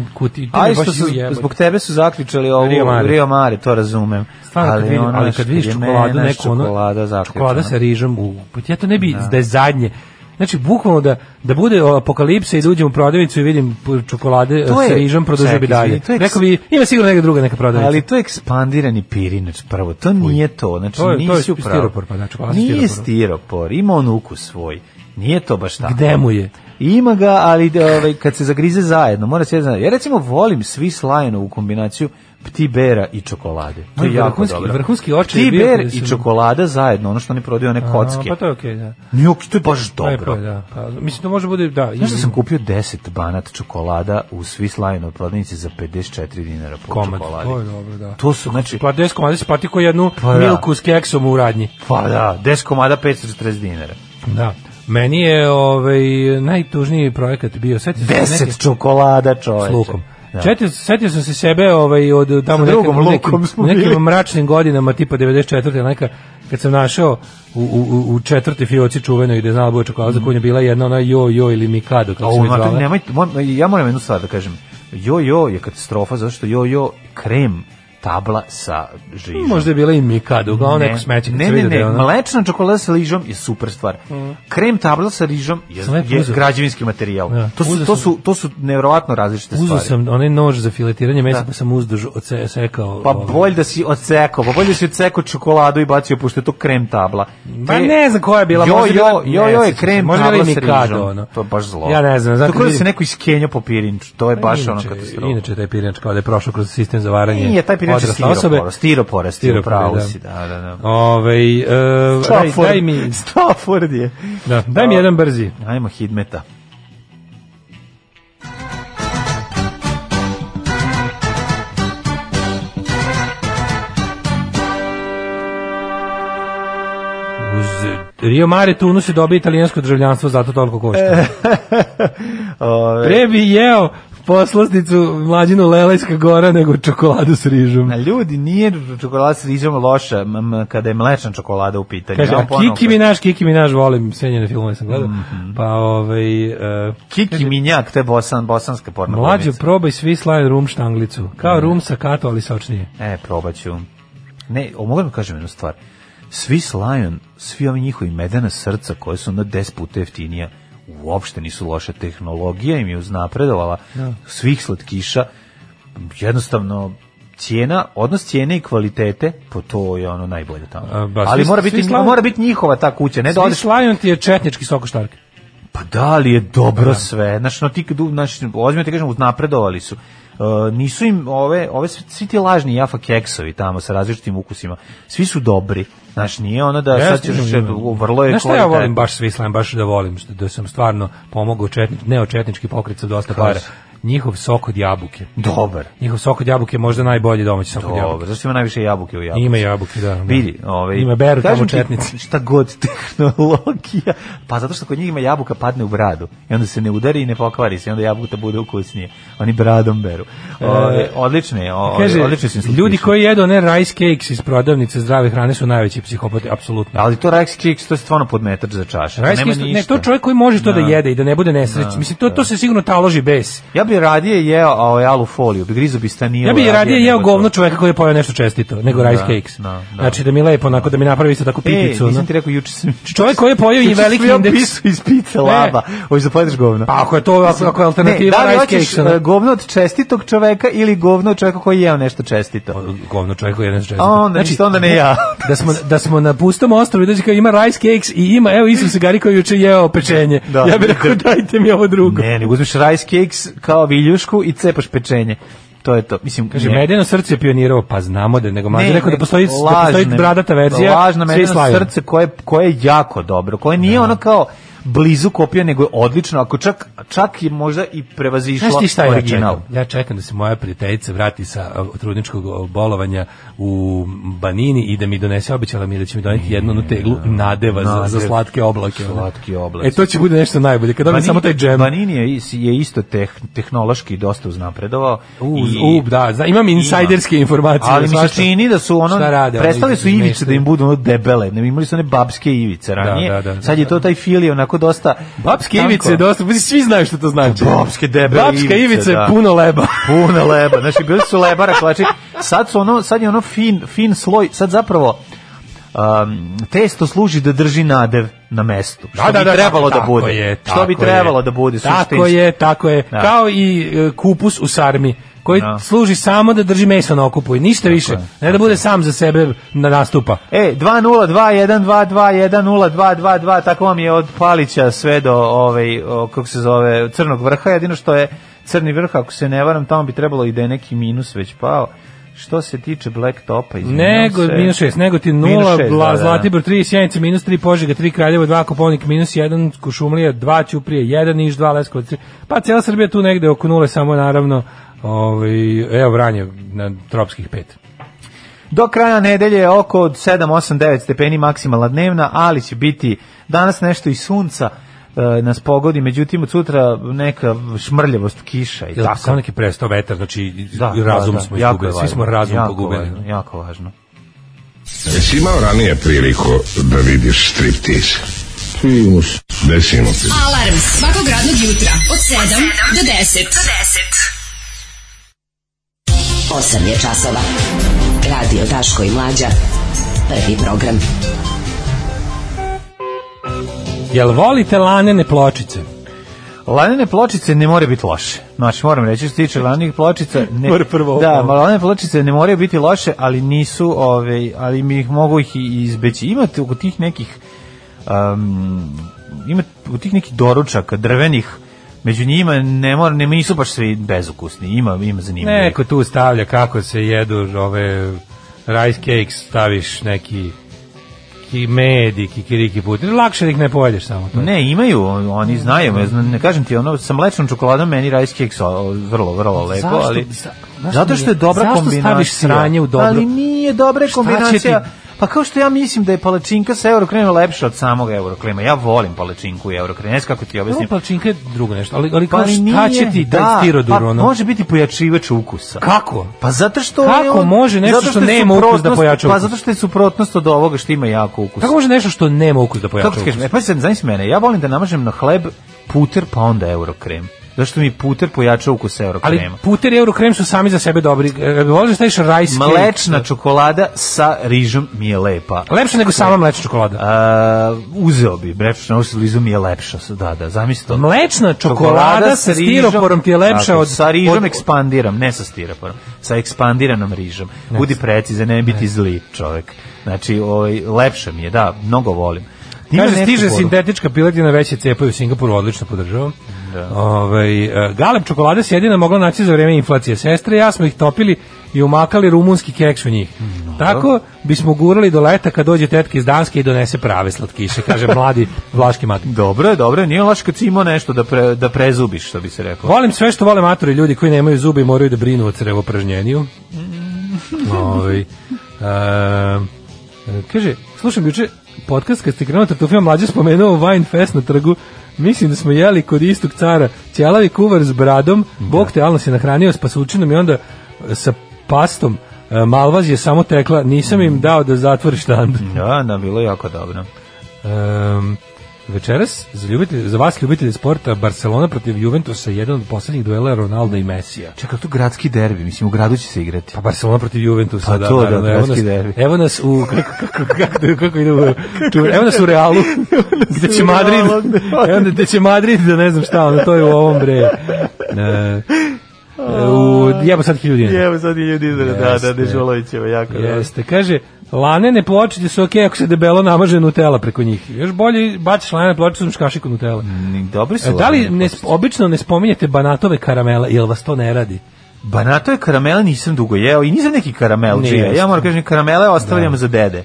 Speaker 5: ajde što su, zbog tebe su zaključali ovu
Speaker 6: Rio
Speaker 5: Rio
Speaker 6: Mare.
Speaker 5: Mare, to razumem.
Speaker 6: Stvarno, ali, kad vidim,
Speaker 5: ono
Speaker 6: ali kad vidiš
Speaker 5: je
Speaker 6: čokoladu
Speaker 5: menaš
Speaker 6: neku, ono,
Speaker 5: čokolada zaključana.
Speaker 6: čokolada sa rižom, u, pa ja to ne bi, da, je zadnje, Znači, bukvalno da, da bude apokalipsa i da uđem u prodavnicu i vidim pu- čokolade e,
Speaker 5: To
Speaker 6: sa
Speaker 5: je-
Speaker 6: rižom, produžio bi
Speaker 5: čekaj,
Speaker 6: dalje.
Speaker 5: izvini, to je-
Speaker 6: Rekao bi, ima sigurno neka druga neka prodavnica.
Speaker 5: Ali to je ekspandirani pirinač prvo, to nije to, znači
Speaker 6: To je- to je
Speaker 5: nisi u pravu.
Speaker 6: stiropor, pa da, čokolada sa
Speaker 5: Nije
Speaker 6: stiroporom.
Speaker 5: stiropor, ima on ukus svoj. Nije to baš tako.
Speaker 6: Gde mu je?
Speaker 5: Ima ga, ali da, ovaj, kad se zagrize zajedno, mora se zajedno. Ja recimo volim svi slajno u kombinaciju pti bera i čokolade. To je
Speaker 6: Moj
Speaker 5: jako
Speaker 6: vrhunski-
Speaker 5: dobro.
Speaker 6: vrhunski očaj je
Speaker 5: Pti
Speaker 6: bio
Speaker 5: ber
Speaker 6: kada
Speaker 5: i
Speaker 6: sam-
Speaker 5: čokolada zajedno, ono što oni prodaju, one
Speaker 6: A,
Speaker 5: kocke.
Speaker 6: Pa to je okej, da.
Speaker 5: Njok, to je baš dobro.
Speaker 6: Lepo je, da. Pa, mislim, to može bude, da.
Speaker 5: Znaš da
Speaker 6: i-
Speaker 5: sam kupio 10 banat čokolada u Swiss Line u prodavnici za 54 dinara po
Speaker 6: komad.
Speaker 5: čokoladi.
Speaker 6: To je dobro, da.
Speaker 5: To su, znači,
Speaker 6: Pa 10 komada si plati ko jednu
Speaker 5: Pa da.
Speaker 6: milku s keksom u radnji.
Speaker 5: Pa da, 10 komada 540 dinara.
Speaker 6: Da. Meni je ovaj, najtužniji projekat bio, setio sam se neke-
Speaker 5: 10 čokolada, čoveče.
Speaker 6: s lukom.
Speaker 5: Da.
Speaker 6: Četio, setio sam se sebe ovaj, od tamo
Speaker 5: Sa drugom
Speaker 6: nekim,
Speaker 5: lukom
Speaker 6: nekim,
Speaker 5: smo bili.
Speaker 6: nekim mračnim godinama, tipa 94. neka, kad sam našao u, u, u- u četvrti fioci čuvenoj gde je znala bude čokolada za koju je bila jedna ona jo jo ili mikado
Speaker 5: Mhm. A
Speaker 6: kako se
Speaker 5: Pa u,
Speaker 6: već zvala.
Speaker 5: nemoj, mo- ja moram jednu stvar da kažem. Jo jo je katastrofa zato što jo jo krem tabla sa žižom.
Speaker 6: Možda je bila i Mikado, kao
Speaker 5: Ne,
Speaker 6: neko smeće. kad
Speaker 5: ne,
Speaker 6: se
Speaker 5: ne,
Speaker 6: vidi da je
Speaker 5: ne,
Speaker 6: ono- Mm.
Speaker 5: mlečna čokolada sa ližom je super stvar. Krem tabla sa rižom je,
Speaker 6: Sam lepo
Speaker 5: je
Speaker 6: uzeo.
Speaker 5: građevinski materijal.
Speaker 6: Da,
Speaker 5: To, su,
Speaker 6: uzeo
Speaker 5: to,
Speaker 6: sam-
Speaker 5: su, to su nevjerovatno različite
Speaker 6: Uzeo
Speaker 5: stvari.
Speaker 6: sam onaj nož za filetiranje mesa,
Speaker 5: Da.
Speaker 6: pa sam uzduž oce- sekao.
Speaker 5: Pa
Speaker 6: ovaj.
Speaker 5: bolj da si odsekao, pa bolj da si odsekao čokoladu i bacio, pošto je to krem tabla.
Speaker 6: Pa
Speaker 5: To je-
Speaker 6: ne znam koja je bila,
Speaker 5: Jo,
Speaker 6: možda je
Speaker 5: jo,
Speaker 6: bila-
Speaker 5: jo,
Speaker 6: ne
Speaker 5: jo, je
Speaker 6: sjećam se,
Speaker 5: krem
Speaker 6: možda je
Speaker 5: tabla
Speaker 6: bila i
Speaker 5: sa
Speaker 6: Mikado, ono.
Speaker 5: rižom. To je baš zlo.
Speaker 6: Ja ne znam,
Speaker 5: To
Speaker 6: znate,
Speaker 5: kao da
Speaker 6: ljudi-
Speaker 5: se neko iskenja po pirinču, to je baš ono katastrofa.
Speaker 6: Pa Inače, taj pirinač kao da je prošao kroz sistem za varanje.
Speaker 5: Nije, taj pirinč je
Speaker 6: odrasle osobe.
Speaker 5: stiropora, stiropora, stiropora,
Speaker 6: Stiropor,
Speaker 5: pravo
Speaker 6: da.
Speaker 5: si, da, da, da.
Speaker 6: Ovaj, e, daj,
Speaker 5: Stafford.
Speaker 6: daj mi,
Speaker 5: Stafford je.
Speaker 6: da, daj mi jedan brzi.
Speaker 5: Ajmo hidmeta.
Speaker 6: Uz Rio Mare Tunu se dobije italijansko državljanstvo, zato toliko košta.
Speaker 5: E, Ove,
Speaker 6: Pre bi jeo poslasticu mlađinu Lelajska gora nego čokoladu s rižom.
Speaker 5: na ljudi nije čokolada s rižom loša m, m, kada je mlečna čokolada u pitanju.
Speaker 6: Kaže,
Speaker 5: Evo
Speaker 6: a
Speaker 5: ponovo Mhm.
Speaker 6: Kiki Minaš, Kiki Minaš, volim senjene filmove sam gledao. Pa ovaj... e,
Speaker 5: Kiki Minjak, to je bosan, bosanska porna
Speaker 6: Mlađo,
Speaker 5: glumica.
Speaker 6: probaj svi slajen rum štanglicu. Kao rum sa kato, ali sočnije.
Speaker 5: E, probat ću. Ne, o, mogu da vam kažem jednu stvar. Svi Slajon, svi ovi njihovi medena srca koje su na 10 puta jeftinija, uopšte nisu loše. Tehnologija im je uznapredovala svih slatkiša. Jednostavno, cijena, odnos cijene i kvalitete, po to je ono najbolje tamo.
Speaker 6: A, ba,
Speaker 5: Ali
Speaker 6: svi-
Speaker 5: mora
Speaker 6: svi
Speaker 5: biti,
Speaker 6: Slajon-
Speaker 5: mora biti njihova ta kuća, ne da
Speaker 6: Svi
Speaker 5: odeš
Speaker 6: slajon ti je četnički sokoštark.
Speaker 5: pa da li je dobro sve? Znaš, no ti kad, u- znaš, ozbiljno ti kažem, uznapredovali su. E, nisu im ove, ove svi, svi ti lažni jafa keksovi tamo sa različitim ukusima. Svi su dobri. Znaš, nije ono da sad ćeš,
Speaker 6: Jeste,
Speaker 5: eto, u- vrlo je
Speaker 6: Znaš šta ja
Speaker 5: kvalitetno.
Speaker 6: volim baš svi slajem, baš da volim, što- da sam stvarno pomogao četnič, neočetnički pokret sa dosta para. Njihov sok od jabuke.
Speaker 5: Dobar.
Speaker 6: Njihov sok od jabuke je možda najbolji domaći sok od jabuke.
Speaker 5: Dobar. Zašto ima najviše jabuke u jabuke?
Speaker 6: Ima jabuke, da. da.
Speaker 5: Vidi, ovaj,
Speaker 6: Ima beru tamo
Speaker 5: kažem ti,
Speaker 6: četnici.
Speaker 5: Šta god tehnologija. Pa zato što kod njih ima jabuka padne u bradu. I onda se ne udari i ne pokvari se. I onda jabuka bude ukusnije. Oni bradom beru. Ove, odlične, je, o-
Speaker 6: E,
Speaker 5: odlične
Speaker 6: Kaže,
Speaker 5: ovaj, su im slatkiši.
Speaker 6: ljudi koji jedu ne rice cakes iz prodavnice zdrave hrane su najveći psihopati, apsolutno.
Speaker 5: Ali to Rex Kicks, to je stvarno podmetač za čaše. Rice
Speaker 6: Rice
Speaker 5: Pa nema
Speaker 6: cakes, ne,
Speaker 5: ništa.
Speaker 6: to je čovjek koji može to da jede i da ne bude nesrećan. Mislim, to, to se sigurno taloži bes.
Speaker 5: Ja bih radije jeo ovaj, alu foliju, bi grizu bi stanio.
Speaker 6: Ja bih radije jeo
Speaker 5: nego to.
Speaker 6: govno čoveka koji je pojeo nešto čestito, nego rice cakes.
Speaker 5: da, da.
Speaker 6: Znači da mi lepo, onako da mi napravi isto tako piticu.
Speaker 5: E,
Speaker 6: ono.
Speaker 5: nisam ti rekao, juče sam...
Speaker 6: Čovjek koji je pojeo i
Speaker 5: Juče sam
Speaker 6: veliki
Speaker 5: jeo
Speaker 6: indeks.
Speaker 5: pisu iz pice laba. Hoćeš da pojedeš govno?
Speaker 6: Pa ako je to ako, ako je alternativa
Speaker 5: ne, da li
Speaker 6: rice
Speaker 5: hoćeš
Speaker 6: cakes, ono.
Speaker 5: e, govno od čestitog čoveka ili govno od čoveka koji je jeo nešto čestito?
Speaker 6: ono, govno čovjek koji je nešto čestito. Znači,
Speaker 5: A onda, ništa, onda ne ja.
Speaker 6: da smo da smo na pustom ostrvu i dođe kao ima rice cakes i ima evo Isus Gari koji je juče jeo pečenje.
Speaker 5: Da.
Speaker 6: ja bih rekao dajte mi ovo drugo.
Speaker 5: Ne, nego uzmeš rice cakes kao viljušku i cepaš pečenje. To je to. Mislim,
Speaker 6: Kaže,
Speaker 5: ne.
Speaker 6: medeno srce je pionirao, pa znamo da je, nego mlađe
Speaker 5: Ne,
Speaker 6: rekao da
Speaker 5: ne,
Speaker 6: postoji, da
Speaker 5: lažne-
Speaker 6: postoji bradata verzija,
Speaker 5: Lažno
Speaker 6: svi
Speaker 5: meni
Speaker 6: slaju.
Speaker 5: srce koje, koje je jako dobro, koje nije ono kao blizu kopija, nego je odlično, ako čak, čak je možda i prevazišlo
Speaker 6: Znaš ti šta ja
Speaker 5: original.
Speaker 6: čekam? Ja čekam da se moja prijateljica vrati sa a, trudničkog o, bolovanja u Banini i da mi donese, obećala mi je da će mi doneti jednu onu teglu nadeva za, za
Speaker 5: Nadev.
Speaker 6: slatke oblake. ono.
Speaker 5: Slatki oblaci.
Speaker 6: E to će bude nešto najbolje, kad dobijem
Speaker 5: Banini-
Speaker 6: samo taj džem.
Speaker 5: Banini je, is- je isto teh, tehnološki dosta uznapredovao.
Speaker 6: U,
Speaker 5: i-
Speaker 6: u, da, zna- imam insajderske informacije.
Speaker 5: Ali mi se
Speaker 6: svašta.
Speaker 5: čini da su ono,
Speaker 6: Šta rade, ono,
Speaker 5: prestali su
Speaker 6: iz-
Speaker 5: ivice
Speaker 6: izmeštaju.
Speaker 5: da im budu ono debele, ne, imali su one babske ivice ranije,
Speaker 6: da, da, da.
Speaker 5: sad je to taj fili onako dosta...
Speaker 6: Babske
Speaker 5: tanko.
Speaker 6: ivice, dosta, pa svi znaju što to znači.
Speaker 5: Babske debele
Speaker 6: Babska
Speaker 5: ivice,
Speaker 6: ivica
Speaker 5: da.
Speaker 6: je puno leba.
Speaker 5: Puno leba, znači bili su lebara kvači. Sad su ono, sad je ono fin, fin sloj, sad zapravo um, testo služi da drži nadev na mestu. Što bi trebalo da
Speaker 6: tako
Speaker 5: bude.
Speaker 6: je,
Speaker 5: što bi
Speaker 6: tako
Speaker 5: trebalo
Speaker 6: je.
Speaker 5: da bude suštinski.
Speaker 6: Tako je, tako je.
Speaker 5: Da.
Speaker 6: Kao i e, kupus u sarmi koji
Speaker 5: Da.
Speaker 6: služi samo da drži meso na okupu i ništa više. Ne da bude sam za sebe na nastupa.
Speaker 5: E, 2-0-2-1-2-2-1-0-2-2-2, tako vam je od Palića sve do, ovaj, o, kako se zove, Crnog vrha, jedino što je Crni vrh, ako se ne varam, tamo bi trebalo i da je neki minus već pao. Što se tiče Black Topa, izvinjam
Speaker 6: Nego,
Speaker 5: se.
Speaker 6: minus 6, Negotin
Speaker 5: Minus
Speaker 6: 0,
Speaker 5: šest,
Speaker 6: Bla,
Speaker 5: da, da, da.
Speaker 6: Zlatibor 3, Sjenica minus 3, Požega 3, Kraljevo 2, Koponik minus 1, Kušumlija 2, Ćuprije 1, Niš 2, Leskovac 3. Pa cijela Srbija tu negde oko nule, samo naravno ovaj, evo Vranje na tropskih 5.
Speaker 5: Do kraja nedelje je oko 7, 8, 9 stepeni maksimalna dnevna, ali će biti danas nešto i sunca e, nas pogodi, međutim od sutra neka šmrljavost kiša i
Speaker 6: Jel
Speaker 5: tako.
Speaker 6: samo neki prestao vetar, znači
Speaker 5: Da,
Speaker 6: razum
Speaker 5: da, da,
Speaker 6: smo
Speaker 5: jako
Speaker 6: izgubili,
Speaker 5: je
Speaker 6: svi
Speaker 5: važno,
Speaker 6: smo razum
Speaker 5: jako
Speaker 6: pogubili.
Speaker 5: Važno, jako važno.
Speaker 9: Jesi imao ranije priliku da vidiš striptiz? Primus. Desimo se.
Speaker 8: Alarm svakog radnog jutra od 7 do 10. Do 10. 8 je časova. Radio Daško i Mlađa. Prvi program.
Speaker 6: Jel volite lanene pločice?
Speaker 5: Lanene pločice ne more biti loše. Znači, moram reći, što se tiče lanenih pločica... Ne,
Speaker 6: Mora prvo ovo.
Speaker 5: Da, ma lanene pločice ne moraju biti loše, ali nisu, ove, ali mi ih mogu ih i izbeći. Imate u tih nekih... Um, ima u tih nekih doručaka drvenih, među njima ne mora, ne, nisu baš svi bezukusni, ima, ima zanimljivo.
Speaker 6: Neko tu stavlja kako se jedu ove rice cakes, staviš neki ki med i kikiriki put. Lakše da ih ne pojedeš samo to.
Speaker 5: Ne, imaju, oni znaju, ja znam, ne kažem ti, ono, sa mlečnom čokoladom meni rice cakes o, vrlo, vrlo lepo,
Speaker 6: Zašto-
Speaker 5: ali...
Speaker 6: za- znaš
Speaker 5: zato što je
Speaker 6: mi je-
Speaker 5: dobra
Speaker 6: zašto
Speaker 5: kombinacija.
Speaker 6: staviš sranje u dobro?
Speaker 5: Ali nije dobra
Speaker 6: Šta
Speaker 5: kombinacija.
Speaker 6: će ti-
Speaker 5: Pa kao što ja mislim da je palačinka sa eurokrema lepša od samog eurokrema. Ja volim palačinku i eurokrema. Ne znam kako ti
Speaker 6: Ovo
Speaker 5: objasnim.
Speaker 6: palčinka je drugo nešto, ali, ali
Speaker 5: Pa
Speaker 6: kao šta
Speaker 5: nije,
Speaker 6: će ti da,
Speaker 5: da,
Speaker 6: stirodur,
Speaker 5: pa
Speaker 6: ono?
Speaker 5: može biti pojačivač ukusa.
Speaker 6: Kako?
Speaker 5: Pa zato što
Speaker 6: Kako
Speaker 5: je on-
Speaker 6: može nešto
Speaker 5: zato
Speaker 6: što
Speaker 5: je
Speaker 6: nema ukus da
Speaker 5: suprotnost-
Speaker 6: pojača
Speaker 5: Pa
Speaker 6: ukus?
Speaker 5: zato što je suprotnost od ovoga što ima jako ukus.
Speaker 6: Kako može nešto što nema ukus da pojača
Speaker 5: Kako ti
Speaker 6: ukus?
Speaker 5: kažem, e, pa sad, znaš mene, ja volim da namažem na hleb puter pa onda eurokrem. Zašto mi puter pojača ukus
Speaker 6: Ali
Speaker 5: eurokrema?
Speaker 6: puter i eurokrem su sami za sebe dobri. E, Voliš da staviš rice cake?
Speaker 5: Mlečna čokolada sa rižom mi je lepa.
Speaker 6: Lepše nego sama mlečna čokolada.
Speaker 5: A, uzeo bi, mlečna u slizu mi je lepša. Da, da, zamisli to.
Speaker 6: Mlečna čokolada sa
Speaker 5: rižom-
Speaker 6: stiroporom ti je lepša
Speaker 5: Tako,
Speaker 6: od...
Speaker 5: Sa rižom
Speaker 6: od-
Speaker 5: ekspandiram, ne sa stiroporom. Sa ekspandiranom rižom. Budi precizan, ne biti zli čovek. Znači, ovaj, lepša mi je, da, mnogo volim. Ima
Speaker 6: Kaže,
Speaker 5: neku
Speaker 6: stiže
Speaker 5: poruku.
Speaker 6: sintetička piletina, veće cepaju u Singapuru, odlično podržavam. Ovaj, e, galeb čokolada se jedina mogla naći za vreme inflacije. Sestre i ja smo ih topili i umakali rumunski keks u njih. Tako bismo gurali do leta kad dođe tetka iz Danske i donese prave slatkiše, kaže mladi vlaški mat.
Speaker 5: Dobro je, dobro je, nije loš kad si imao nešto da, pre, da prezubiš, što bi se reklo.
Speaker 6: Volim sve što vole matori ljudi koji nemaju zube i moraju da brinu o crevopražnjenju. Ovaj. em, kaže, slušam juče podcast kad ste krenuli tartufima mlađe spomenuo Wine Fest na trgu. Mislim da smo jeli kod istog cara ćelavi kuvar s bradom, Bog te alno se nahranio s pasučinom i onda e, sa pastom e, Malvaz je samo tekla, nisam im dao da zatvori štand.
Speaker 5: Da, da, bilo je jako dobro.
Speaker 6: Em, večeras za, ljubitelje, za vas ljubitelje sporta Barcelona protiv Juventusa jedan od poslednjih duela Ronalda i Mesija.
Speaker 5: Čekaj, tu gradski derbi, mislim, u gradu će se igrati.
Speaker 6: Pa Barcelona protiv Juventusa,
Speaker 5: Pa
Speaker 6: da,
Speaker 5: to, da,
Speaker 6: naravno, evo, nas,
Speaker 5: gradski derbi.
Speaker 6: evo nas u kako kako kako, kako ide u, čuvaj, evo nas u Realu gde će Madrid evo nas gde će Madrid da ne znam šta, ono to je u ovom bre. E, e, u jebo sad hiljadu dinara.
Speaker 5: Pa, Evo sad je ljudi da, da, da, Dežulovićeva, jako dobro.
Speaker 6: Jeste, kaže, lanene pločice su okej ako se debelo namaže Nutella preko njih. Još bolje baciš lanene pločice uz kašiku Nutella.
Speaker 5: Ni- Dobri su.
Speaker 6: E, da li
Speaker 5: laneni
Speaker 6: ne,
Speaker 5: potici.
Speaker 6: obično ne spominjete banatove karamele, jel vas to ne radi?
Speaker 5: Banato je karamela nisam dugo jeo i nisam neki karamel
Speaker 6: Nije.
Speaker 5: Ja moram kažem, karamele ostavljam za dede.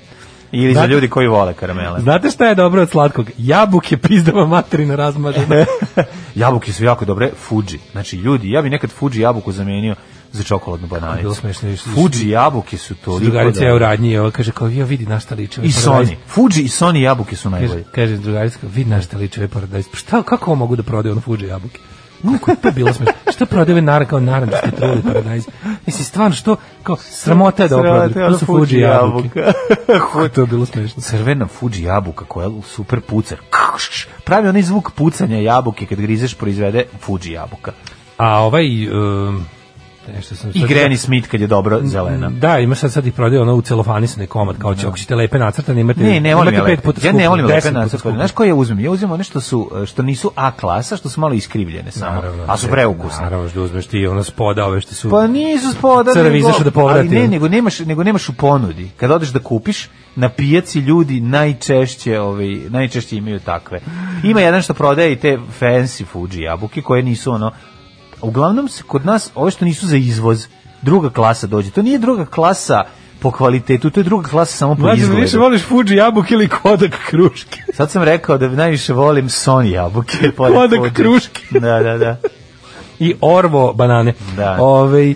Speaker 5: Ili za
Speaker 6: Znate-
Speaker 5: ljudi koji vole karamele.
Speaker 6: Znate šta je dobro od slatkog? Jabuke pizdava materina razmažena.
Speaker 5: Jabuke su jako dobre, Fuji. Znači, ljudi, ja bi nekad Fuji jabuku zamenio za čokoladnu bananicu.
Speaker 6: Bilo smešno, išli-
Speaker 5: Fuji jabuke su to.
Speaker 6: Drugarica je u radnji i ova kaže kao, jo vidi našta liče. ovaj
Speaker 5: I Sony. Fuji i Sony jabuke su najbolje.
Speaker 6: Kaže, kaže drugarica, kao, vidi našta liče ovaj paradajz. Pa Šta, kako ovo mogu da prodaju ono fuđe jabuke? Kako je to bilo smešno? Šta prodaju ove naran kao narančke truli paradajz? Mislim, stvarno, što, kao, sramota je da ovo
Speaker 5: Sramota je
Speaker 6: prodaju. To su
Speaker 5: ono
Speaker 6: fuđe
Speaker 5: Fuji
Speaker 6: jabuke.
Speaker 5: jabuka.
Speaker 6: Kako je to bilo smešno?
Speaker 5: crvena Fuji jabuka koja super puca. Kš, Pravi onaj zvuk pucanja jabuke kad grizeš proizvede Fuji jabuka.
Speaker 6: A ovaj... Um, nešto sam
Speaker 5: I
Speaker 6: sad- Mm,
Speaker 5: Granny Smith kad je dobro zelena.
Speaker 6: Da, ima sad sad ih prodaje ono u celofanisani komad, kao će, ako ćete lepe nacrtane, imate,
Speaker 5: Ne, ne volim
Speaker 6: imate
Speaker 5: ja lepe.
Speaker 6: pet puta
Speaker 5: Ja ne
Speaker 6: skuplje,
Speaker 5: volim lepe
Speaker 6: deset puta
Speaker 5: nacrtane.
Speaker 6: skuplje.
Speaker 5: Znaš koje ja uzmem? Ja uzmem one što su e, što nisu A klasa, što su malo iskrivljene samo, a su preukusne.
Speaker 6: Naravno, da uzmeš ti ono spoda, ove što su...
Speaker 5: Pa nisu spoda,
Speaker 6: Crvi
Speaker 5: nego-
Speaker 6: izašao da povrati.
Speaker 5: Ali ne, nego nemaš, nego nemaš u ponudi. Kad odeš da kupiš, na pijaci ljudi najčešće, ovaj, najčešće imaju takve. Ima jedan što prodaje i te fancy Fuji jabuke koje nisu ono... Uglavnom se kod nas, ove što nisu za izvoz, druga klasa dođe. To nije druga klasa po kvalitetu, to je druga klasa samo po
Speaker 6: Mlađe, više
Speaker 5: izgledu.
Speaker 6: voliš Fuji jabuke ili kodak kruške?
Speaker 5: Sad sam rekao da najviše volim Sony jabuke. pored
Speaker 6: Kodak
Speaker 5: Fuji.
Speaker 6: kruške.
Speaker 5: Da, da, da.
Speaker 6: I orvo banane.
Speaker 5: Da.
Speaker 6: Ove,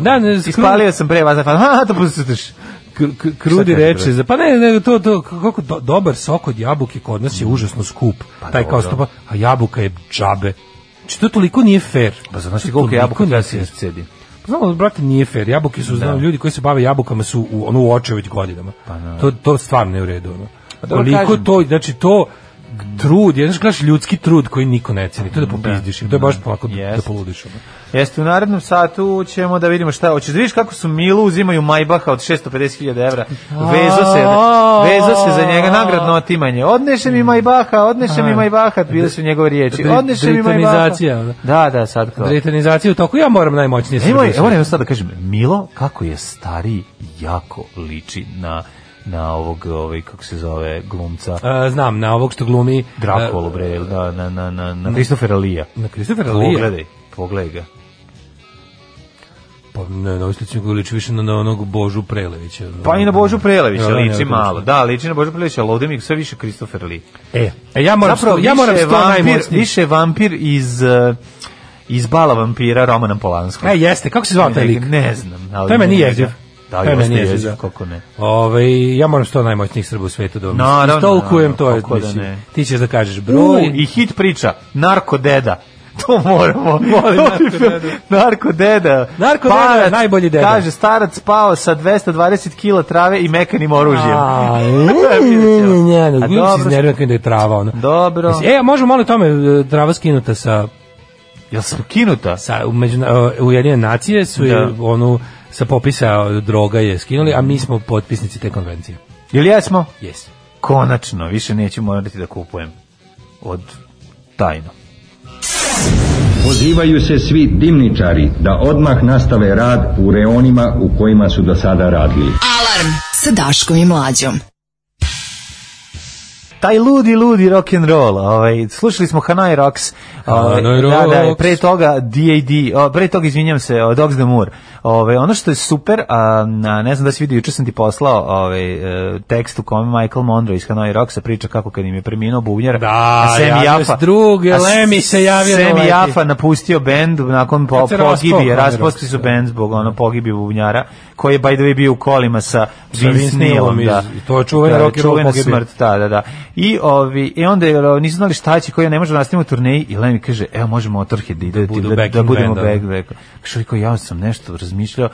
Speaker 6: da, ne, skru-
Speaker 5: Ispalio sam pre vas, a to pustiš.
Speaker 6: Kr- kr- krudi
Speaker 5: Šta kaže
Speaker 6: reče za pa ne, ne to to kako do, dobar sok od jabuke kod nas je užasno skup.
Speaker 5: Pa
Speaker 6: Taj kao
Speaker 5: dobro.
Speaker 6: stopa, a jabuka je džabe. Znači to toliko nije fair.
Speaker 5: Pa znaš ti
Speaker 6: To
Speaker 5: koliko
Speaker 6: toliko
Speaker 5: jabuka
Speaker 6: nije
Speaker 5: treba se
Speaker 6: fair.
Speaker 5: iscedi?
Speaker 6: Pa Znamo, brate, nije fair. Jabuke su, znam, ljudi koji se bave jabukama su u, ono, u oče već godinama. to, to stvarno je u redu. Ono.
Speaker 5: Pa dobro,
Speaker 6: Koliko
Speaker 5: kažem
Speaker 6: to, znači, to trud, jedan gledaš ljudski trud koji niko ne ceni, to je da popizdiš, to je baš polako da, da
Speaker 5: Jest.
Speaker 6: poludiš. ono.
Speaker 5: Jeste, u narednom satu ćemo da vidimo šta. Hoćeš da vidiš kako su Milu uzimaju Majbaha od 650.000 evra. Vezo se, vezo se za njega nagradno otimanje. Odneše mi Majbaha, odneše mi Majbaha, bile su njegove riječi.
Speaker 6: Hmm. Dri-
Speaker 5: Odneše mi Majbaha.
Speaker 6: britanizacija, ono.
Speaker 5: Da, da, sad kao.
Speaker 6: Britanizacija u toku, ja moram najmoćnije
Speaker 5: Evo,
Speaker 6: srce.
Speaker 5: evo sad da kažem, Milo kako je stariji jako liči na na ovog, ovaj, kako se zove, glumca.
Speaker 6: E, znam, na ovog što glumi
Speaker 5: Drakolu,
Speaker 6: e,
Speaker 5: bre, ili da, na, na, na, na Christophera Lija.
Speaker 6: Na Christophera Lee.
Speaker 5: Pogledaj, pogledaj ga.
Speaker 6: Pa ne, na ovoj slici mi liči više na, na onog Božu Prelevića.
Speaker 5: Pa i na Božu Prelevića
Speaker 6: Ja, da,
Speaker 5: liči
Speaker 6: nema
Speaker 5: malo.
Speaker 6: točno.
Speaker 5: Da, liči na Božu Prelevića, ali ovde mi sve više Christopher Lee.
Speaker 6: E, e, ja moram,
Speaker 5: Zapravo,
Speaker 6: sto, ja moram
Speaker 5: više
Speaker 6: sto
Speaker 5: vampir,
Speaker 6: najmoćnije.
Speaker 5: više vampir iz... eh, iz Bala vampira Romana Polanskog.
Speaker 6: E, jeste, kako se zvao taj lik?
Speaker 5: Ne znam. Ali
Speaker 6: To je meni
Speaker 5: njega-
Speaker 6: jeziv.
Speaker 5: Da,
Speaker 6: To je
Speaker 5: jeste
Speaker 6: meni jeziv,
Speaker 5: jeziv,
Speaker 6: da.
Speaker 5: kako ne.
Speaker 6: Ove, ja moram sto najmoćnijih Srba u svetu da vam
Speaker 5: Naravno,
Speaker 6: istolkujem, to je,
Speaker 5: naravno, kako da
Speaker 6: mislim,
Speaker 5: ne.
Speaker 6: ti ćeš da kažeš
Speaker 5: U,
Speaker 6: broj.
Speaker 5: i hit priča, narko deda. To moramo. Molim, narko deda. narko deda.
Speaker 6: Narko deda je najbolji deda.
Speaker 5: Kaže, starac spao sa 220 kila trave i mekanim oružjem.
Speaker 6: A,
Speaker 5: Vidjet
Speaker 6: ne,
Speaker 5: ćemo.
Speaker 6: ne,
Speaker 5: A
Speaker 6: ne,
Speaker 5: dobro,
Speaker 6: se iznervira kad je trava, ono.
Speaker 5: Dobro.
Speaker 6: Mislim, E, a možemo malo tome, e, trava skinuta sa,
Speaker 5: Jel sam kinuta?
Speaker 6: sa u međuna- e, Ujedinjene nacije su je,
Speaker 5: Da.
Speaker 6: onu, sa popisa droga je skinuli, a mi smo potpisnici te konvencije.
Speaker 5: Jel jesmo?
Speaker 6: Jesi.
Speaker 5: Konačno, više neću morati da kupujem. Od tajno.
Speaker 10: Pozivaju se svi dimničari da odmah nastave rad u reonima u kojima su do sada radili.
Speaker 4: Alarm sa Daškom i Mlađom.
Speaker 5: Taj ludi, ludi rock and roll. Ovaj, slušali smo Hanoi Rocks. Ovaj,
Speaker 6: Hanoi
Speaker 5: da, da,
Speaker 6: Rocks.
Speaker 5: pre toga DAD, o, pre toga izvinjam se, o, Dogs the Moor. Ovaj, ono što je super, a, na, ne znam da si vidio, juče sam ti poslao ovaj, e, tekst u kome Michael Monroe iz Hanoi Rocksa priča kako kad im je preminuo bubnjar.
Speaker 6: Da,
Speaker 5: a Sammy
Speaker 6: javio se
Speaker 5: Jaffa,
Speaker 6: drugi,
Speaker 5: a s-
Speaker 6: Lemmy se javio na
Speaker 5: Sammy
Speaker 6: leti.
Speaker 5: Jaffa napustio bend nakon po,
Speaker 6: Kad se raspao
Speaker 5: pogibije,
Speaker 6: Hanoi
Speaker 5: raspasti
Speaker 6: Rocks,
Speaker 5: su
Speaker 6: da.
Speaker 5: bend zbog ono pogibije bubnjara, koji je by the way bio u kolima sa Vince
Speaker 6: Vince
Speaker 5: Neilom,
Speaker 6: Neilom iz-
Speaker 5: da.
Speaker 6: i to je čuvena
Speaker 5: Da,
Speaker 6: rock and roll
Speaker 5: čuvena
Speaker 6: pogibija.
Speaker 5: smrt da, da, da. I ovi i onda je, o, nisu znali šta će, koji ne može da nastavimo turneji i Lemi kaže, evo možemo Motorhead da ide da, da,
Speaker 6: budu
Speaker 5: da,
Speaker 6: backing
Speaker 5: budemo
Speaker 6: band,
Speaker 5: back back. Kaže, rekao, ja sam nešto razmišljao,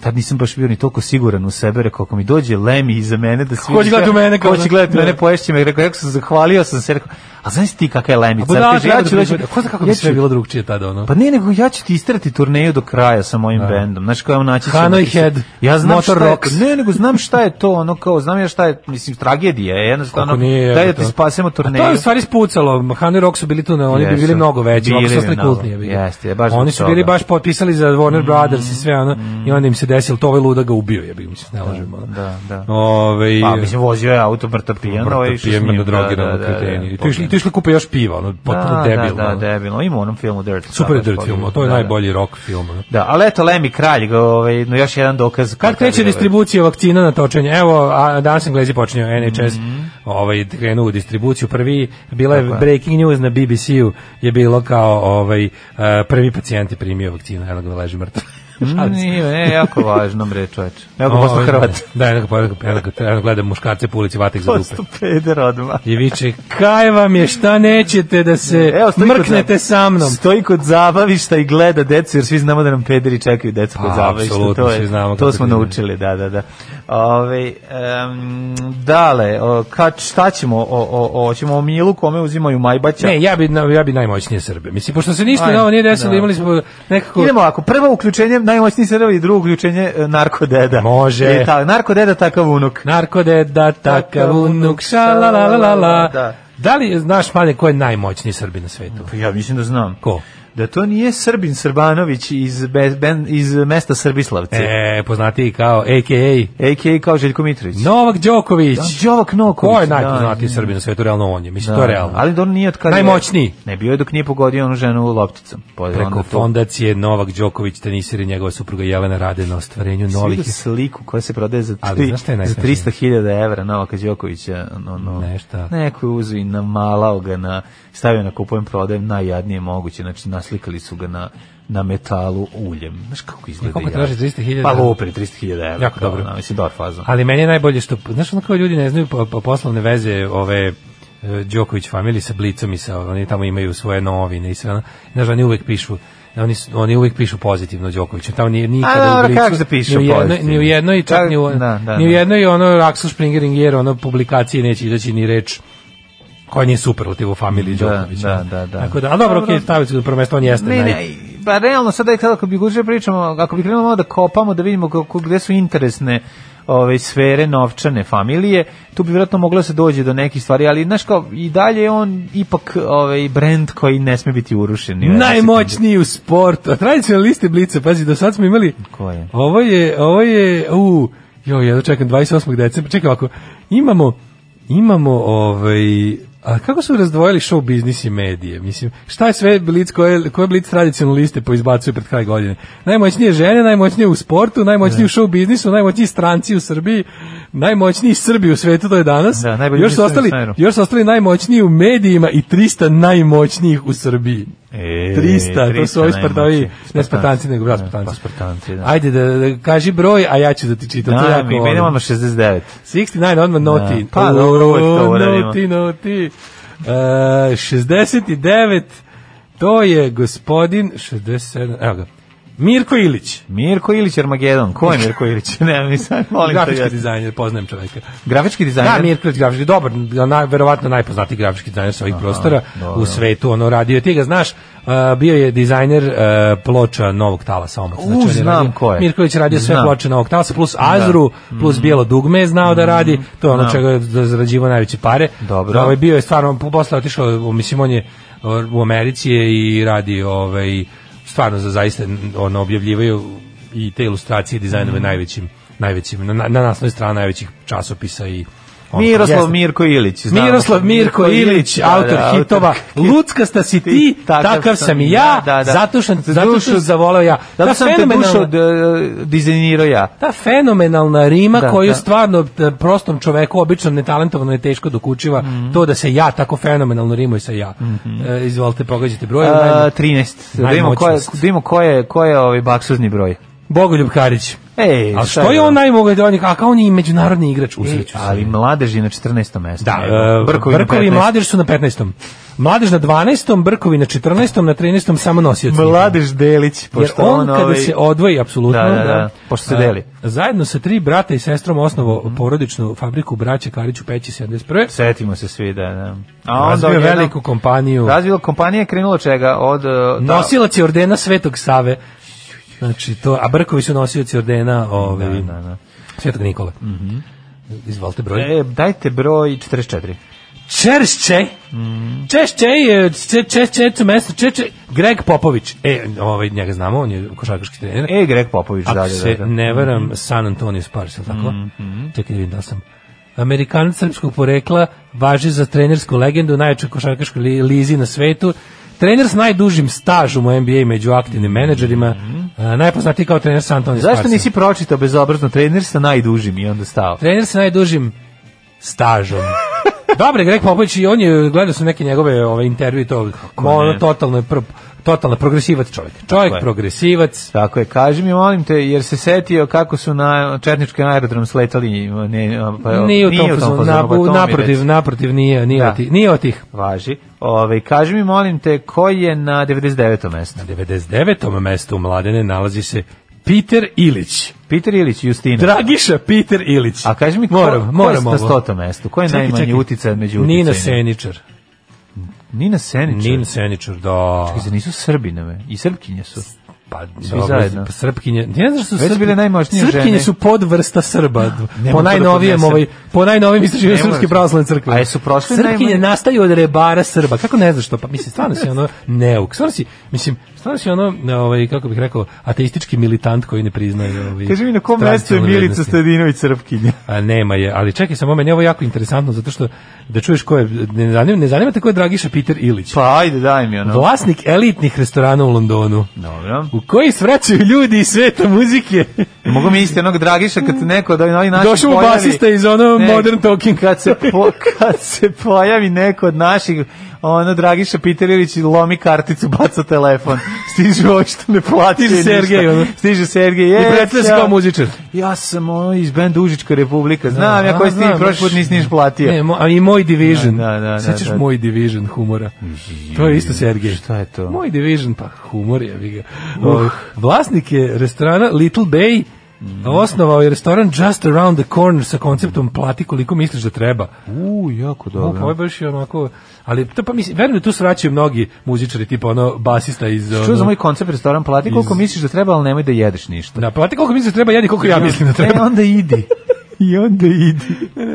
Speaker 5: tad nisam baš bio ni toliko siguran u sebe, rekao, ako mi dođe Lemi iza mene da svi...
Speaker 6: Ko će gledati u mene kao
Speaker 5: Ko će
Speaker 6: da-
Speaker 5: gledati u mene,
Speaker 6: da.
Speaker 5: poješće me, rekao, jako sam zahvalio sam se, rekao, a znaš ti kakva je Lemi?
Speaker 6: A
Speaker 5: car?
Speaker 6: budala
Speaker 5: Kaže, ja
Speaker 6: treba
Speaker 5: ću
Speaker 6: da
Speaker 5: doći...
Speaker 6: pripada. Ko zna kako bi sve bilo drugčije tada, ono?
Speaker 5: Pa ne, nego ja ću ti istrati turneju do kraja sa mojim bendom. Znaš kao naći ćemo
Speaker 6: Hanoi
Speaker 5: ti se-
Speaker 6: Head,
Speaker 5: Ja znam
Speaker 6: Motor
Speaker 5: šta je,
Speaker 6: Rocks.
Speaker 5: ne, nego znam šta je to, ono kao, znam ja šta je, mislim, tragedija je, jednostavno, ono,
Speaker 6: Kako nije,
Speaker 5: daj da
Speaker 6: evo
Speaker 5: ti
Speaker 6: to.
Speaker 5: spasemo
Speaker 6: A
Speaker 5: turneju.
Speaker 6: to je u stvari spucalo. Hanoi Rock su bili tu, na, oni bi
Speaker 5: Pa Jesu.
Speaker 6: bili mnogo veći,
Speaker 5: Bili
Speaker 6: oni su
Speaker 5: bi
Speaker 6: ostali
Speaker 5: mnogo.
Speaker 6: kultni. jebi ga.
Speaker 5: Jeste, baš zbog
Speaker 6: oni su bili
Speaker 5: toga. Mm,
Speaker 6: baš potpisali za Warner Brothers i sve ono, i onda im se desilo, to ovaj luda ga ubio, jebi ga, mislim, ne lažemo. ono.
Speaker 5: da, da.
Speaker 6: Ovaj,
Speaker 5: Pa, mislim, vozio je auto mrtav pijan, ovaj išao s njim,
Speaker 6: pijemno
Speaker 5: da,
Speaker 6: drogirano
Speaker 5: da, da, da,
Speaker 6: kreteni. I tu
Speaker 5: pogledaj.
Speaker 6: išli, tu išli kupe još piva, ono, potpuno
Speaker 5: da,
Speaker 6: debilno.
Speaker 5: Da, da,
Speaker 6: ono.
Speaker 5: debilno. Ima u onom filmu Dirt.
Speaker 6: Super
Speaker 5: da,
Speaker 6: je dirt
Speaker 5: baš
Speaker 6: film, ono,
Speaker 5: pogledaj.
Speaker 6: to je
Speaker 5: Da, da.
Speaker 6: najbolji rock film. ono.
Speaker 5: Da, ali eto, Lemi Kralj, ga, ovaj, no, još jedan dokaz. ovaj-
Speaker 6: Kad kreće distribucija vakcina na točenje? Evo, a, danas Englezi počinju NHS,
Speaker 5: Mhm.
Speaker 6: ovaj, krenu u distribuciju. Prvi, bila je breaking news na BBC-u, je bilo kao ovaj, e, prvi pacijent je primio vakcinu, evo ga leži mrtav. Šalim se.
Speaker 5: Mm, Nije, ne, jako važno, bre, čoveče. Evo ga
Speaker 6: Ovaj,
Speaker 5: posle Hrvat.
Speaker 6: Da, jednako, pa, jednako, jednako, jednako gleda muškarce po ulici, vatek za dupe.
Speaker 5: Posto peder odmah.
Speaker 6: I viče, kaj vam je, šta nećete da se
Speaker 5: stoji kod
Speaker 6: mrknete
Speaker 5: zab-
Speaker 6: sa mnom?
Speaker 5: Stoji kod zabavišta i gleda decu, jer svi znamo da nam pederi čekaju decu kod
Speaker 6: Pa,
Speaker 5: zabavišta.
Speaker 6: apsolutno,
Speaker 5: To, je,
Speaker 6: svi znamo
Speaker 5: to
Speaker 6: kako
Speaker 5: smo
Speaker 6: ti ide.
Speaker 5: naučili, da, da, da. Ove, em, dale, o, kad, šta ćemo? O, o, o, ćemo o Milu kome uzimaju Majbaća?
Speaker 6: Ne, ja bi, na- ja bi najmoćnije Srbe. Mislim, pošto se ništa
Speaker 5: Aj,
Speaker 6: novo nije desilo,
Speaker 5: da.
Speaker 6: imali smo nekako...
Speaker 5: Idemo ovako, prvo uključenje najmoćniji srba i drugo uključenje e, narkodeda.
Speaker 6: Može.
Speaker 5: I ta, narkodeda takav unuk.
Speaker 6: Narkodeda, takav unuk, šalalalala.
Speaker 5: Da.
Speaker 6: Da. da li znaš, Mane, ko je najmoćniji Srbi na svetu?
Speaker 5: Pa Ja mislim da znam.
Speaker 6: Ko?
Speaker 5: Da to nije Srbin Srbanović iz, be, ben, iz mesta Srbislavci.
Speaker 6: E, poznatiji kao AKA
Speaker 5: A.k.a. kao Željko Mitrović.
Speaker 6: Novak Đoković.
Speaker 5: Da, Đovak Noković.
Speaker 6: Ko je
Speaker 5: da,
Speaker 6: najpoznatiji Srbin na svetu? Realno on je. Mislim, to je realno.
Speaker 5: Ali da on nije od kada...
Speaker 6: Najmoćniji.
Speaker 5: Ne, bio je dok nije pogodio onu ženu lopticom. Pa je onda
Speaker 6: Preko
Speaker 5: to-
Speaker 6: fondacije Novak Đoković, teniser i njegova supruga Jelena rade na ostvarenju
Speaker 5: Svi
Speaker 6: novih...
Speaker 5: vidio sliku koja se prodaje za,
Speaker 6: Ali
Speaker 5: tri,
Speaker 6: znaš šta je
Speaker 5: za
Speaker 6: najsmešnije?
Speaker 5: 300.000 evra Novaka Đokovića. No, no.
Speaker 6: Nešta.
Speaker 5: Neko je uzeo i namalao ga na... Stavio na kupujem prodajem najjadnije moguće. Znači, naslikali su ga na na metalu uljem. Znaš kako izgleda?
Speaker 6: koliko
Speaker 5: jadno?
Speaker 6: traži 300.000?
Speaker 5: Pa lupri 300.000 evra.
Speaker 6: Jako
Speaker 5: kao,
Speaker 6: dobro.
Speaker 5: na, mislim, dobar fazon.
Speaker 6: Ali meni je najbolje što, znaš ono kao ljudi ne znaju po, po poslovne veze ove e, Đoković familije sa Blicom i sa, oni tamo imaju svoje novine i sve ono, znaš, oni uvek pišu Oni, su- oni uvek pišu pozitivno o Đokoviću. Tamo nije nikada
Speaker 5: A,
Speaker 6: u
Speaker 5: dobro,
Speaker 6: Blicu,
Speaker 5: kako da pišu
Speaker 6: ni u jednoj,
Speaker 5: pozitivno?
Speaker 6: ni u jednoj, čak
Speaker 5: Da,
Speaker 6: ni u,
Speaker 5: da, da,
Speaker 6: ni u
Speaker 5: da.
Speaker 6: jednoj ono Axel Springer jer ono publikacije neće izaći ni reč koja nije superlativ u familiji
Speaker 5: Da,
Speaker 6: Đoković.
Speaker 5: da, da, da.
Speaker 6: Tako da, a dobro, okej, stavit ću prvenstvo, on jeste
Speaker 5: Ne,
Speaker 6: naj-
Speaker 5: ne, pa realno sada je kako bi guže pričamo, ako bi krenulo malo da kopamo da vidimo kako gde su interesne ove sfere novčane familije, tu bi vjerojatno moglo da se dođe do nekih stvari, ali znaš kao i dalje je on ipak ovaj brend koji ne sme biti urušen. ni u jednoj
Speaker 6: Najmoćniji u sportu. A Tradicionalisti blice, pazi, do sad smo imali...
Speaker 5: sekundi. Ko je?
Speaker 6: Ovo je, ovo je, u, jo, ja čekam 28. decembra, čekaj ovako, imamo, imamo, ovaj, a kako su razdvojili show biznis i medije? Mislim, šta je sve Blitz, koje, koje Blitz tradicionaliste poizbacuje pred kraj godine? Najmoćnije žene, najmoćnije u sportu, najmoćnije u show biznisu, najmoćniji stranci u Srbiji, najmoćniji Srbi u svetu, to je danas.
Speaker 5: Da, najbolji
Speaker 6: još, su
Speaker 5: Mr.
Speaker 6: ostali,
Speaker 5: Sneru.
Speaker 6: još su ostali najmoćniji u medijima i 300 najmoćnijih u Srbiji.
Speaker 5: E,
Speaker 6: 300, to su ovi Spartovi, ne Spartanci, nego brat
Speaker 5: Spartanci.
Speaker 6: Spartanci.
Speaker 5: Da, Spartanci, da.
Speaker 6: Ajde, da, da kaži broj, a ja ću da ti čitam. to
Speaker 5: Da,
Speaker 6: jako ono-
Speaker 5: mi
Speaker 6: volim.
Speaker 5: menemo 69.
Speaker 6: 69, odmah noti.
Speaker 5: Da, pa dobro, uvek to uradimo.
Speaker 6: Noti, noti. Uh, 69, to je gospodin 67, evo ga. Mirko Ilić,
Speaker 5: Mirko Ilić Armagedon. Ko je Mirko Ilić? ne, mi sad molim te.
Speaker 6: grafički
Speaker 5: jeste.
Speaker 6: dizajner, poznajem čoveka.
Speaker 5: Grafički dizajner.
Speaker 6: Da, Mirko Ilić, grafički, dobar, na, verovatno najpoznatiji grafički dizajner sa ovih prostora
Speaker 5: dobro.
Speaker 6: u svetu, ono radio, ti ga znaš, uh, bio je dizajner uh, ploča Novog Talasa, ono, omot.
Speaker 5: U, znam ko je.
Speaker 6: Mirković radio sve
Speaker 5: Znam.
Speaker 6: ploče Novog Talasa, plus Azru, plus Bijelo dugme je znao da
Speaker 5: Mhm.
Speaker 6: radi, to je ono
Speaker 5: Znam.
Speaker 6: čega je zarađivao najveće pare.
Speaker 5: Dobro.
Speaker 6: Ovaj, bio je stvarno, po- posle je otišao, mislim, on je o, u Americi je i radi, ovaj, stvarno za zaista, ono, objavljivaju i te ilustracije i dizajnove najvećim, najvećim, na, na nasnoj strana najvećih časopisa i ono,
Speaker 5: Miroslav
Speaker 6: jeste.
Speaker 5: Mirko Ilić. znamo.
Speaker 6: Miroslav Mirko Ilić,
Speaker 5: da,
Speaker 6: autor
Speaker 5: da,
Speaker 6: hitova Lucka sta si ti, takav, sam i ja,
Speaker 5: da, da.
Speaker 6: zato što
Speaker 5: Za
Speaker 6: zato
Speaker 5: dušu-
Speaker 6: što sam zavoleo ja.
Speaker 5: Zato
Speaker 6: Ta
Speaker 5: sam te
Speaker 6: fenomenalna-
Speaker 5: dušo e, dizajnirao ja.
Speaker 6: ta fenomenalna rima
Speaker 5: Da,
Speaker 6: koju
Speaker 5: da.
Speaker 6: stvarno e, prostom čoveku, obično netalentovanom je teško dokučiva,
Speaker 5: Mhm.
Speaker 6: to da se ja tako fenomenalno rimuj sa ja. E, izvolite, pogađajte broj.
Speaker 5: A,
Speaker 6: najmo-
Speaker 5: 13. Da vidimo ko je,
Speaker 6: Najmoćnost.
Speaker 5: da vidimo ko je, ko je ovaj baksuzni broj.
Speaker 6: Bogoljub Karić.
Speaker 5: Ej,
Speaker 6: A
Speaker 5: E, šta
Speaker 6: što
Speaker 5: je
Speaker 6: je on
Speaker 5: ovo?
Speaker 6: najmogodonjih, a kao on je i međunarodni igrač,
Speaker 5: Ej,
Speaker 6: usreću se.
Speaker 5: ali mladež je na 14. mesto.
Speaker 6: Da,
Speaker 5: Evo,
Speaker 6: e,
Speaker 5: na
Speaker 6: Brkovi, i
Speaker 5: 15..
Speaker 6: Mladež su na 15. Mladež na 12. Brkovi na 14. na 13. samo nosioci.
Speaker 5: Mladež Delić,
Speaker 6: Jer
Speaker 5: pošto
Speaker 6: on, kada
Speaker 5: ovaj-
Speaker 6: se odvoji, apsolutno,
Speaker 5: Da, da, da, pošto se
Speaker 6: a,
Speaker 5: deli. Mhm.
Speaker 6: zajedno sa tri brata i sestrom osnovo porodičnu fabriku braće Karić u Peći 71.
Speaker 5: Setimo se svi, da, da. A
Speaker 6: Razvio
Speaker 5: odjednom-
Speaker 6: veliku kompaniju.
Speaker 5: Razvio kompanija je krenula od čega? Od e, da,
Speaker 6: Nosilac je ordena Svetog Save. Znači to, a Brkovi su nosioci ordena ovaj,
Speaker 5: Da, da, da.
Speaker 6: Svetog Nikole. Izvolite broj.
Speaker 5: E, dajte broj 44.
Speaker 6: Češće,
Speaker 5: mhm.
Speaker 6: Češće je če- če- četvrto mesto, Češće, Greg Popović. E, ovaj, njega znamo, on je košarkaški trener.
Speaker 5: E, Greg Popović, da, da,
Speaker 6: Ako
Speaker 5: da.
Speaker 6: se
Speaker 5: da.
Speaker 6: ne varam,
Speaker 5: Mhm.
Speaker 6: San Antonio Spurs, je li tako? Čekaj da vidim da li sam. Amerikanac srpskog porekla važi za trenersku legendu, najjačoj košarkaškoj li- lizi na svetu. Trener s najdužim stažom u NBA među aktivnim menadžerima, a, najpoznatiji kao trener San Antonio
Speaker 5: Mhm. Zašto
Speaker 6: Sparsa.
Speaker 5: nisi pročitao bezobrazno trener sa najdužim i onda stao?
Speaker 6: Trener sa najdužim stažom. Dobre, Greg Popović, i on je, gledao sam neke njegove ove, intervjue, i to, ono,
Speaker 5: ne?
Speaker 6: totalno, je pro- totalno progresivac čovjek. Čovjek
Speaker 5: je.
Speaker 6: progresivac,
Speaker 5: Tako je, kaži mi, molim te, jer se setio kako su na četnički aerodrom sletali. Ne, pa,
Speaker 6: nije u tom fazonu,
Speaker 5: fazonu,
Speaker 6: na-
Speaker 5: pa to mi
Speaker 6: naprotiv,
Speaker 5: reci.
Speaker 6: naprotiv, nije, nije,
Speaker 5: Da.
Speaker 6: od tih, nije od tih.
Speaker 5: Važi. Ove, kaži mi, molim te, ko je na 99. mesto?
Speaker 6: Na 99. mestu u Mladene nalazi se Peter Ilić.
Speaker 5: Peter Ilić, Justina.
Speaker 6: Dragiša Peter Ilić.
Speaker 5: A kaži mi, ko,
Speaker 6: moram,
Speaker 5: ko
Speaker 6: moram
Speaker 5: je
Speaker 6: ovo.
Speaker 5: na 100. mestu? Ko je
Speaker 6: Čekaj,
Speaker 5: najmanji
Speaker 6: čekaj.
Speaker 5: uticaj među uticajima?
Speaker 6: Nina Seničar.
Speaker 5: Nina Senić.
Speaker 6: Nina Seničar, da.
Speaker 5: Čekaj, zar nisu Srbinove? I Srpkinje su.
Speaker 6: Pa, svi
Speaker 5: zajedno.
Speaker 6: Srpkinje, ne znaš što su
Speaker 5: Već su
Speaker 6: Srbi-
Speaker 5: bile najmoćnije
Speaker 6: Srpkinje
Speaker 5: žene.
Speaker 6: su podvrsta Srba.
Speaker 5: mogu to
Speaker 6: po
Speaker 5: da
Speaker 6: najnovijem,
Speaker 5: podnesem.
Speaker 6: ovaj, po najnovijem istraživanju
Speaker 5: Ne mogu
Speaker 6: Srpske
Speaker 5: da-
Speaker 6: pravoslavne crkve.
Speaker 5: A jesu prošle
Speaker 6: Srpkinje
Speaker 5: najmanje-
Speaker 6: nastaju od rebara Srba. Kako ne znaš to? Pa mislim, stvarno si ono neuk. Stvarno si, mislim, stvarno si ono, ne, ovaj, kako bih rekao, ateistički militant koji ne priznaje. Ovaj,
Speaker 5: Kaži mi, na kom mestu je
Speaker 6: tradicionalne
Speaker 5: Milica
Speaker 6: vrednosti.
Speaker 5: Stadinović Srpkinja?
Speaker 6: A nema je, ali čekaj samo, meni je ovo jako interesantno, zato što da čuješ ko je, ne zanima, ne zanima te ko je Dragiša Peter Ilić.
Speaker 5: Pa, ajde, daj mi ono.
Speaker 6: Vlasnik elitnih restorana u Londonu.
Speaker 5: Dobro.
Speaker 6: U koji svraćaju ljudi iz sveta muzike.
Speaker 5: Mogu mi isti onog Dragiša kad se neko da ovaj naši
Speaker 6: Mm. Došao mu basista iz ono Modern Talking.
Speaker 5: Kad se, po, kad se pojavi neko od naših, ono Dragiša Piterilić lomi karticu, baca telefon. Stiže ovo što ne plati.
Speaker 6: Stiže Sergej, ono.
Speaker 5: Stiže Sergej.
Speaker 6: I
Speaker 5: "E,
Speaker 6: predstavlja se
Speaker 5: ja-
Speaker 6: kao muzičar.
Speaker 5: Ja sam ono iz benda Užička republika. Znam
Speaker 6: A,
Speaker 5: ja koji ste
Speaker 6: znam,
Speaker 5: prošli put
Speaker 6: baš-
Speaker 5: nisi niš platio.
Speaker 6: Ne, mo, a i moj division.
Speaker 5: Da, da, da,
Speaker 6: Sećaš
Speaker 5: da.
Speaker 6: moj division humora. To je isto Sergej.
Speaker 5: Šta je to? Uh.
Speaker 6: Moj division, pa humor je. vi ga. Ovaj, Vlasnik je restorana Little Bay Osnovao je restoran Just Around the Corner sa konceptom plati koliko misliš da treba.
Speaker 5: U, jako
Speaker 6: Dobro. Ovo
Speaker 5: dobro.
Speaker 6: je baš i onako, ali to pa mislim, verujem da tu svraćaju mnogi muzičari, tipa ono basista iz...
Speaker 5: Čuo ovaj
Speaker 6: ono,
Speaker 5: za moj koncept restoran, plati koliko misliš da treba, ali nemoj da jedeš ništa.
Speaker 6: Da, plati koliko misliš da treba, jedi koliko ja mislim da
Speaker 5: E,
Speaker 6: treba.
Speaker 5: onda idi. I onda idi.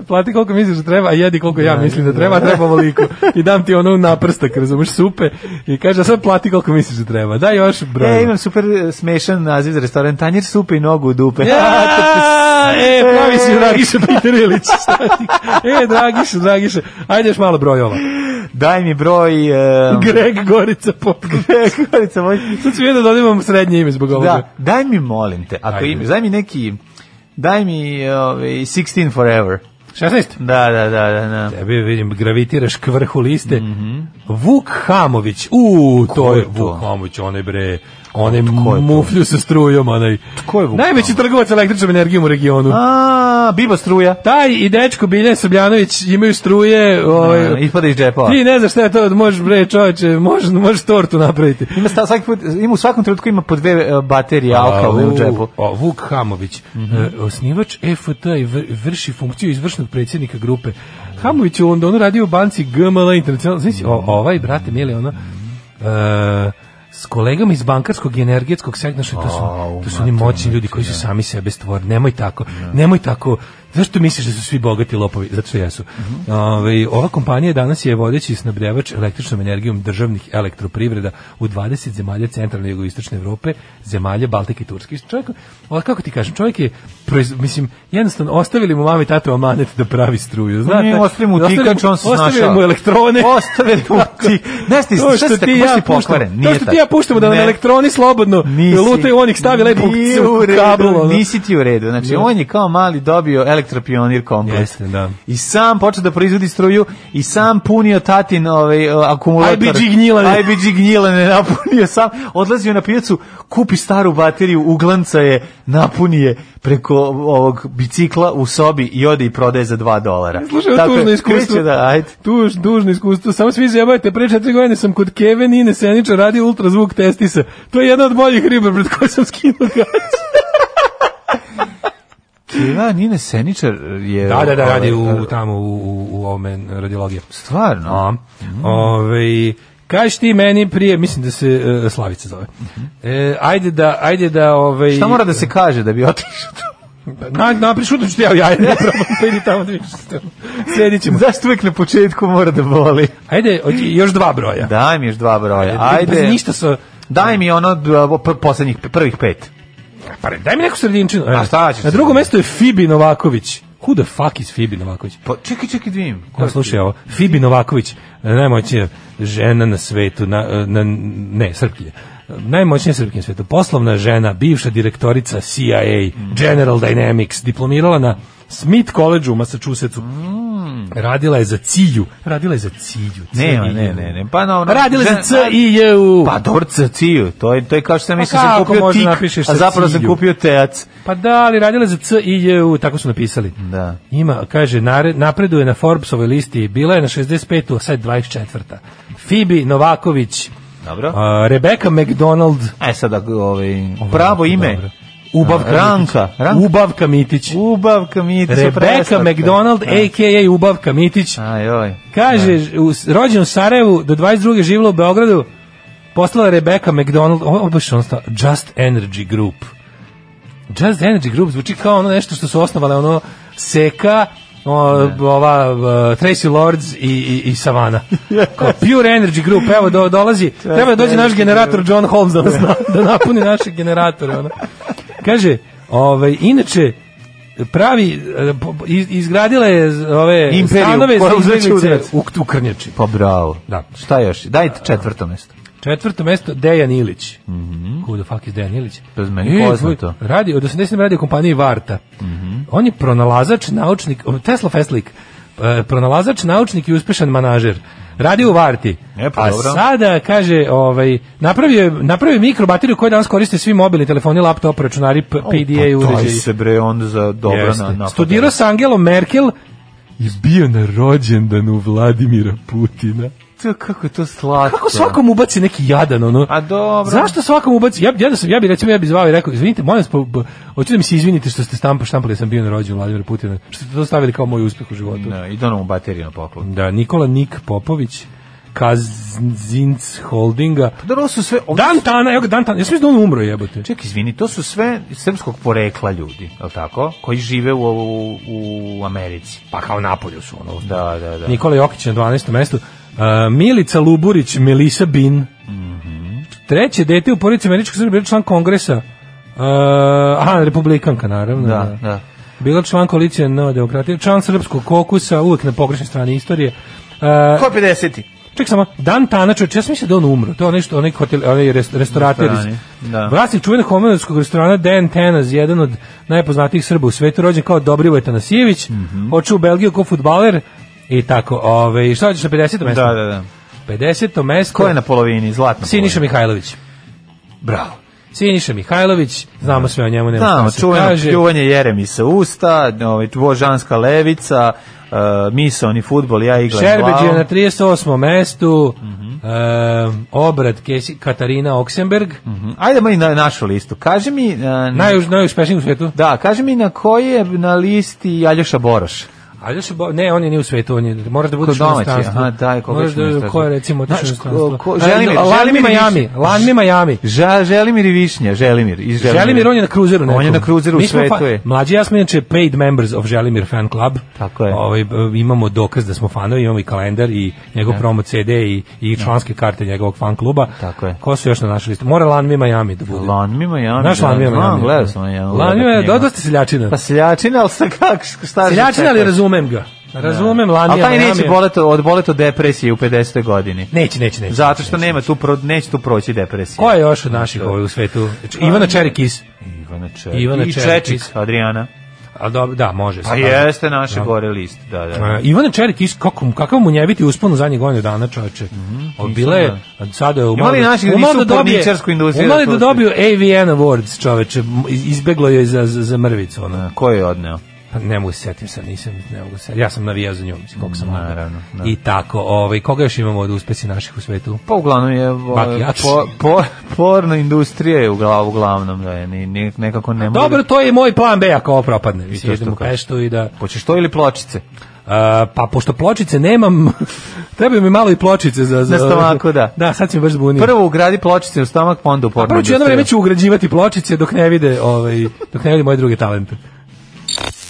Speaker 6: Plati koliko misliš da treba, a jedi koliko ja mislim da treba, a treba ovoliko. I dam ti ono naprstak, razumeš, supe. I kaže, a sad plati koliko misliš da treba. Daj još broj.
Speaker 5: E, imam super e, smešan naziv za restoran, tanjir supe i nogu u dupe.
Speaker 6: Ja, e, pravi si Dragiša Peter Ilić. šta ti? E, Dragiša, Dragiša. Ajde još malo brojova.
Speaker 5: Daj mi broj... e,
Speaker 6: Greg Gorica Popović.
Speaker 5: Gorica, moj-
Speaker 6: Sad ću jedan da imam srednje ime zbog ovoga.
Speaker 5: Da, daj mi molim te, ako
Speaker 6: Ajde.
Speaker 5: imaš, daj mi neki, daj mi ovaj, 16 forever.
Speaker 6: 16.
Speaker 5: Da, da, da, da, da.
Speaker 6: Tebi vidim, gravitiraš k vrhu liste. Vuk Hamović. U, to
Speaker 5: Mhm. je
Speaker 6: je
Speaker 5: to?
Speaker 6: Vuk Hamović, onaj bre, onaj
Speaker 5: Tko je to?
Speaker 6: muflju sa strujom, onaj.
Speaker 5: Tko je Vuk
Speaker 6: Najveći trgovac električnom energijom u regionu.
Speaker 5: A, biba struja.
Speaker 6: Taj i dečko Biljan Srbljanović imaju struje,
Speaker 5: A,
Speaker 6: ovaj,
Speaker 5: Ispada iz džepa.
Speaker 6: Ti ne znaš šta je to, možeš bre čoveče, možeš, možeš tortu napraviti.
Speaker 5: Ima, sta, svaki put, ima u svakom trenutku ima po dve e, baterije alka ovde u džepu. Mhm.
Speaker 6: O, Vuk Hamović, e, osnivač EFT i vr- vrši funkciju izvršnog predsjednika grupe. Hamović u Londonu radio u banci GML International. Znači, o, ovaj, brate, mili, ono... e, s kolegama iz bankarskog i energetskog sektora, što to su, to su oni moćni ljudi koji su sami sebe stvorili. Nemoj tako, nemoj tako. Zašto misliš da su svi bogati lopovi? Zato što jesu. Ovaj, ova kompanija danas je vodeći snabdevač električnom energijom državnih elektroprivreda u 20 zemalja centralne i jugoistočne Evrope, zemalja Baltike i Turske. Čovjek, o, kako ti kažem, čovjek je, proiz- mislim, jednostavno ostavili mu mami i tatu amanet da pravi struju. Znate,
Speaker 5: Nije, ostavili mu tikač, on se snašao.
Speaker 6: Ostavili mu elektrone.
Speaker 5: Ostavili mu tik. Ne, sti,
Speaker 6: To
Speaker 5: šta
Speaker 6: što
Speaker 5: ste,
Speaker 6: ti
Speaker 5: kako
Speaker 6: ja
Speaker 5: si
Speaker 6: puštamo,
Speaker 5: pokvaren?
Speaker 6: to
Speaker 5: Nije
Speaker 6: što ti
Speaker 5: tako.
Speaker 6: ja puštamo da nam
Speaker 5: Ne.
Speaker 6: elektroni slobodno lutaju onih stavi lepo
Speaker 5: Nije
Speaker 6: u
Speaker 5: u redu,
Speaker 6: kabel. ono.
Speaker 5: Nisi ti u redu. Znači,
Speaker 6: Ne.
Speaker 5: on je kao mali dobio elektropionir kompleks.
Speaker 6: Jeste, da.
Speaker 5: I sam počeo da proizvodi struju i sam punio tatin ovaj, e, akumulator.
Speaker 6: IBG gnjilane.
Speaker 5: IBG gnjilane napunio sam. Odlazio na pijacu, kupi staru bateriju, uglanca je, napuni je preko ovog bicikla u sobi i ode i prodaje za 2 dolara.
Speaker 6: Slušaj, ovo
Speaker 5: je,
Speaker 6: tužno iskustvo.
Speaker 5: kreće Da, ajde.
Speaker 6: Tuž, dužno iskustvo. Samo svi zjebajte, pre četiri godine sam kod Kevin Ine Senića radio ultrazvuk testisa. To je jedna od boljih riba pred kojoj sam skinuo gaz.
Speaker 5: Keva Nine Seničar je...
Speaker 6: Da, da, da, radi
Speaker 5: ovaj,
Speaker 6: u, tamo u, u, u ovome radiologije.
Speaker 5: Stvarno?
Speaker 6: A, ovaj, kaži ti meni prije, mislim da se e, Slavica zove. E, ajde da, ajde da, ovaj...
Speaker 5: Šta mora da se kaže da bi otišao?
Speaker 6: Na, napriš, šutam ću ti ja u jaje, ne probam, pa idi tamo da vidiš. šta je. Sjedit ćemo.
Speaker 5: Zašto uvijek na početku mora da boli?
Speaker 6: Ajde, hoće još dva broja.
Speaker 5: Daj mi još dva broja.
Speaker 6: Bez
Speaker 5: Ajde.
Speaker 6: ništa sa...
Speaker 5: Daj mi ono d- ovo p- poslednjih prvih pet.
Speaker 6: Pa re, daj mi neku sredinčinu. Evo.
Speaker 5: A šta ćeš?
Speaker 6: E, Na drugom mestu je Fibi Novaković. Who the fuck is Fibi Novaković?
Speaker 5: Pa čekaj, čekaj, dvim.
Speaker 6: Ko slušaj ovo? Fibi Novaković, najmoćnija žena na svetu, na, na, ne, srpkinja. Najmoćnija srpkinja na svetu. Poslovna žena, bivša direktorica CIA,
Speaker 5: Mm.
Speaker 6: General Dynamics, diplomirala na Smith College u Massachusettsu. Radila je za Cilju. Radila je za Cilju.
Speaker 5: Mm. Ne, ma,
Speaker 6: CIU.
Speaker 5: ne, ne, ne. Pa no, no,
Speaker 6: Radila je za
Speaker 5: žena-
Speaker 6: CIU.
Speaker 5: Pa dobro, ciju. To je, to je kao što sam
Speaker 6: Pa
Speaker 5: mislio da sam
Speaker 6: kako
Speaker 5: kupio
Speaker 6: može
Speaker 5: tik,
Speaker 6: napišeš
Speaker 5: a zapravo sam
Speaker 6: ciju?
Speaker 5: kupio teac.
Speaker 6: Pa da, ali radila je za CIU, tako su napisali.
Speaker 5: Da.
Speaker 6: Ima, kaže, nare- napreduje na Forbesovoj listi, bila je na 65. a sad 24. Fibi Novaković,
Speaker 5: Dobro.
Speaker 6: a, Rebecca McDonald,
Speaker 5: E sad, ako, ovaj, pravo ime.
Speaker 6: dobro. Ubavka
Speaker 5: Ranka.
Speaker 6: Mitić.
Speaker 5: Ranka.
Speaker 6: Ubavka Mitić.
Speaker 5: Ubavka mi ti
Speaker 6: Rebecca McDonald, a.k.a. Ubavka Mitić.
Speaker 5: Aj, oj.
Speaker 6: Kaže, u, rođen u Sarajevu, do 22. živjela u Beogradu, poslala je Rebecca McDonald, ovo je baš ono sta- Just Energy Group. Just Energy Group zvuči kao ono nešto što su osnovale, ono Seka, o, ova o, Tracy Lords i, i, i Savana. Kao Pure Energy Group, evo do, dolazi, treba da dođe naš generator John Holmes da, nas na- da napuni naše generatore. Ono. Kaže, ovaj, inače, pravi, e, po- po- iz- izgradila je z- ove
Speaker 5: Imperiju,
Speaker 6: stanove za
Speaker 5: koja uzreći
Speaker 6: izbeglice
Speaker 5: udarac.
Speaker 6: u, u Krnjači.
Speaker 5: Pa bravo.
Speaker 6: Da.
Speaker 5: Šta još? Dajte četvrto mesto.
Speaker 6: Četvrto mesto Dejan Ilić. Mm Who the fuck is Dejan Ilić?
Speaker 5: Mhm. Pa meni
Speaker 6: E,
Speaker 5: poznato.
Speaker 6: tvoj- Radi, od 80 radi u kompaniji Varta.
Speaker 5: Mhm.
Speaker 6: On je pronalazač, naučnik, o, Tesla Feslik, e, pronalazač, naučnik i uspešan manažer. Radi u Varti.
Speaker 5: E, pa
Speaker 6: A
Speaker 5: dobro.
Speaker 6: sada, kaže, ovaj, napravio, je- napravio je mikrobateriju koju danas koriste svi mobilni telefoni, laptop, računari, p- PDA
Speaker 5: Pa daj
Speaker 6: uređaji.
Speaker 5: se bre onda za dobro
Speaker 6: Jeste.
Speaker 5: na, na
Speaker 6: Studirao sa Angelom Merkel i bio na rođendanu Vladimira Putina.
Speaker 5: to, kako je to slatko.
Speaker 6: Kako svakom ubaci neki jadan, ono?
Speaker 5: A dobro.
Speaker 6: Zašto svakom ubaci? Ja, bi- ja, da sam, ja bi recimo, ja bi zvao i rekao, izvinite, molim vas, po- po- hoću da mi se izvinite što ste stampa štampali, da sam bio na rođenju Vladimira Putina, što ste to stavili kao moj uspeh u životu.
Speaker 5: Ne, i donomu ono bateriju na poklon.
Speaker 6: Da, Nikola Nik Popović, Kazinc Holdinga,
Speaker 5: Pa dobro, ovo su sve... Ovdje,
Speaker 6: Dan Tana, evo ga Dan Tana, ja sam mislio da on umro jebote.
Speaker 5: Ček, izvini, to su sve srpskog porekla ljudi, je li tako? Koji žive u, u, u Americi.
Speaker 6: Pa kao napolju su ono.
Speaker 5: Da, da, da.
Speaker 6: Nikola Jokić na 12. mestu. A, Milica Luburić, Melisa Bin.
Speaker 5: Mhm.
Speaker 6: Treće dete u porodici američkog Srba bilo član kongresa. A, aha, republikanka, naravno.
Speaker 5: Da, da.
Speaker 6: Bila član koalicije Nova demokratija, član srpskog kokusa, uvek na pogrešnoj strani istorije. A,
Speaker 5: Ko je 50
Speaker 6: Ček samo, Dan Tana, čovječ, ja sam mislio da on umro. To je onaj, što, onaj, hotel, onaj rest, restorater iz...
Speaker 5: Restorani, da.
Speaker 6: Vlasnik čuvenog homenovskog restorana Dan Tanaz, jedan od najpoznatijih Srba u svetu, rođen kao Dobrivoje Tanasijević, mm
Speaker 5: Mhm.
Speaker 6: u Belgiju kao futbaler i tako. Ove, šta hoćeš na 50. mesto?
Speaker 5: Da, da, da.
Speaker 6: 50. mesto...
Speaker 5: Ko je na polovini? Zlatno.
Speaker 6: Siniša Mihajlović. Bravo. Siniša Mihajlović, znamo sve o njemu, nema
Speaker 5: Da,
Speaker 6: šta se
Speaker 5: čuveno
Speaker 6: kaže.
Speaker 5: pljuvanje Jeremisa usta, ovaj, božanska levica, uh, misoni futbol, ja igram
Speaker 6: Šerbeđ je na 38. mestu,
Speaker 5: Mhm.
Speaker 6: e, obrad Kesi, Katarina Oksenberg,
Speaker 5: Mhm. Ajde mi na našu listu. Kaži mi... Uh,
Speaker 6: najuž, najuspešniji u svijetu.
Speaker 5: Da, kaži mi na koji je na listi Aljoša Boroš.
Speaker 6: Aljoša Bo, ne, on je nije u svetu, on je, moraš da budeš u
Speaker 5: Kod domaći,
Speaker 6: inostranstvu.
Speaker 5: aha, da, i koga
Speaker 6: Moraš
Speaker 5: ću inostranstvu?
Speaker 6: ko je recimo otišao u
Speaker 5: Znaš, ko-
Speaker 6: inostranstvo.
Speaker 5: ko-
Speaker 6: A,
Speaker 5: Želimir,
Speaker 6: Lan mi
Speaker 5: Želimir više.
Speaker 6: Miami, Lan mi Miami.
Speaker 5: Ža, Želimir i Višnja, Želimir. Iz Želimira.
Speaker 6: Želimir, on je na kruzeru nekom.
Speaker 5: On je na kruzeru,
Speaker 6: Mi smo
Speaker 5: sve to
Speaker 6: fa-
Speaker 5: je.
Speaker 6: Mlađi i ja smo inače paid members of Želimir fan club.
Speaker 5: Tako je.
Speaker 6: Ovaj, b- imamo dokaz da smo fanovi, imamo i kalendar i njegov promo CD i, i članske karte njegovog fan kluba.
Speaker 5: Tako je.
Speaker 6: Ko su još na našoj listi? Mora Lan mi Miami da bude.
Speaker 5: Lan mi Miami.
Speaker 6: Znaš Lan mi
Speaker 5: da,
Speaker 6: Miami?
Speaker 5: znam, Gledao sam ja.
Speaker 6: Lan mi Miami, dosta seljačina.
Speaker 5: Pa seljačina, ali sa kak, šta se
Speaker 6: Seljačina, ali
Speaker 5: čeka?
Speaker 6: razumem ga. Razumem Lan mi
Speaker 5: A taj
Speaker 6: Miami.
Speaker 5: neće bolet od bolet od depresije u 50. godini.
Speaker 6: Neće, neće, neće.
Speaker 5: Zato što nema tu pro, neće tu proći depresija.
Speaker 6: Ko je još od naših ovaj u svetu? Znači,
Speaker 5: Pa-
Speaker 6: Ivana Čerikis.
Speaker 5: Ivana Čečić.
Speaker 6: Ivana
Speaker 5: I
Speaker 6: Čerkić.
Speaker 5: Čečić, Adriana.
Speaker 6: A dobro, da, može.
Speaker 5: Pa
Speaker 6: sad.
Speaker 5: jeste naše gore list, da, da.
Speaker 6: E, Ivana Čerikis, kako, mu- kakav mu njeviti uspon u zadnjih godinu dana, čoveče.
Speaker 5: Mhm,
Speaker 6: Mm, Bila je, sada je umalo,
Speaker 5: li naših
Speaker 6: umalo
Speaker 5: nisu porničarsku industriju
Speaker 6: umalo je
Speaker 5: da
Speaker 6: da
Speaker 5: tu
Speaker 6: dobiju AVN Awards, čoveče. M- iz- Izbeglo je za, za, za mrvicu, ono.
Speaker 5: A Ko je odneo?
Speaker 6: Pa ne mogu se setim sad, nisam, ne mogu se setim. Ja sam navijao za njom, mislim, koliko sam mlad.
Speaker 5: naravno, da.
Speaker 6: I tako, ovaj, koga još imamo od uspesi naših u svetu?
Speaker 5: Pa uglavnom je o,
Speaker 6: Bakijač.
Speaker 5: po, po, porno industrija je uglavnom, uglavnom da je ni- ni- nekako ne može.
Speaker 6: Dobro, to je i moj plan B ako ovo propadne. Mislim,
Speaker 5: to
Speaker 6: idem
Speaker 5: što
Speaker 6: u
Speaker 5: kažeš.
Speaker 6: Peštu i da...
Speaker 5: Hoćeš to ili pločice?
Speaker 6: A, pa pošto pločice nemam, trebaju mi malo i pločice za... za
Speaker 5: Na stomaku, da.
Speaker 6: Da, sad si me baš zbunio.
Speaker 5: Prvo ugradi pločice u stomak, pa onda u porno
Speaker 6: Prvo ću jedno
Speaker 5: industriju.
Speaker 6: vreme ću ugrađivati pločice dok ne vide, ovaj, dok ne vide moje druge talente.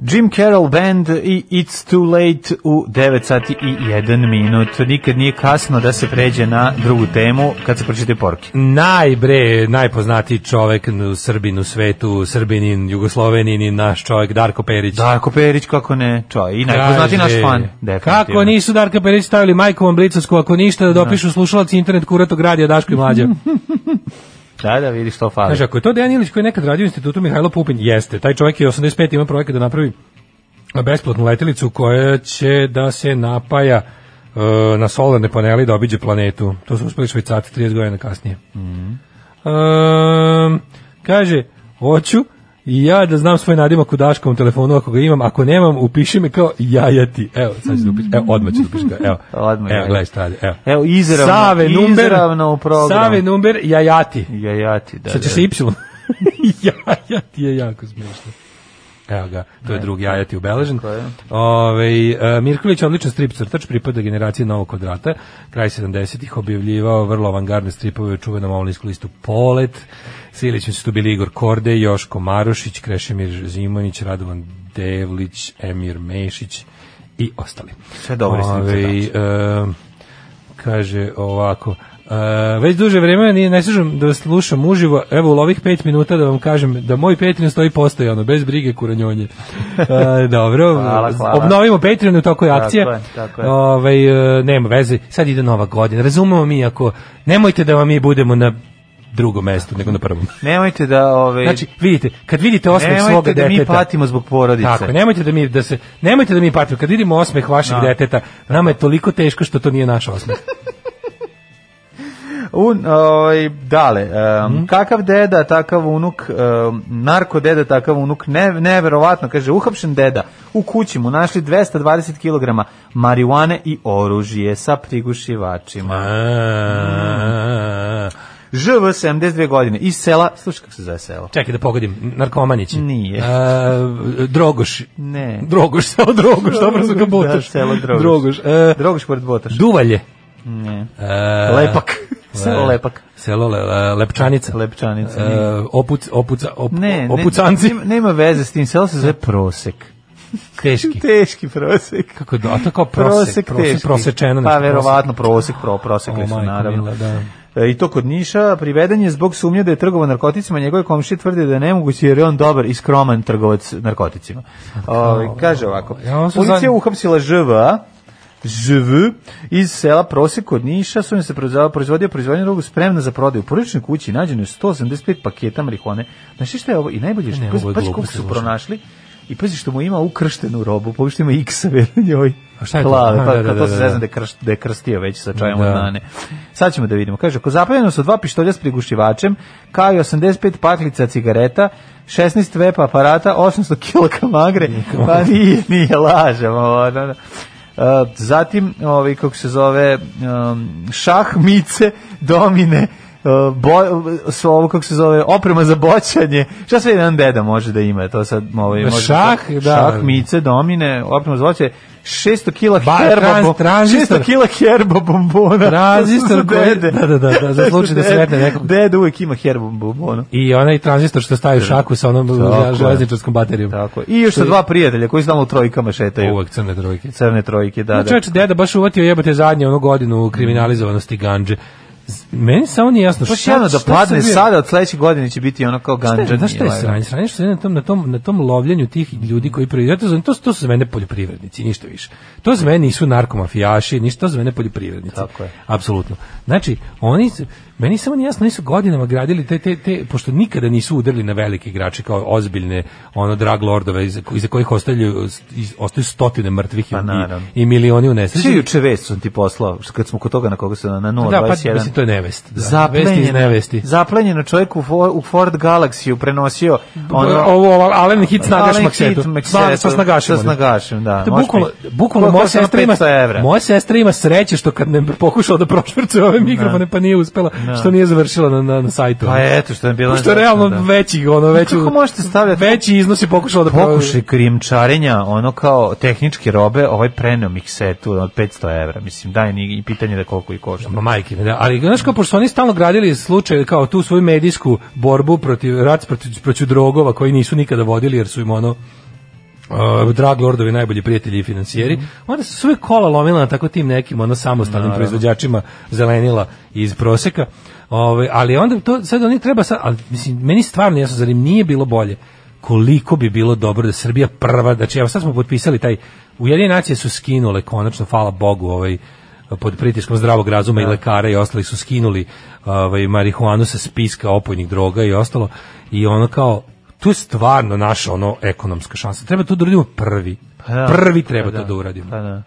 Speaker 5: Jim Carroll Band i It's Too Late u 9 sati i 1 minut. Nikad nije kasno da se pređe na drugu temu kad se pročite porke.
Speaker 6: Najbre, najpoznatiji čovek u Srbinu svetu, Srbinin, Jugoslovenin, naš čovek Darko Perić.
Speaker 5: Darko Perić, kako ne, čo, i najpoznati naš
Speaker 6: Kaže,
Speaker 5: fan. definitivno.
Speaker 6: Kako nisu Darka Perić stavili majkovom blicovsku, ako ništa da dopišu slušalci internet kuratog radija Daško i Mlađa.
Speaker 5: Da, da, vidiš to fali.
Speaker 6: Kaže, ako je to Dejan Ilić koji je nekad radio u institutu Mihajlo Pupin, jeste. Taj čovjek je 85 ima projekat da napravi e, besplatnu letelicu koja će da se napaja e, na solarne panele i da obiđe planetu. To su uspeli švajcarci 30 godina kasnije.
Speaker 5: Mhm.
Speaker 6: Ehm, kaže, hoću i ja da znam svoj nadimak u Daškom telefonu ako ga imam, ako nemam, upiši me kao jajati. Evo, sad ću da upišem. Evo, odmah ću da upišem. kao, Evo,
Speaker 5: Odmah,
Speaker 6: evo,
Speaker 5: ja.
Speaker 6: gledaj šta radi, Evo.
Speaker 5: Evo, izravno,
Speaker 6: Save number,
Speaker 5: izravno u program.
Speaker 6: Save number, jajati.
Speaker 5: Ja, ja ti, da,
Speaker 6: Sad će
Speaker 5: da.
Speaker 6: se Y. jajati je jako smiješno. Evo ga, to je drugi jajati ubeležen. Ove, e, Mirković, je odličan strip crtač, pripada generaciji Novog kvadrata, kraj 70-ih objavljivao vrlo avangardne stripove u čuvenom omlinsku listu Polet, Silićem su tu bili Igor Korde, Joško Marušić, Krešimir Zimonić, Radovan Devlić, Emir Mešić i ostali.
Speaker 5: Sve dobri strip
Speaker 6: Ovaj,
Speaker 5: crtači.
Speaker 6: em, E, kaže ovako e, već duže vremena ni- ne slušam da vas slušam uživo, evo u ovih pet minuta da vam kažem da moj Patreon stoji postojano, bez brige kuranjonje. E, dobro,
Speaker 5: Hvala, hvala.
Speaker 6: obnovimo Patreon u toku akcije.
Speaker 5: je, tako je.
Speaker 6: Ovaj, e, nema veze, sad ide nova godina, razumemo mi ako, nemojte da vam mi budemo na drugom mestu nego na prvom.
Speaker 5: Nemojte da, ove,
Speaker 6: Znači, vidite, kad vidite osmeh
Speaker 5: nemojte
Speaker 6: svoga
Speaker 5: da
Speaker 6: deteta,
Speaker 5: mi patimo zbog porodice.
Speaker 6: tako, je, nemojte da mi da se nemojte da mi patimo kad vidimo osmeh vašeg deteta. Nama je toliko teško što to nije naš osmeh.
Speaker 5: Un, ovaj, dale, em,
Speaker 6: Mhm.
Speaker 5: kakav deda, takav unuk, em, narko deda, takav unuk, ne, neverovatno, kaže, uhapšen deda, u kući mu našli 220 kg marihuane i oružje sa prigušivačima.
Speaker 6: A,
Speaker 5: ŽV 72 godine, iz sela, slušaj kako se zove selo.
Speaker 6: Čekaj da pogodim, narkomanići.
Speaker 5: Nije.
Speaker 6: A, Drogoš.
Speaker 5: Ne.
Speaker 6: Drogoš, samo Drogoš, dobro sam ga botaš.
Speaker 5: Da, selo Drogoš.
Speaker 6: Drogoš. E,
Speaker 5: Drogoš pored Botaš.
Speaker 6: Duvalje.
Speaker 5: Ne.
Speaker 6: E,
Speaker 5: Lepak. Selo Lepak.
Speaker 6: Selo Le- Le- Lepčanica.
Speaker 5: Lepčanica,
Speaker 6: E,
Speaker 5: nije.
Speaker 6: opuc, opuca, op,
Speaker 5: Ne, ne,
Speaker 6: opucanci.
Speaker 5: nema- nema veze s tim, selo se zove Prosek.
Speaker 6: Teški.
Speaker 5: Teški prosek.
Speaker 6: Kako da, a to kao prosek,
Speaker 5: Prosek,
Speaker 6: prosek,
Speaker 5: teški.
Speaker 6: prosečeno.
Speaker 5: Pa
Speaker 6: nešto,
Speaker 5: verovatno prosek, pro, prosekli
Speaker 6: O,
Speaker 5: su
Speaker 6: majko
Speaker 5: naravno.
Speaker 6: mila, da.
Speaker 5: E, I to kod Niša, priveden je zbog sumnje da je trgovao narkoticima, njegove komšije tvrde da je nemoguće jer je on dobar i skroman trgovac narkoticima. Ovaj, kaže ovako,
Speaker 6: Ja, ovo su
Speaker 5: policija
Speaker 6: zadnji-
Speaker 5: uhapsila ŽVA, ŽV iz sela Prosek kod Niša su im se proizvodio proizvodio proizvodnju drogu spremna za prodaju. U porodičnoj kući nađeno je 185 paketa marihuane. Znaš šta je ovo? I najbolje što
Speaker 6: Ne,
Speaker 5: pazi-
Speaker 6: ovo je
Speaker 5: pazi
Speaker 6: glupo,
Speaker 5: koliko su
Speaker 6: slušaj.
Speaker 5: pronašli. I pazi što mu ima ukrštenu robu, pa što ima X-ove na njoj.
Speaker 6: A šta je to?
Speaker 5: Plave,
Speaker 6: A,
Speaker 5: pa
Speaker 6: da, da,
Speaker 5: to
Speaker 6: da,
Speaker 5: se
Speaker 6: da.
Speaker 5: zezna da je, krš- da je krstio već sa čajem
Speaker 6: Da.
Speaker 5: od nane. Sad ćemo da vidimo. Kaže, ako zapaljeno su dva pištolja s prigušivačem, kao i 85 paklica cigareta, 16 vepa aparata, 800 kilka magre, pa nije, nije lažem. Ovo, da, da. E, zatim, ovaj, kako se zove, um, šah, mice, domine, e, bo, s- ovo kako se zove oprema za boćanje šta sve jedan deda može da ima to sad ovaj
Speaker 6: Da,
Speaker 5: može
Speaker 6: šah, da.
Speaker 5: šah mice domine oprema za boćanje 600 kila
Speaker 6: Ba-
Speaker 5: herba bo-
Speaker 6: trans- tranzistor.
Speaker 5: 600 kila herba bombona
Speaker 6: Tranzistor
Speaker 5: To su
Speaker 6: koji-
Speaker 5: dede.
Speaker 6: da, da, da, da, za slučaj da
Speaker 5: To su
Speaker 6: sretne
Speaker 5: dede.
Speaker 6: nekog.
Speaker 5: Dede uvek ima herbu bombona.
Speaker 6: I onaj tranzistor što staje u šaku sa onom
Speaker 5: Tako je.
Speaker 6: železničarskom baterijom.
Speaker 5: Tako. je. I još sa dva prijatelja koji su tamo u trojkama šetaju.
Speaker 6: Uvek crne trojke.
Speaker 5: Crne trojke, da,
Speaker 6: Da,
Speaker 5: da.
Speaker 6: čovječe, deda baš uvatio jebate zadnje onu godinu kriminalizovanosti ganđe. Z- Meni samo nije jasno
Speaker 5: Baš Pa jedno da
Speaker 6: pa šta
Speaker 5: padne
Speaker 6: Srbija- Pa
Speaker 5: sada, od sledeće godine će biti ono kao
Speaker 6: Šta je-
Speaker 5: ganđan.
Speaker 6: Znaš šta je sranje? Sranje što se na tom, na tom, na tom lovljenju tih ljudi koji proizvode, to, su- to su za mene poljoprivrednici, ništa više. To za mene nisu narkomafijaši, ništa, to za mene poljoprivrednici.
Speaker 5: Tako je.
Speaker 6: Apsolutno. Znači, oni, su- meni samo nije jasno, oni su godinama gradili te, te, te, pošto nikada nisu udarili na velike igrače kao ozbiljne, ono, drag lordove, iza, iza kojih ostaju, iz- ostaju stotine mrtvih i-
Speaker 5: Pa naravno.
Speaker 6: i, i milioni u nesreći.
Speaker 5: Svi juče vest sam ti poslao, što kad smo kod toga na koga se na, na 021.
Speaker 6: Da, pa mislim, to je nevest. Da. Vest iz nevesti.
Speaker 5: zaplenjeno čovjek u, Fo- u Ford Galaxy prenosió ono,
Speaker 6: ovo, ovo Alen Hit snagaš
Speaker 5: Alen
Speaker 6: maksetu.
Speaker 5: Hit maksetu.
Speaker 6: Sa, sa snagašem.
Speaker 5: Sa
Speaker 6: ono.
Speaker 5: snagašem, da.
Speaker 6: To
Speaker 5: Možeš
Speaker 6: bukvalno,
Speaker 5: mi-
Speaker 6: bukvalno
Speaker 5: Koliko
Speaker 6: moja
Speaker 5: samo
Speaker 6: sestra ima,
Speaker 5: 500 evra?
Speaker 6: moja sestra ima sreće što kad ne pokušao da prošvrcuje ove mikrofone pa nije uspela, što nije završila na, na, na sajtu.
Speaker 5: Pa eto što je bilo.
Speaker 6: što je realno veći, ono, veći,
Speaker 5: Kako možete stavljati-
Speaker 6: veći iznos je pokušao da pro-
Speaker 5: pokušaj krijumčarenja, ono kao tehničke robe, ovaj preneo miksetu od 500 evra, mislim, daj ni i pitanje da koliko i košta.
Speaker 6: Ma pa majke mi, da. Ali znaš kao, pošto su oni stalno gradili slučaj, kao tu svoju medijsku borbu protiv, rat protiv, protiv drogova koji nisu nikada vodili jer su im ono Uh, drag lordovi najbolji prijatelji i financijeri onda su sve kola lomila na tako tim nekim ono samostalnim proizvođačima zelenila iz proseka Ove, ali onda to sad oni treba sad, ali mislim meni stvarno jasno zar im nije bilo bolje koliko bi bilo dobro da Srbija prva znači evo sad smo potpisali taj Ujedinjene nacije su skinule konačno hvala Bogu ovaj pod pritiskom zdravog razuma i lekara i ostali su skinuli ovaj marihuanu sa spiska opojnih droga i ostalo i ono kao tu je stvarno naša ono ekonomska šansa. Treba to da uradimo prvi.
Speaker 5: Pa da. Pa.
Speaker 6: prvi treba to da uradimo.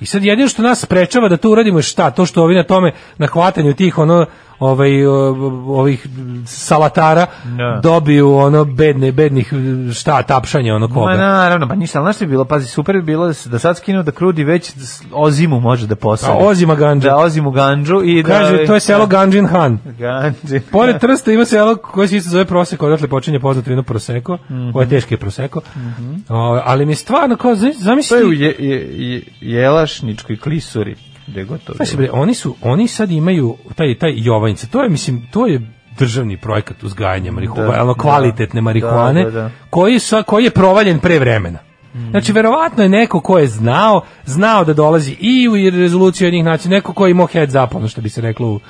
Speaker 6: I sad jedino što nas sprečava da to uradimo je šta? To što ovi na tome, na hvatanju tih ono, ovaj, o- ovih salatara
Speaker 5: Da.
Speaker 6: dobiju ono bedne, bednih šta, tapšanje ono koga.
Speaker 5: Ma naravno, pa ništa, ali znaš što bi bilo, pazi, super bi bilo da, se- da sad skinu da krudi već s- ozimu može da posadi.
Speaker 6: A, ozima ganđu.
Speaker 5: Da, ozimu ganđu i da...
Speaker 6: Kaže, to je selo Ganjin Han.
Speaker 5: Ganđi.
Speaker 6: Pored Trsta ima selo koje se isto zove Proseko, odatle počinje poznato vino Proseko, ovo je
Speaker 5: Mhm.
Speaker 6: teški Proseko, O, ali mi je stvarno, kao, zamisli-
Speaker 5: To je u
Speaker 6: zamisli,
Speaker 5: je, je, je, Jelašničkoj klisuri. Gde je gotovo.
Speaker 6: Znaš, bre, oni su, oni sad imaju taj, taj Jovanjice, to je, mislim, to je državni projekat uzgajanja marihuane,
Speaker 5: Da,
Speaker 6: ono, kvalitetne
Speaker 5: da.
Speaker 6: marihuane,
Speaker 5: Da, da, da.
Speaker 6: Koji, sa, koji je provaljen pre vremena. Znači, verovatno je neko ko je znao, znao da dolazi i u rezoluciju jednih nacija, neko ko je imao head up, ono što bi se reklo u,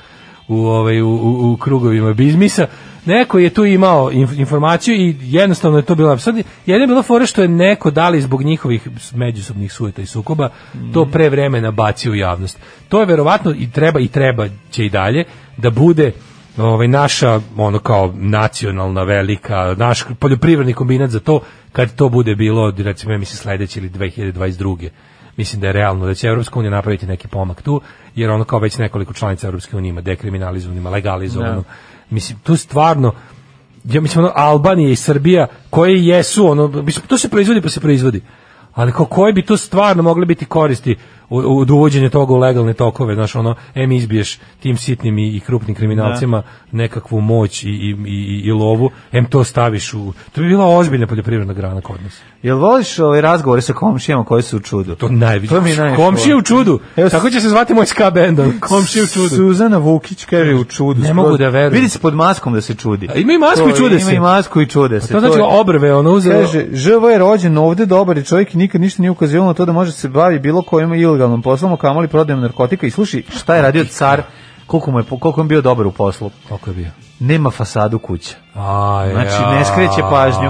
Speaker 6: u, ovaj, u, u, u krugovima biznisa, neko je tu imao inf- informaciju i jednostavno je to bilo sad jedno je bilo fora što je neko dali zbog njihovih međusobnih sujeta i sukoba to
Speaker 5: Mhm.
Speaker 6: pre vremena bacio u javnost to je verovatno i treba i treba će i dalje da bude ovaj naša ono kao nacionalna velika naš poljoprivredni kombinat za to kad to bude bilo recimo ja mislim sledeće ili 2022. Mislim da je realno da će Evropska unija napraviti neki pomak tu jer ono kao već nekoliko članica Evropske unije ima dekriminalizovanu, ima legalizovanu.
Speaker 5: Da.
Speaker 6: Mislim tu stvarno ja mislim ono Albanija i Srbija koje jesu ono mislim to se proizvodi pa se proizvodi. Ali kao koje bi to stvarno mogle biti koristi u- u- od uvođenja toga u legalne tokove, znaš, ono, em izbiješ tim sitnim i, i krupnim kriminalcima nekakvu moć i, i, i, i lovu, em to staviš u... To bi bila ozbiljna poljoprivredna grana kod nas.
Speaker 5: Jel voliš ove razgovore sa komšijama koji su u čudu?
Speaker 6: To najviše.
Speaker 5: To mi je najviše
Speaker 6: Komšije u
Speaker 5: volim.
Speaker 6: čudu.
Speaker 5: Evo,
Speaker 6: Tako će se zvati moj ska bendom. Komšije u čudu.
Speaker 5: Suzana Vukić kaže u čudu.
Speaker 6: Ne
Speaker 5: skroz.
Speaker 6: mogu da verujem.
Speaker 5: Vidi se pod maskom da se čudi.
Speaker 6: A ima i masku
Speaker 5: To
Speaker 6: i čude
Speaker 5: je,
Speaker 6: se.
Speaker 5: Ima i masku i čude se.
Speaker 6: To znači
Speaker 5: je-
Speaker 6: obrve, ono, uzeo...
Speaker 5: Kaže, ŽV je rođen ovde, dobar je čovjek i nikad ništa nije ukazivalo na to da može se bavi bilo kojim ilegalnom poslom, a kamoli prodajem narkotika. I slušaj, šta je radio car, koliko mu je, po- koliko je bio dobar u poslu?
Speaker 6: Koliko je bio?
Speaker 5: Nema fasadu kuća.
Speaker 6: Aj,
Speaker 5: Znači, ne skreće pažnju.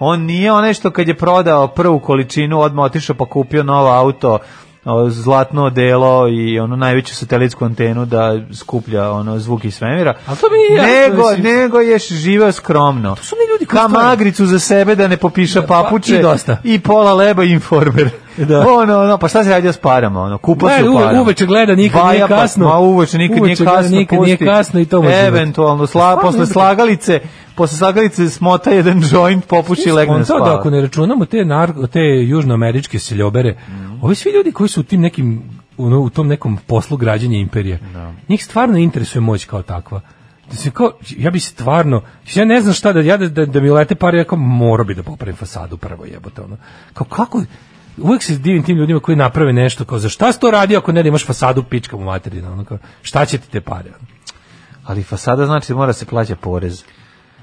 Speaker 5: On nije onaj što kad je prodao prvu količinu, odmah otišao pa kupio novo auto, o, zlatno delo i ono najveću satelitsku antenu da skuplja ono zvuk iz svemira.
Speaker 6: Ali to mi nije jasno,
Speaker 5: nego,
Speaker 6: mislim.
Speaker 5: nego je živeo skromno. To
Speaker 6: su oni ljudi koji
Speaker 5: Ka
Speaker 6: stvarno-
Speaker 5: magricu za sebe da ne popiša
Speaker 6: pa-
Speaker 5: papuče
Speaker 6: i dosta.
Speaker 5: i pola leba i informer.
Speaker 6: Da.
Speaker 5: Ono, ono, pa šta se radio s parama? Ono, kupa
Speaker 6: Gleda,
Speaker 5: se u
Speaker 6: uve-
Speaker 5: parama.
Speaker 6: uveče gleda, nikad
Speaker 5: Vaja,
Speaker 6: nije
Speaker 5: pa-
Speaker 6: kasno.
Speaker 5: Ma uveče nikad
Speaker 6: Uveče
Speaker 5: nije
Speaker 6: gleda,
Speaker 5: kasno.
Speaker 6: nikad nije
Speaker 5: pusti.
Speaker 6: kasno i to mu je život.
Speaker 5: Eventualno, sla,
Speaker 6: Stvarno,
Speaker 5: posle
Speaker 6: ne znam.
Speaker 5: slagalice, posle slagalice smota jedan joint, popuši i legne da
Speaker 6: Skontao da
Speaker 5: spava.
Speaker 6: ako ne računamo te, narko, te južnoameričke seljobere,
Speaker 5: Mhm.
Speaker 6: ovi svi ljudi koji su u tim nekim ono, u tom nekom poslu građenja imperije, njih stvarno interesuje moć kao takva. Da se kao, ja bi stvarno, ja ne znam šta, da, ja da, da, da mi lete pare, ja kao morao bi da popravim fasadu prvo jebote. Ono. Kao kako, uvek se divim tim ljudima koji naprave nešto, kao za šta si to radio ako ne da imaš fasadu pička u materinu, ono, kao, šta će ti te pare? ono?
Speaker 5: Ali fasada znači da mora se plaća porez.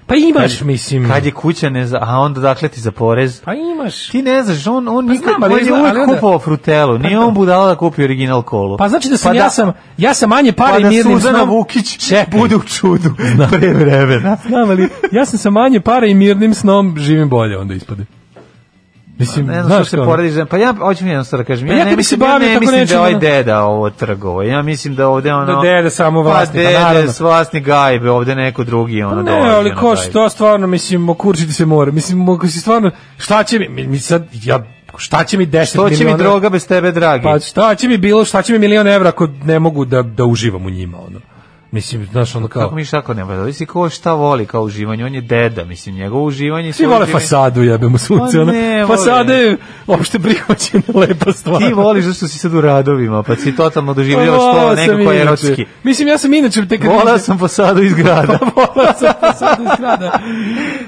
Speaker 6: Pa imaš, mislim,
Speaker 5: Kad je kuća, ne za, a onda dakle ti za porez.
Speaker 6: pa imaš.
Speaker 5: Ti ne znaš, on, on
Speaker 6: Pa
Speaker 5: nikad,
Speaker 6: znam, ali
Speaker 5: on je
Speaker 6: izgleda-
Speaker 5: uvek
Speaker 6: ali onda-
Speaker 5: kupovao frutelu, nije
Speaker 6: Pa da.
Speaker 5: on budala da kupi original kolu.
Speaker 6: Pa znači da sam,
Speaker 5: Pa
Speaker 6: ja
Speaker 5: da.
Speaker 6: sam, ja sam manje pare
Speaker 5: pa da
Speaker 6: mirnim
Speaker 5: Suzana
Speaker 6: snom.
Speaker 5: Vukić
Speaker 6: Čekaj.
Speaker 5: bude u čudu pre vremena.
Speaker 6: Znam, ali ja sam sa manje pare i mirnim snom živim bolje onda ispade. Mislim,
Speaker 5: Ne znam što
Speaker 6: znaš ono,
Speaker 5: se
Speaker 6: kao,
Speaker 5: porediš. Pa ja hoću mi jednostavno da kažem.
Speaker 6: Pa
Speaker 5: ja
Speaker 6: ja kad
Speaker 5: ne
Speaker 6: bi se
Speaker 5: mislim, ja
Speaker 6: bavio
Speaker 5: ne
Speaker 6: tako
Speaker 5: mislim da
Speaker 6: nečim,
Speaker 5: je ovaj
Speaker 6: ono-
Speaker 5: deda ovo trgovo. Ja mislim da ovde ono...
Speaker 6: Da deda samo vlasnik, pa
Speaker 5: Pa
Speaker 6: naravno. Pa
Speaker 5: dede s vlasnik gajbe, ovde neko drugi ono
Speaker 6: Ne,
Speaker 5: dolazi,
Speaker 6: ali
Speaker 5: ono,
Speaker 6: ko
Speaker 5: gajbe.
Speaker 6: što stvarno, mislim, okurčiti se mora. Mislim, ako si stvarno, šta će mi, mi, mi sad, ja, šta će mi 10
Speaker 5: To će mi
Speaker 6: miliona-
Speaker 5: droga bez tebe, dragi.
Speaker 6: Pa šta će mi bilo, šta će mi milion evra ako ne mogu da, da uživam u njima, ono. Mislim, znaš, ono kao...
Speaker 5: Kako mi šako ne vada? Ovisi ko šta voli kao uživanje. On je deda, mislim, njegovo uživanje... i
Speaker 6: Svi
Speaker 5: svoje
Speaker 6: vole
Speaker 5: uživanje-
Speaker 6: fasadu, jebemo sunce,
Speaker 5: Pa
Speaker 6: ono.
Speaker 5: ne, vole.
Speaker 6: Fasada je opšte prihvaćena lepa stvar.
Speaker 5: Ti voliš zašto si sad u radovima, pa si totalno doživljavaš
Speaker 6: Pa
Speaker 5: to
Speaker 6: volao sam
Speaker 5: nekako
Speaker 6: inače.
Speaker 5: erotski.
Speaker 6: Mislim, ja sam inače... Tek kad
Speaker 5: Volao
Speaker 6: vidim-
Speaker 5: sam fasadu iz
Speaker 6: Pa
Speaker 5: grada.
Speaker 6: volao sam fasadu zgrada.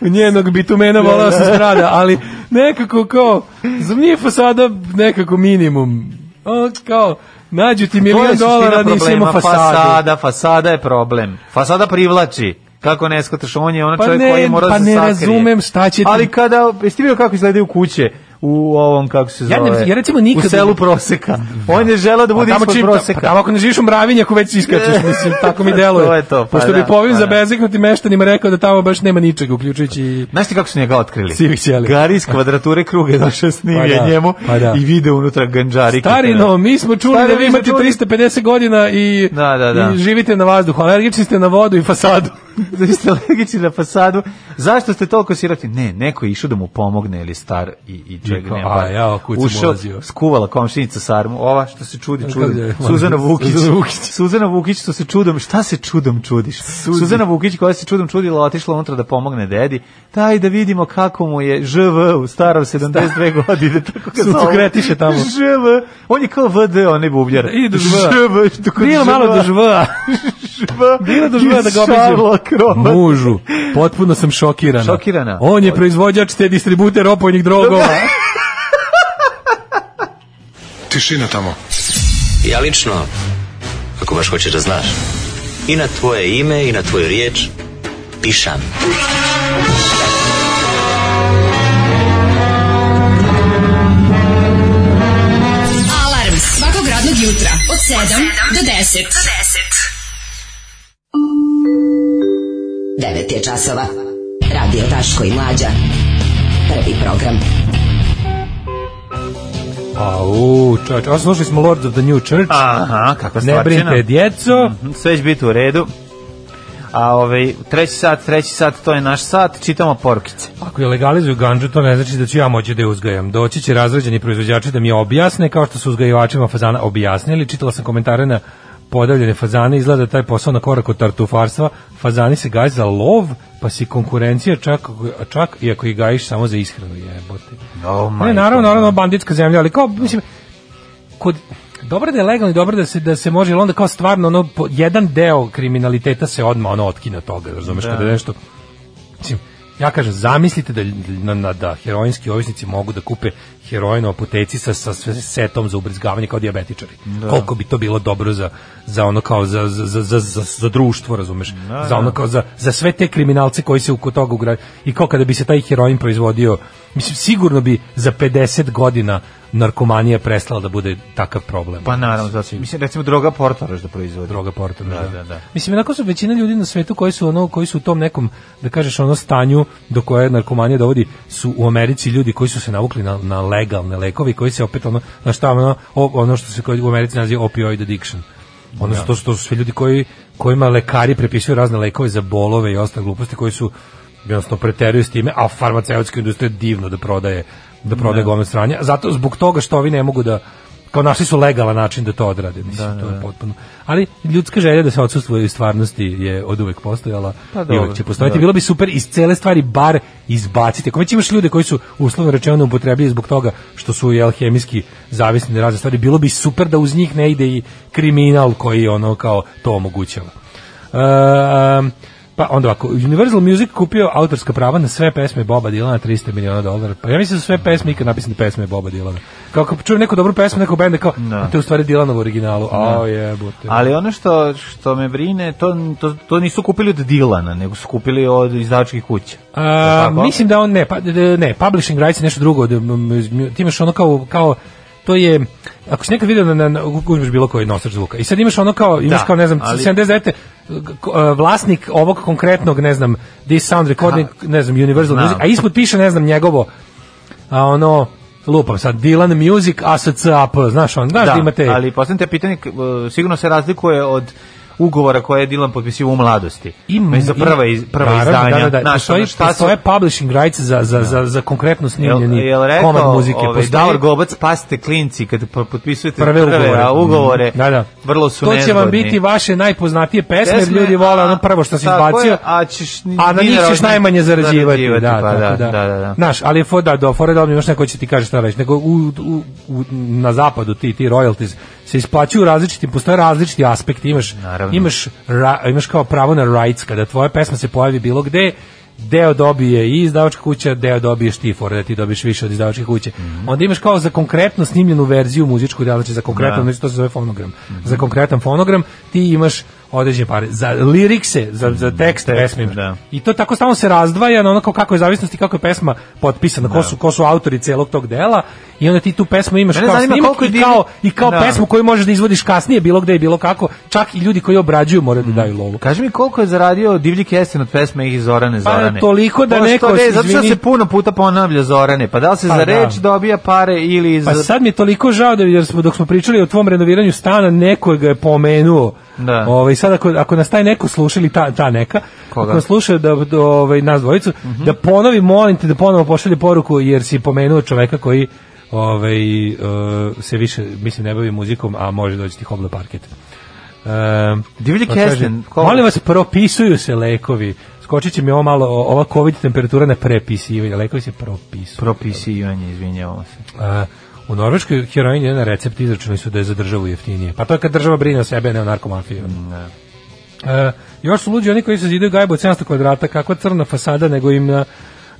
Speaker 6: Njenog bitumena volao sam zgrada, ali nekako kao, za mnije fasada nekako minimum. O, kao, nađu ti
Speaker 5: To je
Speaker 6: milion
Speaker 5: suština
Speaker 6: dolara, nisi
Speaker 5: problema,
Speaker 6: imao fasadu.
Speaker 5: Fasada, fasada je problem. Fasada privlači. Kako ne shvataš, on je onaj
Speaker 6: Pa
Speaker 5: čovjek
Speaker 6: ne,
Speaker 5: koji mora
Speaker 6: pa
Speaker 5: se
Speaker 6: ne
Speaker 5: sakrije.
Speaker 6: razumem šta će ti-
Speaker 5: Ali kada, jesi ti vidio kako izgledaju kuće u ovom, kako se
Speaker 6: Ja
Speaker 5: zove?
Speaker 6: ne- ja recimo nikad-
Speaker 5: U selu proseka. On je želeo da
Speaker 6: Pa
Speaker 5: bude
Speaker 6: tamo
Speaker 5: ispod
Speaker 6: čim-
Speaker 5: proseka.
Speaker 6: pa tamo ako ne živiš u mravinji, ako već iskačeš, mislim, tako mi
Speaker 5: To
Speaker 6: deluje.
Speaker 5: je to, pa
Speaker 6: Pošto
Speaker 5: da,
Speaker 6: bi po ovim
Speaker 5: pa da.
Speaker 6: zabezeknutim meštanima rekao da tamo baš nema ničega, uključujući i
Speaker 5: Znaš ti kako su njega otkrili?
Speaker 6: Sivih ćelija.
Speaker 5: Gari iz kvadrature kruga je došao snimlje
Speaker 6: Pa da,
Speaker 5: njemu
Speaker 6: pa da.
Speaker 5: i vide unutra ganđari.
Speaker 6: Starino, mi smo čuli
Speaker 5: Starino,
Speaker 6: da vi
Speaker 5: mi smo
Speaker 6: imate
Speaker 5: čuli-
Speaker 6: 350 godina i,
Speaker 5: Da, da, da.
Speaker 6: i živite na vazduhu, alergični ste na vodu i fasadu.
Speaker 5: da ste alergični na fasadu. Zašto ste toliko siroti? Ne, neko je išao da mu pomogne ili star i, i čovjek
Speaker 6: kao,
Speaker 5: nema.
Speaker 6: a,
Speaker 5: para.
Speaker 6: jao, kud sam
Speaker 5: Ušao,
Speaker 6: ulazio.
Speaker 5: skuvala komšinica sarmu. Ova što se čudi,
Speaker 6: Kako
Speaker 5: čudi.
Speaker 6: je?
Speaker 5: Suzana Vukić.
Speaker 6: Suzana Vukić.
Speaker 5: Suzana Vukić što se čudom, šta se čudom čudiš? Suzana Vukić koja se čudom čudila, otišla unutra da pomogne dedi. Daj da vidimo kako mu je ŽV u starom 72 godine. Tako ga
Speaker 6: Suncu
Speaker 5: zovu.
Speaker 6: kretiše tamo.
Speaker 5: ŽV. On je kao VD, onaj bubljar.
Speaker 6: I do ŽV.
Speaker 5: ŽV. tako
Speaker 6: Bilo malo do žva.
Speaker 5: ŽV.
Speaker 6: Bilo do žva da ga
Speaker 5: Šarlok
Speaker 6: obiđem.
Speaker 5: Roman.
Speaker 6: Mužu, potpuno sam šokirana.
Speaker 5: Šokirana.
Speaker 6: On je proizvođač te distributer opojnih drogova.
Speaker 9: Tišina tamo.
Speaker 11: Ja lično, ako baš hoćeš da znaš, i na tvoje ime i na tvoju riječ pišam.
Speaker 4: Alarm svakog radnog jutra od 7 do 10.
Speaker 8: 9 je časova. Radio Daško i Mlađa. Prvi program.
Speaker 6: Au, čoveč, a slušali smo Lords of the New Church.
Speaker 5: Aha, kakva Mhm,
Speaker 6: ne
Speaker 5: stvarčina.
Speaker 6: brinite, djeco.
Speaker 5: Sve će biti u redu. A ovaj, treći sat, treći sat, to je naš sat, čitamo porukice.
Speaker 6: Ako je legalizuju ganđu, to ne znači da ću ja moći da je uzgajam. Doći će razređeni proizvođači da mi je objasne, kao što su uzgajivačima fazana objasnili. Čitala sam komentare na podavljene fazane, izgleda taj posao na korak od tartufarstva. Fazani se gaji za lov, pa si konkurencija čak, čak i ako ih gajiš samo za ishranu. Jebote.
Speaker 5: Oh
Speaker 6: ne, naravno, naravno, banditska zemlja, ali kao, mislim, kod, dobro da je legalno i dobro da se da se može, ali onda kao stvarno ono po- jedan deo kriminaliteta se odma ono otkine toga, razumeš
Speaker 5: Da.
Speaker 6: kada je nešto. Mislim, ja kažem, zamislite da, na, na- da heroinski ovisnici mogu da kupe heroin u apoteci sa, sa sve setom za ubrizgavanje kao dijabetičari.
Speaker 5: Da.
Speaker 6: Koliko bi to bilo dobro za, za ono kao za, za, za, za, za, za društvo, razumeš?
Speaker 5: Da,
Speaker 6: za ono
Speaker 5: da.
Speaker 6: kao za, za sve te kriminalce koji se oko toga ugra i kao kada bi se taj heroin proizvodio mislim sigurno bi za 50 godina narkomanija prestala da bude takav problem
Speaker 5: Pa naravno, zato. Mislim, recimo, droga Portoroš da proizvodi.
Speaker 6: Droga Portoroš,
Speaker 5: da.
Speaker 6: da.
Speaker 5: da, da.
Speaker 6: Mislim, onako su većina ljudi na svetu koji su ono koji su u tom nekom da kažeš ono stanju do koje narkomanija dovodi su u Americi ljudi koji su se navukli na, na legalne lekove i koji se opet ono na šta ono, o- ono što se kod- u Americi naziva opioid addiction. Ono to, su, to su sve ljudi koji kojima lekari prepisuju razne lekove za bolove i ostale gluposti koji su jednostavno preteruju s time, a farmaceutska industrija je divno da prodaje da prodaje gomile sranja. Zato zbog toga što ovi ne mogu da kao našli su legalan način da to odrade, mislim, to je potpuno. Ali ljudska želja da se odsustvuje iz stvarnosti je od uvek postojala
Speaker 5: Pa
Speaker 6: i
Speaker 5: dobro,
Speaker 6: uvek će postojati.
Speaker 5: da.
Speaker 6: Bilo bi super iz cele stvari bar izbaciti. Ako već imaš ljude koji su uslovno rečeno upotrebljivi zbog toga što su jel, hemijski zavisni na razne stvari, bilo bi super da uz njih ne ide i kriminal koji ono kao to omogućava. Ehm, pa onda ovako, Universal Music kupio autorska prava na sve pesme Boba Dilana 300 miliona dolara. Pa ja mislim da su sve pesme ikad napisane pesme Boba Dilana. Kao kad čujem neku dobru pesmu nekog benda kao,
Speaker 5: Da.
Speaker 6: a to je u stvari Dilanovo originalu. A jebote.
Speaker 5: Ali ono što što me brine, to, to, to nisu kupili od Dilana, nego su kupili od izdavačkih kuća.
Speaker 6: A,
Speaker 5: Tako?
Speaker 6: mislim da on ne, pa, d- d- ne, publishing rights je nešto drugo, d- m- m- ti imaš ono kao, kao to je, ako si nekad vidio na, na, na uzmeš bilo koji nosač zvuka i sad imaš ono kao, imaš
Speaker 5: Da,
Speaker 6: kao, ne znam,
Speaker 5: ali-
Speaker 6: 79. g- k- e, vlasnik ovog konkretnog, ne znam, this sound recording, ne znam, Universal
Speaker 5: Znam.
Speaker 6: Music, a ispod piše, ne znam, njegovo, a ono, lupam sad, Dylan Music, ASCAP, znaš on, znaš da, imate...
Speaker 5: ali postavljam te pitanje, k- e, sigurno se razlikuje od ugovora koje je Dilan potpisio u mladosti.
Speaker 6: Im-
Speaker 5: Za prva, iz, prva
Speaker 6: Naravno,
Speaker 5: izdanja.
Speaker 6: Da, da, da.
Speaker 5: Znaš,
Speaker 6: postoji,
Speaker 5: ono, šta su-
Speaker 6: postoje publishing rights za, za, za, za konkretno snimljeni
Speaker 5: Jel, jel rekao,
Speaker 6: komad muzike.
Speaker 5: Ovaj,
Speaker 6: Postoji-
Speaker 5: Davor Gobac, pasite klinci kad po- potpisujete
Speaker 6: prve
Speaker 5: prve,
Speaker 6: ugovore.
Speaker 5: a, ugovore.
Speaker 6: Mhm. Da, da.
Speaker 5: Vrlo su
Speaker 6: To će vam
Speaker 5: nezgodni.
Speaker 6: biti vaše najpoznatije pesme, jer
Speaker 5: Pesme,
Speaker 6: ljudi vole
Speaker 5: a-
Speaker 6: ono prvo što si
Speaker 5: tako
Speaker 6: izbacio.
Speaker 5: je, a ćeš ni-
Speaker 6: a na
Speaker 5: ni
Speaker 6: njih ćeš
Speaker 5: zarađivati.
Speaker 6: najmanje zarađivati. Da,
Speaker 5: Zarađivati, pa
Speaker 6: tako
Speaker 5: da, da, da.
Speaker 6: Znaš, ali je for, da, do, fora je da ovdje imaš neko ko će ti kaže šta reći. Nego u, u, u, na zapadu ti, ti royalties se isplaćuju različitim, postoje različiti aspekti. Imaš,
Speaker 5: Naravno.
Speaker 6: imaš, ra, imaš kao pravo na rights, kada tvoja pesma se pojavi bilo gde, deo dobije i izdavačka kuća, deo dobiješ ti for, da ti dobiješ više od izdavačke kuće.
Speaker 5: Mhm.
Speaker 6: Onda imaš kao za konkretno snimljenu verziju muzičku, da, znači za konkretan,
Speaker 5: Da. Mhm.
Speaker 6: znači to se zove fonogram. Za konkretan fonogram ti imaš određene pare. Za lirikse, za, za tekst
Speaker 5: Mhm. Tekst,
Speaker 6: pesme imaš.
Speaker 5: da.
Speaker 6: I to tako stalno se razdvaja na ono kao kako je zavisnosti, kako je pesma potpisana, ko su, ko su autori celog tog dela i onda ti tu pesmu imaš
Speaker 5: Mene
Speaker 6: kao
Speaker 5: zanima
Speaker 6: snimak
Speaker 5: koliko je
Speaker 6: i kao,
Speaker 5: divni-
Speaker 6: i kao
Speaker 5: Da.
Speaker 6: pesmu koju možeš da izvodiš kasnije bilo gde i bilo kako, čak i ljudi koji obrađuju moraju da daju lovu.
Speaker 5: Kaži mi koliko je zaradio Divlji Kesten od pesme ih Zorane
Speaker 6: Pa,
Speaker 5: Zorane.
Speaker 6: toliko da
Speaker 5: Ono što
Speaker 6: neko,
Speaker 5: ne, zato što
Speaker 6: izvini-
Speaker 5: se puno puta ponavlja Zorane. Pa da li se
Speaker 6: Pa
Speaker 5: za
Speaker 6: da.
Speaker 5: reč dobija pare ili za...
Speaker 6: Pa sad mi je toliko žao da jer smo dok smo pričali o tvom renoviranju stana neko ga je pomenuo.
Speaker 5: Da.
Speaker 6: Ovaj sad ako ako nas taj neko sluša ili ta ta neka,
Speaker 5: Koga? Mhm.
Speaker 6: ako nas sluša da, da ovaj nas dvojicu, da ponovi molim te da ponovo pošalje poruku jer si pomenuo čoveka koji ovaj e, se više mislim ne bavi muzikom, a može doći ti hoble parket. E,
Speaker 5: Divlji
Speaker 6: pa kaže,
Speaker 5: Kesten, ko-
Speaker 6: Molim vas, propisuju se lekovi. Skočit će mi ovo malo, o- ova COVID temperatura na prepisivanje. Lekovi se propisuju.
Speaker 5: Propisivanje, izvinjavamo se.
Speaker 6: A, u Norveškoj heroin je na recept izračunali su da je za državu jeftinije. Pa to je kad država brine o sebe, a ne o narkomafiji. E, još su luđi oni koji se zidaju gajbu od 700 kvadrata, kakva crna fasada, nego im na,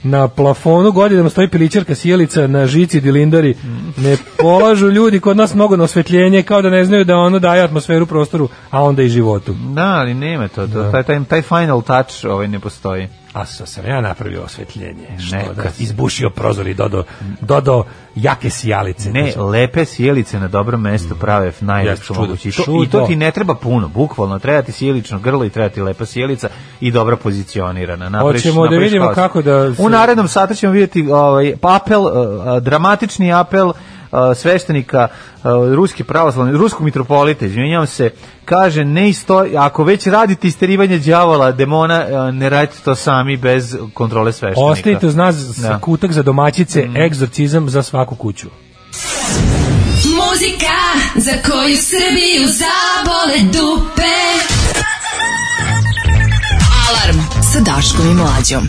Speaker 6: na plafonu godinama stoji pilićarka sjelica na žici dilindari. Ne polažu ljudi kod nas mnogo na osvetljenje, kao da ne znaju da ono daje atmosferu prostoru, a onda i životu.
Speaker 5: Da, ali nema to. to taj, taj, taj final touch ovaj ne postoji.
Speaker 6: A sa sam ja napravio osvetljenje. Što
Speaker 5: Neka
Speaker 6: da,
Speaker 5: si.
Speaker 6: izbušio prozor i dodao, dodao jake sjalice.
Speaker 5: Ne, lepe sjelice na dobrom mestu prave najlepšu
Speaker 6: Mm. Jeste, čudo,
Speaker 5: moguću. I to, I to
Speaker 6: čudo.
Speaker 5: ti ne treba puno, bukvalno. Treba ti sjelično grlo i treba ti lepa sjelica i dobro pozicionirana. Napraviš,
Speaker 6: Hoćemo da
Speaker 5: napraviš
Speaker 6: vidimo
Speaker 5: haos.
Speaker 6: kako da se-
Speaker 5: U narednom satu ćemo vidjeti ovaj, apel, eh, eh, e, dramatični apel uh, sveštenika uh, ruske pravoslavne, ruskog mitropolita, izvinjavam se, kaže, ne isto, ako već radite isterivanje đavola, demona, uh, ne radite to sami bez kontrole sveštenika.
Speaker 6: Ostavite uz nas s- kutak za domaćice,
Speaker 5: Mm.
Speaker 6: egzorcizam za svaku kuću.
Speaker 4: Muzika za koju Srbiju zabole dupe.
Speaker 8: Alarm sa Daškom i Mlađom.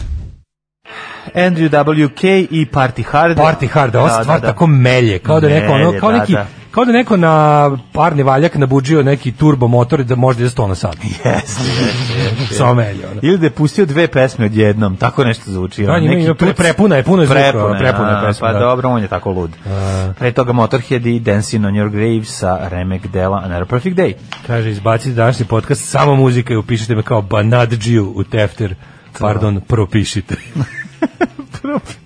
Speaker 5: Andrew WK i Party Hard.
Speaker 6: Party hard, ova stvar tako melje, kao da neko, ono,
Speaker 5: Melje,
Speaker 6: kao
Speaker 5: da,
Speaker 6: neki,
Speaker 5: da.
Speaker 6: kao da neko na parni valjak nabuđio neki turbo motor da može da ide 100 na sat. Yes. Samo melje, ono.
Speaker 5: Ili da je pustio dve pesme odjednom, tako nešto zvuči. ono,
Speaker 6: Da, njima ima pre-
Speaker 5: tuc.
Speaker 6: prepuna je, puno je zvuka,
Speaker 5: Prepuna,
Speaker 6: prepuna je
Speaker 5: a,
Speaker 6: pesma,
Speaker 5: Pa
Speaker 6: da.
Speaker 5: dobro, on je tako lud. Pre toga Motorhead i Dancing on your grave sa remek dela Another Perfect Day.
Speaker 6: Kaže, izbacite današnji podcast, samo muzika i upišite me kao Banadžiju u Tefter. Pardon, propišite. propišite.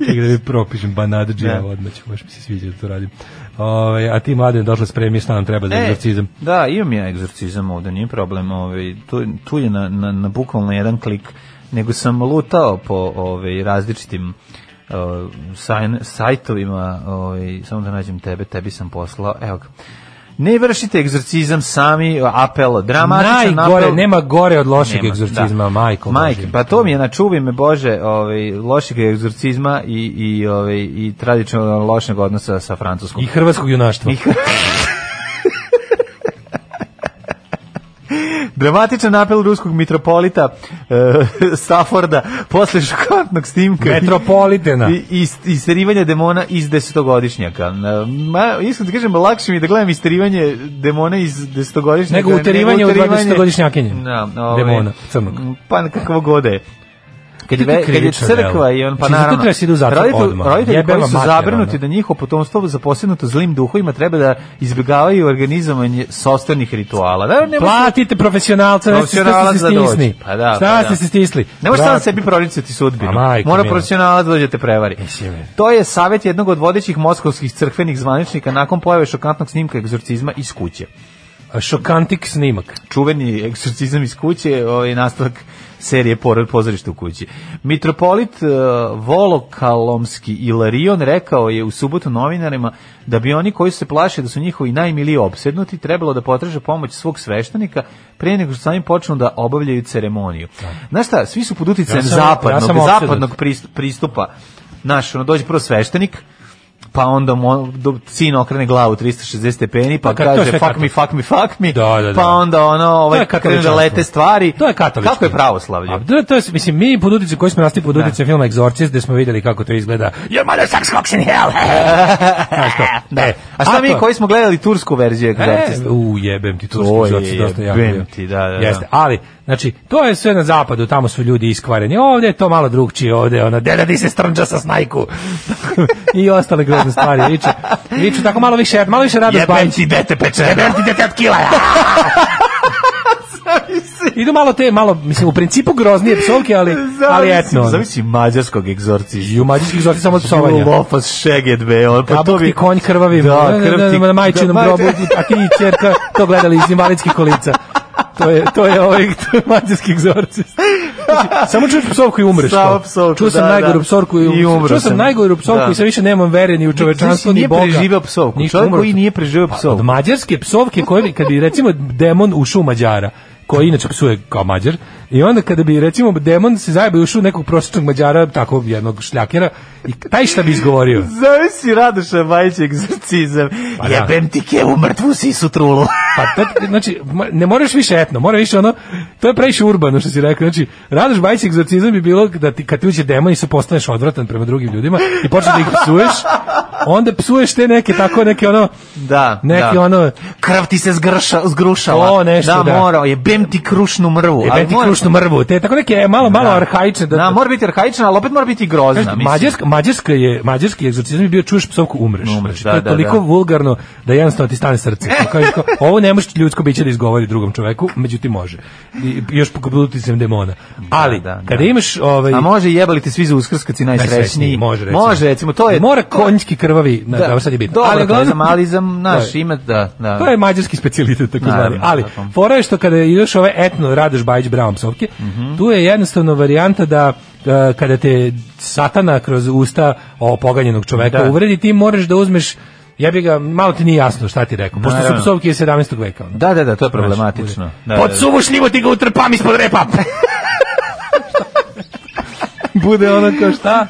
Speaker 6: da mi propišem Banadžija,
Speaker 5: Da.
Speaker 6: odmah ću, baš mi se sviđa da to radim. Ove, a ti, mladen, došla spremi šta nam treba za
Speaker 5: E,
Speaker 6: egzorcizam.
Speaker 5: Da, imam ja egzorcizam ovde, nije problem. Ovaj, tu, tu je na, na, na bukvalno jedan klik, nego sam lutao po ovaj, različitim eh, sajn- sajtovima, ovaj, samo da nađem tebe, tebi sam poslao, evo ga. Ne vršite egzorcizam sami, apel, dramatičan
Speaker 6: Najgore,
Speaker 5: apel.
Speaker 6: nema gore od lošeg
Speaker 5: Nema,
Speaker 6: egzorcizma,
Speaker 5: da.
Speaker 6: majko.
Speaker 5: Majke,
Speaker 6: Božja.
Speaker 5: pa to mi je načuvi me Bože, ovaj lošeg egzorcizma i i ovaj i tradicionalno lošeg odnosa sa francuskom.
Speaker 6: I hrvatskog junaštva.
Speaker 5: I hr- Dramatičan apel ruskog mitropolita e, Stafforda posle šokantnog snimka
Speaker 6: Metropolitena.
Speaker 5: i, i, i isterivanja demona iz desetogodišnjaka. E, Ma, iskreno ti kažem, lakše mi je da gledam isterivanje demona iz desetogodišnjaka.
Speaker 6: Nego uterivanje u
Speaker 5: uterivanje-
Speaker 6: 20-godišnjakinje.
Speaker 5: Da, ovaj,
Speaker 6: Demona, crnog.
Speaker 5: Pa kakvo god da je. Kad je,
Speaker 6: To je
Speaker 5: ve- kad je
Speaker 6: krivično
Speaker 5: crkva
Speaker 6: delo.
Speaker 5: i on, pa
Speaker 6: Znači, zato
Speaker 5: naravno,
Speaker 6: treba se ide u zatvor
Speaker 5: roditelji,
Speaker 6: odmah.
Speaker 5: roditelji
Speaker 6: Jebe
Speaker 5: koji
Speaker 6: vam
Speaker 5: su
Speaker 6: mater,
Speaker 5: zabrinuti
Speaker 6: ono.
Speaker 5: da njihovo potomstvo zaposjednuto zlim duhovima treba da izbjegavaju organizovanje sopstvenih rituala. Da, ne može-
Speaker 6: Platite profesionalca, nešto šta ste
Speaker 5: Profesionalac
Speaker 6: se
Speaker 5: da dođe.
Speaker 6: stisli.
Speaker 5: Pa da,
Speaker 6: šta
Speaker 5: pa
Speaker 6: ste
Speaker 5: da.
Speaker 6: se stisli?
Speaker 5: Ne možeš sam
Speaker 6: Vrat-
Speaker 5: sebi proricati sudbinu.
Speaker 6: A Pa majko
Speaker 5: Mora
Speaker 6: mila.
Speaker 5: profesionalac dođe da te prevari.
Speaker 6: Mislim, je.
Speaker 5: To je savjet jednog od vodećih moskovskih crkvenih zvaničnika nakon pojave šokantnog snimka egzorcizma iz kuće.
Speaker 6: A, Šokantik snimak.
Speaker 5: čuveni egzorcizam iz kuće, ovaj nastavak serije Porod pozorište u kući. Mitropolit eh, Volokalomski Ilarion rekao je u subotu novinarima da bi oni koji se plaše da su njihovi najmiliji opsednuti trebalo da potraže pomoć svog sveštenika pre nego što sami počnu da obavljaju ceremoniju. Znaš šta, svi su pod uticajem
Speaker 6: Ja sam- ja sam
Speaker 5: zapadnog,
Speaker 6: opsednut.
Speaker 5: zapadnog pristup- pristupa. Znaš, ono, dođe prvo sveštenik, pa onda mo, do, sin okrene glavu 360 stepeni, pa,
Speaker 6: Pa kad- to je
Speaker 5: kaže
Speaker 6: sve
Speaker 5: fuck
Speaker 6: kato-
Speaker 5: me, fuck me, fuck me,
Speaker 6: Da, da, da.
Speaker 5: pa onda ono,
Speaker 6: To
Speaker 5: ovaj
Speaker 6: je
Speaker 5: krenu da
Speaker 6: katoličanstvo.
Speaker 5: lete stvari.
Speaker 6: To je katoličko.
Speaker 5: Kako je pravoslavlje?
Speaker 6: A, da, to je, mislim, mi pod uticom koji smo rasti pod uticom filma Exorcist, gde smo videli kako to izgleda. Your mother sucks cocks in hell! Znaš to?
Speaker 5: Da.
Speaker 6: E,
Speaker 5: A šta mi
Speaker 6: to-
Speaker 5: koji smo gledali tursku verziju Exorcista?
Speaker 6: E, u jebem ti turski
Speaker 5: To je
Speaker 6: egzorcist dosta jako.
Speaker 5: jebem
Speaker 6: bio.
Speaker 5: ti, da, da, da.
Speaker 6: Jeste, ali znači to je sve na zapadu, tamo su ljudi iskvareni. Ovde je to malo drugčije, ovde je ona deda di se strnđa sa snajku. I ostale grozne stvari, viče. Viče tako malo više, malo više rado
Speaker 5: Jebem ti dete pečeno. Jebem ti dete od kila.
Speaker 6: Idu malo te, malo, mislim, u principu groznije psovke, ali, ali etno. ono.
Speaker 5: Zavisi mađarskog egzorcista.
Speaker 6: I u mađarskih zorci samo od psovanja.
Speaker 5: Lofas šeget, be. On, pa to
Speaker 6: Kabuk ti
Speaker 5: bi...
Speaker 6: konj krvavi,
Speaker 5: Da,
Speaker 6: da,
Speaker 5: krv ti-
Speaker 6: na majčinom
Speaker 5: da, majči-
Speaker 6: grobu, a ti i čerka to gledali iz invalidskih kolica. To je, to je ovaj to je mađarski egzorcist. Znači, samo čuješ psovku i umreš.
Speaker 5: Samo
Speaker 6: kao.
Speaker 5: psovku,
Speaker 6: čuo sam
Speaker 5: da,
Speaker 6: najgoru
Speaker 5: da.
Speaker 6: psovku i,
Speaker 5: I umro
Speaker 6: čuo sam
Speaker 5: sam.
Speaker 6: najgoru psovku
Speaker 5: Da.
Speaker 6: i sve više nemam vere ni u čovečanstvo
Speaker 5: Znači,
Speaker 6: ni
Speaker 5: nije
Speaker 6: Boga.
Speaker 5: preživeo psovku.
Speaker 6: Ništa,
Speaker 5: Čovjek
Speaker 6: umro.
Speaker 5: koji nije preživeo
Speaker 6: Pa,
Speaker 5: psovku.
Speaker 6: Od mađarske psovke koje bi, kad bi recimo demon ušao u Mađara, koji inače psuje kao Mađar, i onda kada bi recimo demon se zajebao i ušao u nekog prosječnog Mađara, tako jednog šljakera, i taj šta bi izgovorio?
Speaker 5: Zavisi Radoša Majić egzorcizam.
Speaker 6: Pa da.
Speaker 5: Jebem ti kevu mrtvu sisu trulu.
Speaker 6: Pa to, znači, ma- ne moraš više etno, mora više ono, to je previše urbano što si rekao, znači, Radoš Bajić egzorcizam bi bilo da ti, kad ti uđe demon i se postaneš odvratan prema drugim ljudima i počneš da ih psuješ, onda psuješ te neke tako, neke ono,
Speaker 5: Da,
Speaker 6: neki
Speaker 5: da.
Speaker 6: ono,
Speaker 5: Krv ti se zgrša, zgrušala.
Speaker 6: To nešto,
Speaker 5: da.
Speaker 6: da.
Speaker 5: mora, jebem ti krušnu mrvu.
Speaker 6: e,
Speaker 5: ali
Speaker 6: beti
Speaker 5: mora-
Speaker 6: krušnu mrvu, te tako neke malo, malo arhaične.
Speaker 5: Da, mora biti arhaična, ali opet mora biti grozna.
Speaker 6: Kažete,
Speaker 5: mislim.
Speaker 6: Mađarska, mađarska je, mađarski egzorcizam je bio čuješ psovku umreš.
Speaker 5: Umreš,
Speaker 6: znači,
Speaker 5: da,
Speaker 6: to je
Speaker 5: da,
Speaker 6: toliko
Speaker 5: da.
Speaker 6: vulgarno da jednostavno ti stane srce. Kao, kao, ovo ne može ljudsko biće da izgovori drugom čoveku, međutim može. I, još pod uticajem demona. Ali,
Speaker 5: da, da.
Speaker 6: kada imaš ovaj,
Speaker 5: A može jebali ti svi za uskrs kad si najsrećniji.
Speaker 6: najsrećniji, može recimo.
Speaker 5: Može recimo, to je...
Speaker 6: Mora konjski krvavi, da, da, sad je bitno.
Speaker 5: Dobro,
Speaker 6: uglavnom-
Speaker 5: ali, ali za naš
Speaker 6: Da.
Speaker 5: ime, da, da.
Speaker 6: To je mađarski specijalitet tako
Speaker 5: Naravno,
Speaker 6: zvani. Ali
Speaker 5: tako.
Speaker 6: fora je što kada ideš ove etno Radoš Bajić Brown psovke,
Speaker 5: Mhm.
Speaker 6: tu je jednostavno varijanta da e, kada te satana kroz usta o poganjenog čoveka
Speaker 5: Da.
Speaker 6: uvredi, ti moraš da uzmeš Ja bih ga, malo ti nije jasno šta ti rekao, pošto su
Speaker 5: Naravno.
Speaker 6: psovke iz 17. veka. ono.
Speaker 5: Da, da, da, to je
Speaker 6: Znaš,
Speaker 5: problematično.
Speaker 6: bude.
Speaker 5: Da, da, da.
Speaker 6: Pod suvu šljivu ti ga utrpam ispod repa. Bude ono kao šta?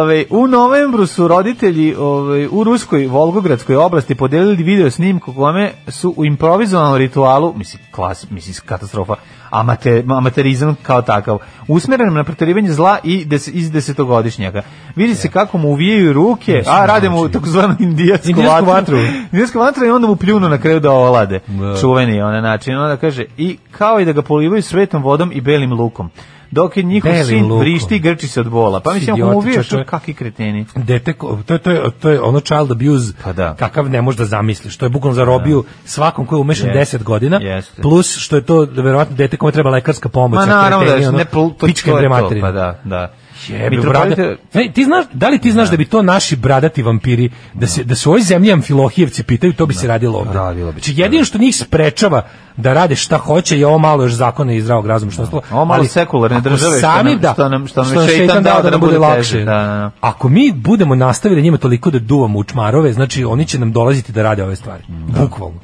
Speaker 5: Ove, u novembru su roditelji ove, u Ruskoj Volgogradskoj oblasti podelili video snimku kome su u improvizovanom ritualu, mislim, klas, mislim, katastrofa, amate, amaterizam kao takav, usmeren na preterivanje zla i des, iz desetogodišnjaka. Vidi se kako mu uvijaju ruke, a rade
Speaker 6: znači,
Speaker 5: mu takozvanu indijansku,
Speaker 6: Indijansku
Speaker 5: vatru.
Speaker 6: vatru.
Speaker 5: Indijska vatra i onda mu pljunu na kraju da ovlade. Čuveni onaj način. Onda kaže, i kao i da ga polivaju svetom vodom i belim lukom. Dok je njihov
Speaker 6: Belim
Speaker 5: sin
Speaker 6: lukom.
Speaker 5: vrišti i grči se od bola. Pa mislim, ako
Speaker 6: Idioti,
Speaker 5: mu uviješ,
Speaker 6: čoveče.
Speaker 5: kakvi kreteni.
Speaker 6: Dete, ko- to je, to, je, to je ono child abuse
Speaker 5: Pa da.
Speaker 6: kakav ne možeš da zamisliš. To je bukvalno zarobio svakom ko je umešan
Speaker 5: Jest.
Speaker 6: 10 godina,
Speaker 5: Jeste.
Speaker 6: plus što je to verovatno dete kome treba lekarska pomoć.
Speaker 5: Ma
Speaker 6: a
Speaker 5: naravno da
Speaker 6: kreteni,
Speaker 5: je,
Speaker 6: ono,
Speaker 5: ne, pol- to,
Speaker 6: pička im
Speaker 5: to je
Speaker 6: bre
Speaker 5: to,
Speaker 6: materina.
Speaker 5: pa da, da.
Speaker 6: Jebe,
Speaker 5: Mitropolita-
Speaker 6: brada- Ej, ti znaš, da li ti znaš da bi to naši bradati vampiri, da se da su ovoj zemlji amfilohijevci pitaju, to bi se radilo ovde.
Speaker 5: radilo bi se,
Speaker 6: Znači, jedino što njih sprečava da rade šta hoće je ovo malo još zakona i zdravog razuma što ostalo.
Speaker 5: Ovo malo
Speaker 6: Ali
Speaker 5: sekularne
Speaker 6: ako
Speaker 5: države, što
Speaker 6: sami
Speaker 5: nam-
Speaker 6: da,
Speaker 5: što nam- što nam je šeitan dao da nam bude teže, da, da, da.
Speaker 6: Ako mi budemo nastavili njima toliko da duvamo u čmarove, znači oni će nam dolaziti da rade ove stvari. Bukvalno.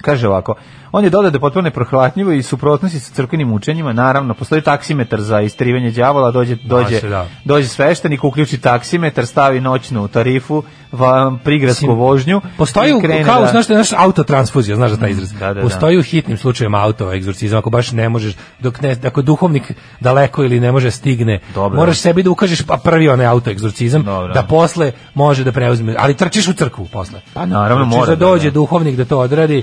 Speaker 5: Kaže ovako, on je dodao da je potpuno neprohvatljivo i suprotnosti sa crkvenim učenjima, naravno, postoji taksimetar za istrivanje đavola, dođe, dođe,
Speaker 6: se, da.
Speaker 5: dođe sveštenik, uključi taksimetar, stavi noćnu tarifu, vam prigradsku
Speaker 6: Mislim,
Speaker 5: vožnju.
Speaker 6: Postoji
Speaker 5: i
Speaker 6: u,
Speaker 5: krene
Speaker 6: kao,
Speaker 5: da-
Speaker 6: znaš, znaš, autotransfuzija, znaš da taj izraz.
Speaker 5: Da, da, da.
Speaker 6: Postoji u hitnim slučajevima autova egzorcizam, ako baš ne možeš, dok ne, ako je duhovnik daleko ili ne može stigne,
Speaker 5: Dobro.
Speaker 6: moraš sebi da ukažeš pa prvi onaj autoegzorcizam,
Speaker 5: Dobro.
Speaker 6: da posle može da preuzme, ali trčiš u crkvu posle.
Speaker 5: Pa naravno,
Speaker 6: Trčiš
Speaker 5: mora
Speaker 6: da
Speaker 5: da,
Speaker 6: dođe
Speaker 5: da.
Speaker 6: duhovnik da to odradi,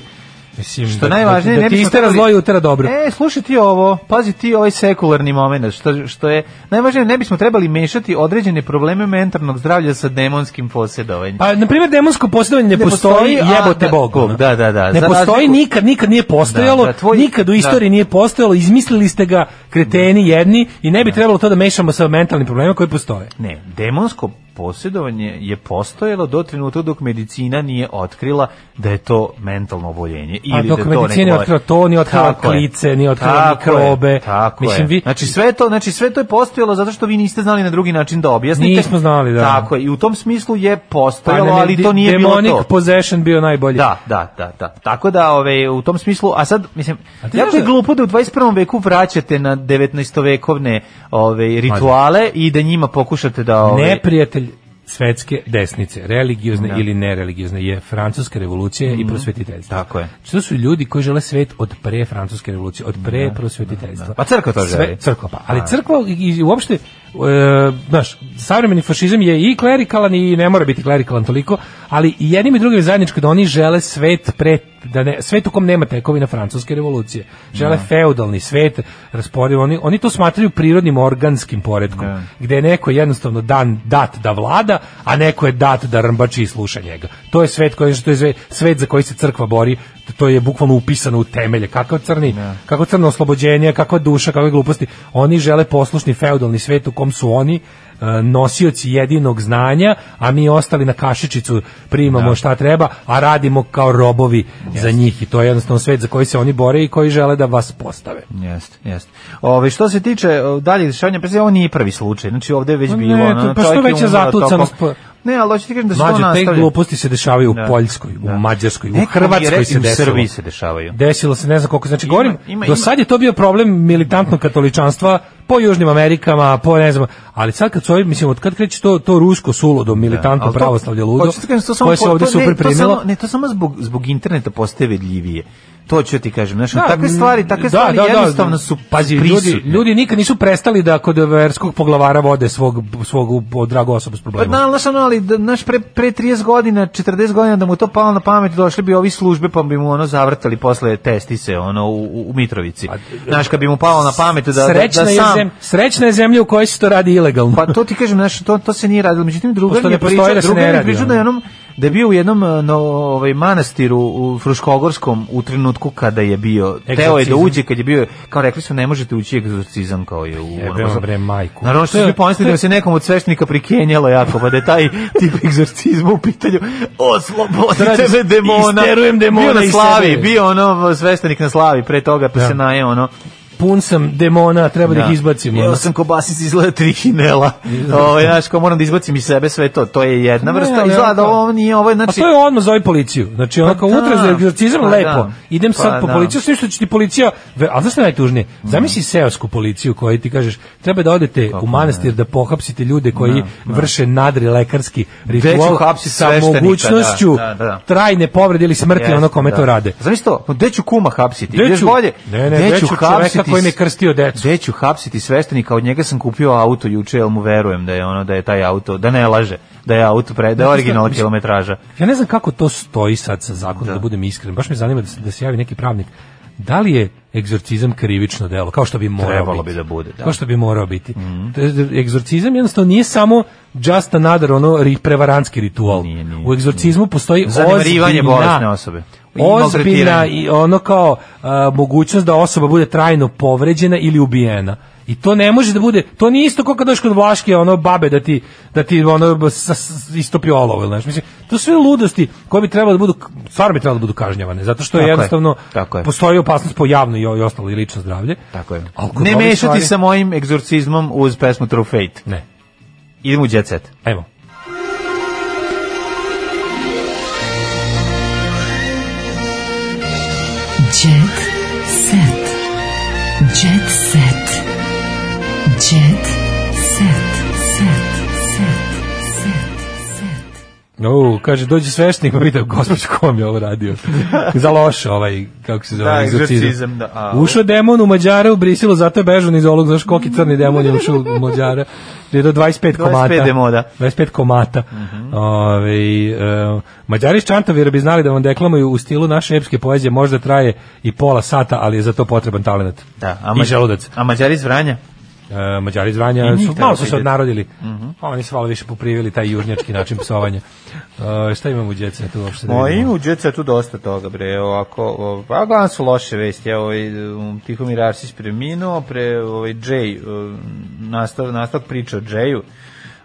Speaker 6: Mislim,
Speaker 5: Što
Speaker 6: da-
Speaker 5: najvažnije,
Speaker 6: da,
Speaker 5: ne
Speaker 6: da ti
Speaker 5: bismo
Speaker 6: istera
Speaker 5: trebali-
Speaker 6: zlo i utera dobro.
Speaker 5: E, slušaj ti ovo, pazi ti ovaj sekularni moment, što, što je, najvažnije, ne bismo trebali mešati određene probleme mentalnog zdravlja sa demonskim posjedovanjem.
Speaker 6: Pa, na primjer, demonsko posjedovanje ne,
Speaker 5: Ne
Speaker 6: postoji,
Speaker 5: postoji, a,
Speaker 6: jebote
Speaker 5: da,
Speaker 6: Bog. ono.
Speaker 5: da, da, da,
Speaker 6: Ne
Speaker 5: za
Speaker 6: postoji,
Speaker 5: razliku-
Speaker 6: nikad, nikad nije postojalo,
Speaker 5: Da, da, tvoj-
Speaker 6: nikad u istoriji
Speaker 5: da.
Speaker 6: nije postojalo, izmislili ste ga kreteni jedni i ne bi trebalo to da mešamo sa mentalnim problemima koji postoje.
Speaker 5: Ne, demonsko posjedovanje je postojalo do trenutka dok medicina nije otkrila da je to mentalno oboljenje. Ili
Speaker 6: A dok
Speaker 5: da to
Speaker 6: medicina
Speaker 5: neko-
Speaker 6: nije otkrila to, nije otkrila
Speaker 5: Tako je.
Speaker 6: klice, nije otkrila
Speaker 5: Tako je,
Speaker 6: mikrobe.
Speaker 5: Tako
Speaker 6: Mislim,
Speaker 5: je.
Speaker 6: vi-
Speaker 5: Znači, sve to, znači, sve to je postojalo zato što vi niste znali na drugi način da objasnite.
Speaker 6: Nismo znali, da.
Speaker 5: Tako je, i u tom smislu je postojalo,
Speaker 6: nam je
Speaker 5: Pa ali
Speaker 6: de-
Speaker 5: to nije bilo
Speaker 6: Pa demonic
Speaker 5: to.
Speaker 6: possession bio najbolji.
Speaker 5: Da, da, da, da. Tako da, ove, u tom smislu, a sad, mislim,
Speaker 6: A ti
Speaker 5: jako
Speaker 6: znaš
Speaker 5: je
Speaker 6: da-
Speaker 5: glupo da u 21. veku vraćate na 19-vekovne ove, rituale i da njima pokušate da... Ove,
Speaker 6: Neprijatelj svetske desnice, religiozne ili nereligiozne, je francuska revolucija i prosvetiteljstvo.
Speaker 5: Mhm. Tako je.
Speaker 6: Što su ljudi koji žele svet od pre francuske revolucije, od pre prosvetiteljstva.
Speaker 5: Pa crkva to želi.
Speaker 6: crkva, pa. Ali crkva i, i uopšte, e, znaš, savremeni fašizam je i klerikalan i ne mora biti klerikalan toliko, ali i jednim i drugim je zajedničko da oni žele svet pre da ne, svet u kom nema tekovina francuske revolucije. Žele feudalni svet, rasporio oni, oni to smatraju prirodnim organskim poretkom, gde je neko jednostavno dan dat da vlada, a neko je dat da rmbači i sluša njega. To je svet koji to je sve- svet za koji se crkva bori, to je bukvalno upisano u temelje. Kakav crni, kako crno oslobođenje, kakva duša, kakve gluposti. Oni žele poslušni feudalni svet u kom su oni e, nosioci jedinog znanja, a mi ostali na kašičicu primamo šta treba, a radimo kao robovi za njih i to je jednostavno svet za koji se oni bore i koji žele da vas postave.
Speaker 5: Jeste, jeste. Ove, što se tiče o, daljih dešavanja, pa ovo nije prvi slučaj. Znači ovde je već
Speaker 6: Ne,
Speaker 5: bilo. ono,
Speaker 6: to- pa što
Speaker 5: čovjek je
Speaker 6: veća
Speaker 5: umro tokom-
Speaker 6: zatucanost, pa-
Speaker 5: Ne, ali hoću ti kažem da se to
Speaker 6: Mlađe, te
Speaker 5: nastavlja.
Speaker 6: gluposti se dešavaju u
Speaker 5: Da.
Speaker 6: Poljskoj,
Speaker 5: Da.
Speaker 6: u Mađarskoj, u
Speaker 5: Nekom je
Speaker 6: Hrvatskoj
Speaker 5: re- i
Speaker 6: se
Speaker 5: u
Speaker 6: desilo.
Speaker 5: Srbiji se dešavaju.
Speaker 6: Desilo se, ne znam koliko, znači
Speaker 5: Ima-
Speaker 6: govorim,
Speaker 5: ima-
Speaker 6: do
Speaker 5: ima.
Speaker 6: sad je to bio problem militantnog katoličanstva po Južnim Amerikama, po ne znam, ali sad kad su ovi, mislim, od kad kreće to, to rusko sulodo, militantno
Speaker 5: Ali to-
Speaker 6: pravoslavlje ludo,
Speaker 5: hoću ti kažem, to samo
Speaker 6: koje se
Speaker 5: po-
Speaker 6: ovdje
Speaker 5: to
Speaker 6: super
Speaker 5: ne, to
Speaker 6: primilo,
Speaker 5: samo- Ne, to samo zbog, zbog interneta postaje vidljivije. To ću ti kažem. Znači,
Speaker 6: Da,
Speaker 5: takve
Speaker 6: mm,
Speaker 5: stvari, takve
Speaker 6: da,
Speaker 5: stvari
Speaker 6: da, da.
Speaker 5: jednostavno su
Speaker 6: Pazi,
Speaker 5: prisutne.
Speaker 6: ljudi, ljudi nikad nisu prestali da kod verskog poglavara vode svog, svog u- dragu osobu s
Speaker 5: Pa
Speaker 6: problemom.
Speaker 5: da, znaš, ono, ali da, znaš, pre, pre 30 godina, 40 godina da mu to palo na pamet, došli bi ovi službe pa bi mu ono zavrtali posle testise ono, u, u- u Mitrovici. Znaš, kad bi mu palo na pamet da, da, da
Speaker 6: srećna, je
Speaker 5: sam...
Speaker 6: zem- srećna je zemlja u kojoj se to radi ilegalno.
Speaker 5: Pa to ti kažem, znaš, to, to se nije radilo. Međutim, druga
Speaker 6: Pošto
Speaker 5: mi
Speaker 6: ne
Speaker 5: je
Speaker 6: postoji
Speaker 5: priča,
Speaker 6: da se
Speaker 5: druga
Speaker 6: ne
Speaker 5: mi je
Speaker 6: radi,
Speaker 5: priča
Speaker 6: ono.
Speaker 5: da je onom da je bio u jednom e, no, ovaj manastiru u Fruškogorskom u trenutku kada je bio teo je da
Speaker 6: Egzorcizam. E,
Speaker 5: uđe kad je bio kao rekli su ne možete ući u egzorcizam kao je u
Speaker 6: Jebe vam bre majku.
Speaker 5: Naravno što
Speaker 6: To je-
Speaker 5: su pomislili
Speaker 6: to je-
Speaker 5: da se nekom od sveštenika prikenjalo jako pa da je taj tip egzorcizma u pitanju oslobodite
Speaker 6: Radi se-
Speaker 5: me demona
Speaker 6: isterujem demona
Speaker 5: bio na
Speaker 6: iz
Speaker 5: slavi
Speaker 6: sebe.
Speaker 5: bio ono sveštenik na slavi pre toga pa se naje ono
Speaker 6: pun sam demona, treba da, ih izbacim.
Speaker 5: Ja
Speaker 6: ono.
Speaker 5: sam kobasic izgleda tri hinela. Ovo, znaš, kao moram da izbacim iz sebe sve to. To je jedna
Speaker 6: Ne,
Speaker 5: vrsta.
Speaker 6: ali
Speaker 5: Izgleda da
Speaker 6: ono-
Speaker 5: ovo nije, ovo je, znači...
Speaker 6: A to je odmah zove policiju. Znači, ono
Speaker 5: Pa
Speaker 6: kao
Speaker 5: da.
Speaker 6: utra za egzorcizam,
Speaker 5: Pa
Speaker 6: lepo.
Speaker 5: da.
Speaker 6: Idem sad
Speaker 5: Pa
Speaker 6: po
Speaker 5: da.
Speaker 6: policiju, sve što će ti policija... ve- A znaš što je najtužnije? Zamisli seosku policiju koji ti kažeš, treba da odete u manastir da pohapsite ljude koji vrše nadri lekarski
Speaker 5: ću
Speaker 6: ritual
Speaker 5: hapsit
Speaker 6: sa
Speaker 5: sveštenika,
Speaker 6: mogućnošću
Speaker 5: da, da, da.
Speaker 6: trajne povrede ili smrti
Speaker 5: Jeste,
Speaker 6: ono kome
Speaker 5: da.
Speaker 6: to rade.
Speaker 5: Zamisli to, gde ću kuma hapsiti?
Speaker 6: Gde
Speaker 5: Još
Speaker 6: ću-
Speaker 5: bolje.
Speaker 6: Ne, ne, gde ću čoveka koji mi je krstio decu?
Speaker 5: Gde ću hapsiti sveštenika, od njega sam kupio auto juče, jel mu verujem da je ono da je taj auto, da ne laže, da je auto pre, da je
Speaker 6: Znači,
Speaker 5: originalna
Speaker 6: mislim-
Speaker 5: kilometraža.
Speaker 6: Ja ne znam kako to stoji sad sa zakonom, da, budem iskren. Baš me zanima da se, da se javi neki pravnik. Da li je egzorcizam krivično delo, kao što bi morao
Speaker 5: Trebalo
Speaker 6: biti?
Speaker 5: bi da bude, da. Mhm.
Speaker 6: Kao što bi morao biti. To je- Egzorcizam jednostavno nije samo just another ono ri- prevarantski ritual. U egzorcizmu postoji
Speaker 5: Zanemarivanje
Speaker 6: ozbiljna-
Speaker 5: bolesne osobe. I
Speaker 6: Ozbiljna
Speaker 5: maltretiranje.
Speaker 6: i ono kao a, mogućnost da osoba bude trajno povređena ili ubijena. I to ne može da bude, to nije isto kao kad dođeš kod Vlaške, ono babe da ti da ti ono sa- s- istopi olovo, ili nešto. Mislim, to su sve ludosti koje bi trebalo da budu stvarno bi trebalo da budu kažnjavane, zato što
Speaker 5: Tako je,
Speaker 6: jednostavno
Speaker 5: tako je.
Speaker 6: postoji opasnost po javno i, i ostalo i lično zdravlje.
Speaker 5: Tako je.
Speaker 6: Ali kod
Speaker 5: Ne
Speaker 6: ovih
Speaker 5: mešati
Speaker 6: stvari-
Speaker 5: sa mojim egzorcizmom uz pesmu True Fate.
Speaker 6: Ne.
Speaker 5: Idemo u Jet Set.
Speaker 6: Ajmo.
Speaker 4: Jet set. Jet set. Jet set. Set. Set. Set. Set.
Speaker 6: O, kaže, dođe sveštenik pa pita, gospod, kom je ovo radio? Za loše ovaj, kako se zove,
Speaker 5: Da,
Speaker 6: egzorcizam.
Speaker 5: egzorcizam, da, a-
Speaker 6: ušao demon u Mađare u Brisilu, zato je bežan iz ovog, znaš, koliki crni demon je ušao u Mađare. Je do 25 komata.
Speaker 5: 25 demoda. Mhm.
Speaker 6: 25 komata. Ovaj, e, Mađari iz Čantovira bi znali da vam deklamuju u stilu naše epske poezije, možda traje i pola sata, ali je za to potreban talent.
Speaker 5: Da,
Speaker 6: I
Speaker 5: Ma-
Speaker 6: želudac.
Speaker 5: A Mađari iz Vranja?
Speaker 6: E, Mađari iz Vranja
Speaker 5: I njih
Speaker 6: su
Speaker 5: treba
Speaker 6: malo su se
Speaker 5: vidjeti.
Speaker 6: odnarodili.
Speaker 5: Mhm.
Speaker 6: Oni su malo više poprivili taj južnjački način psovanja. E, šta imamo u djece tu uopšte? da
Speaker 5: O,
Speaker 6: vidimo?
Speaker 5: ima u Jet Setu dosta toga, bre, ovako, o, a glavno su loše vesti, evo, i, um, Tihomir Arsić preminuo, pre, ovaj, Jay, um, nastav, nastav priča o Jayu,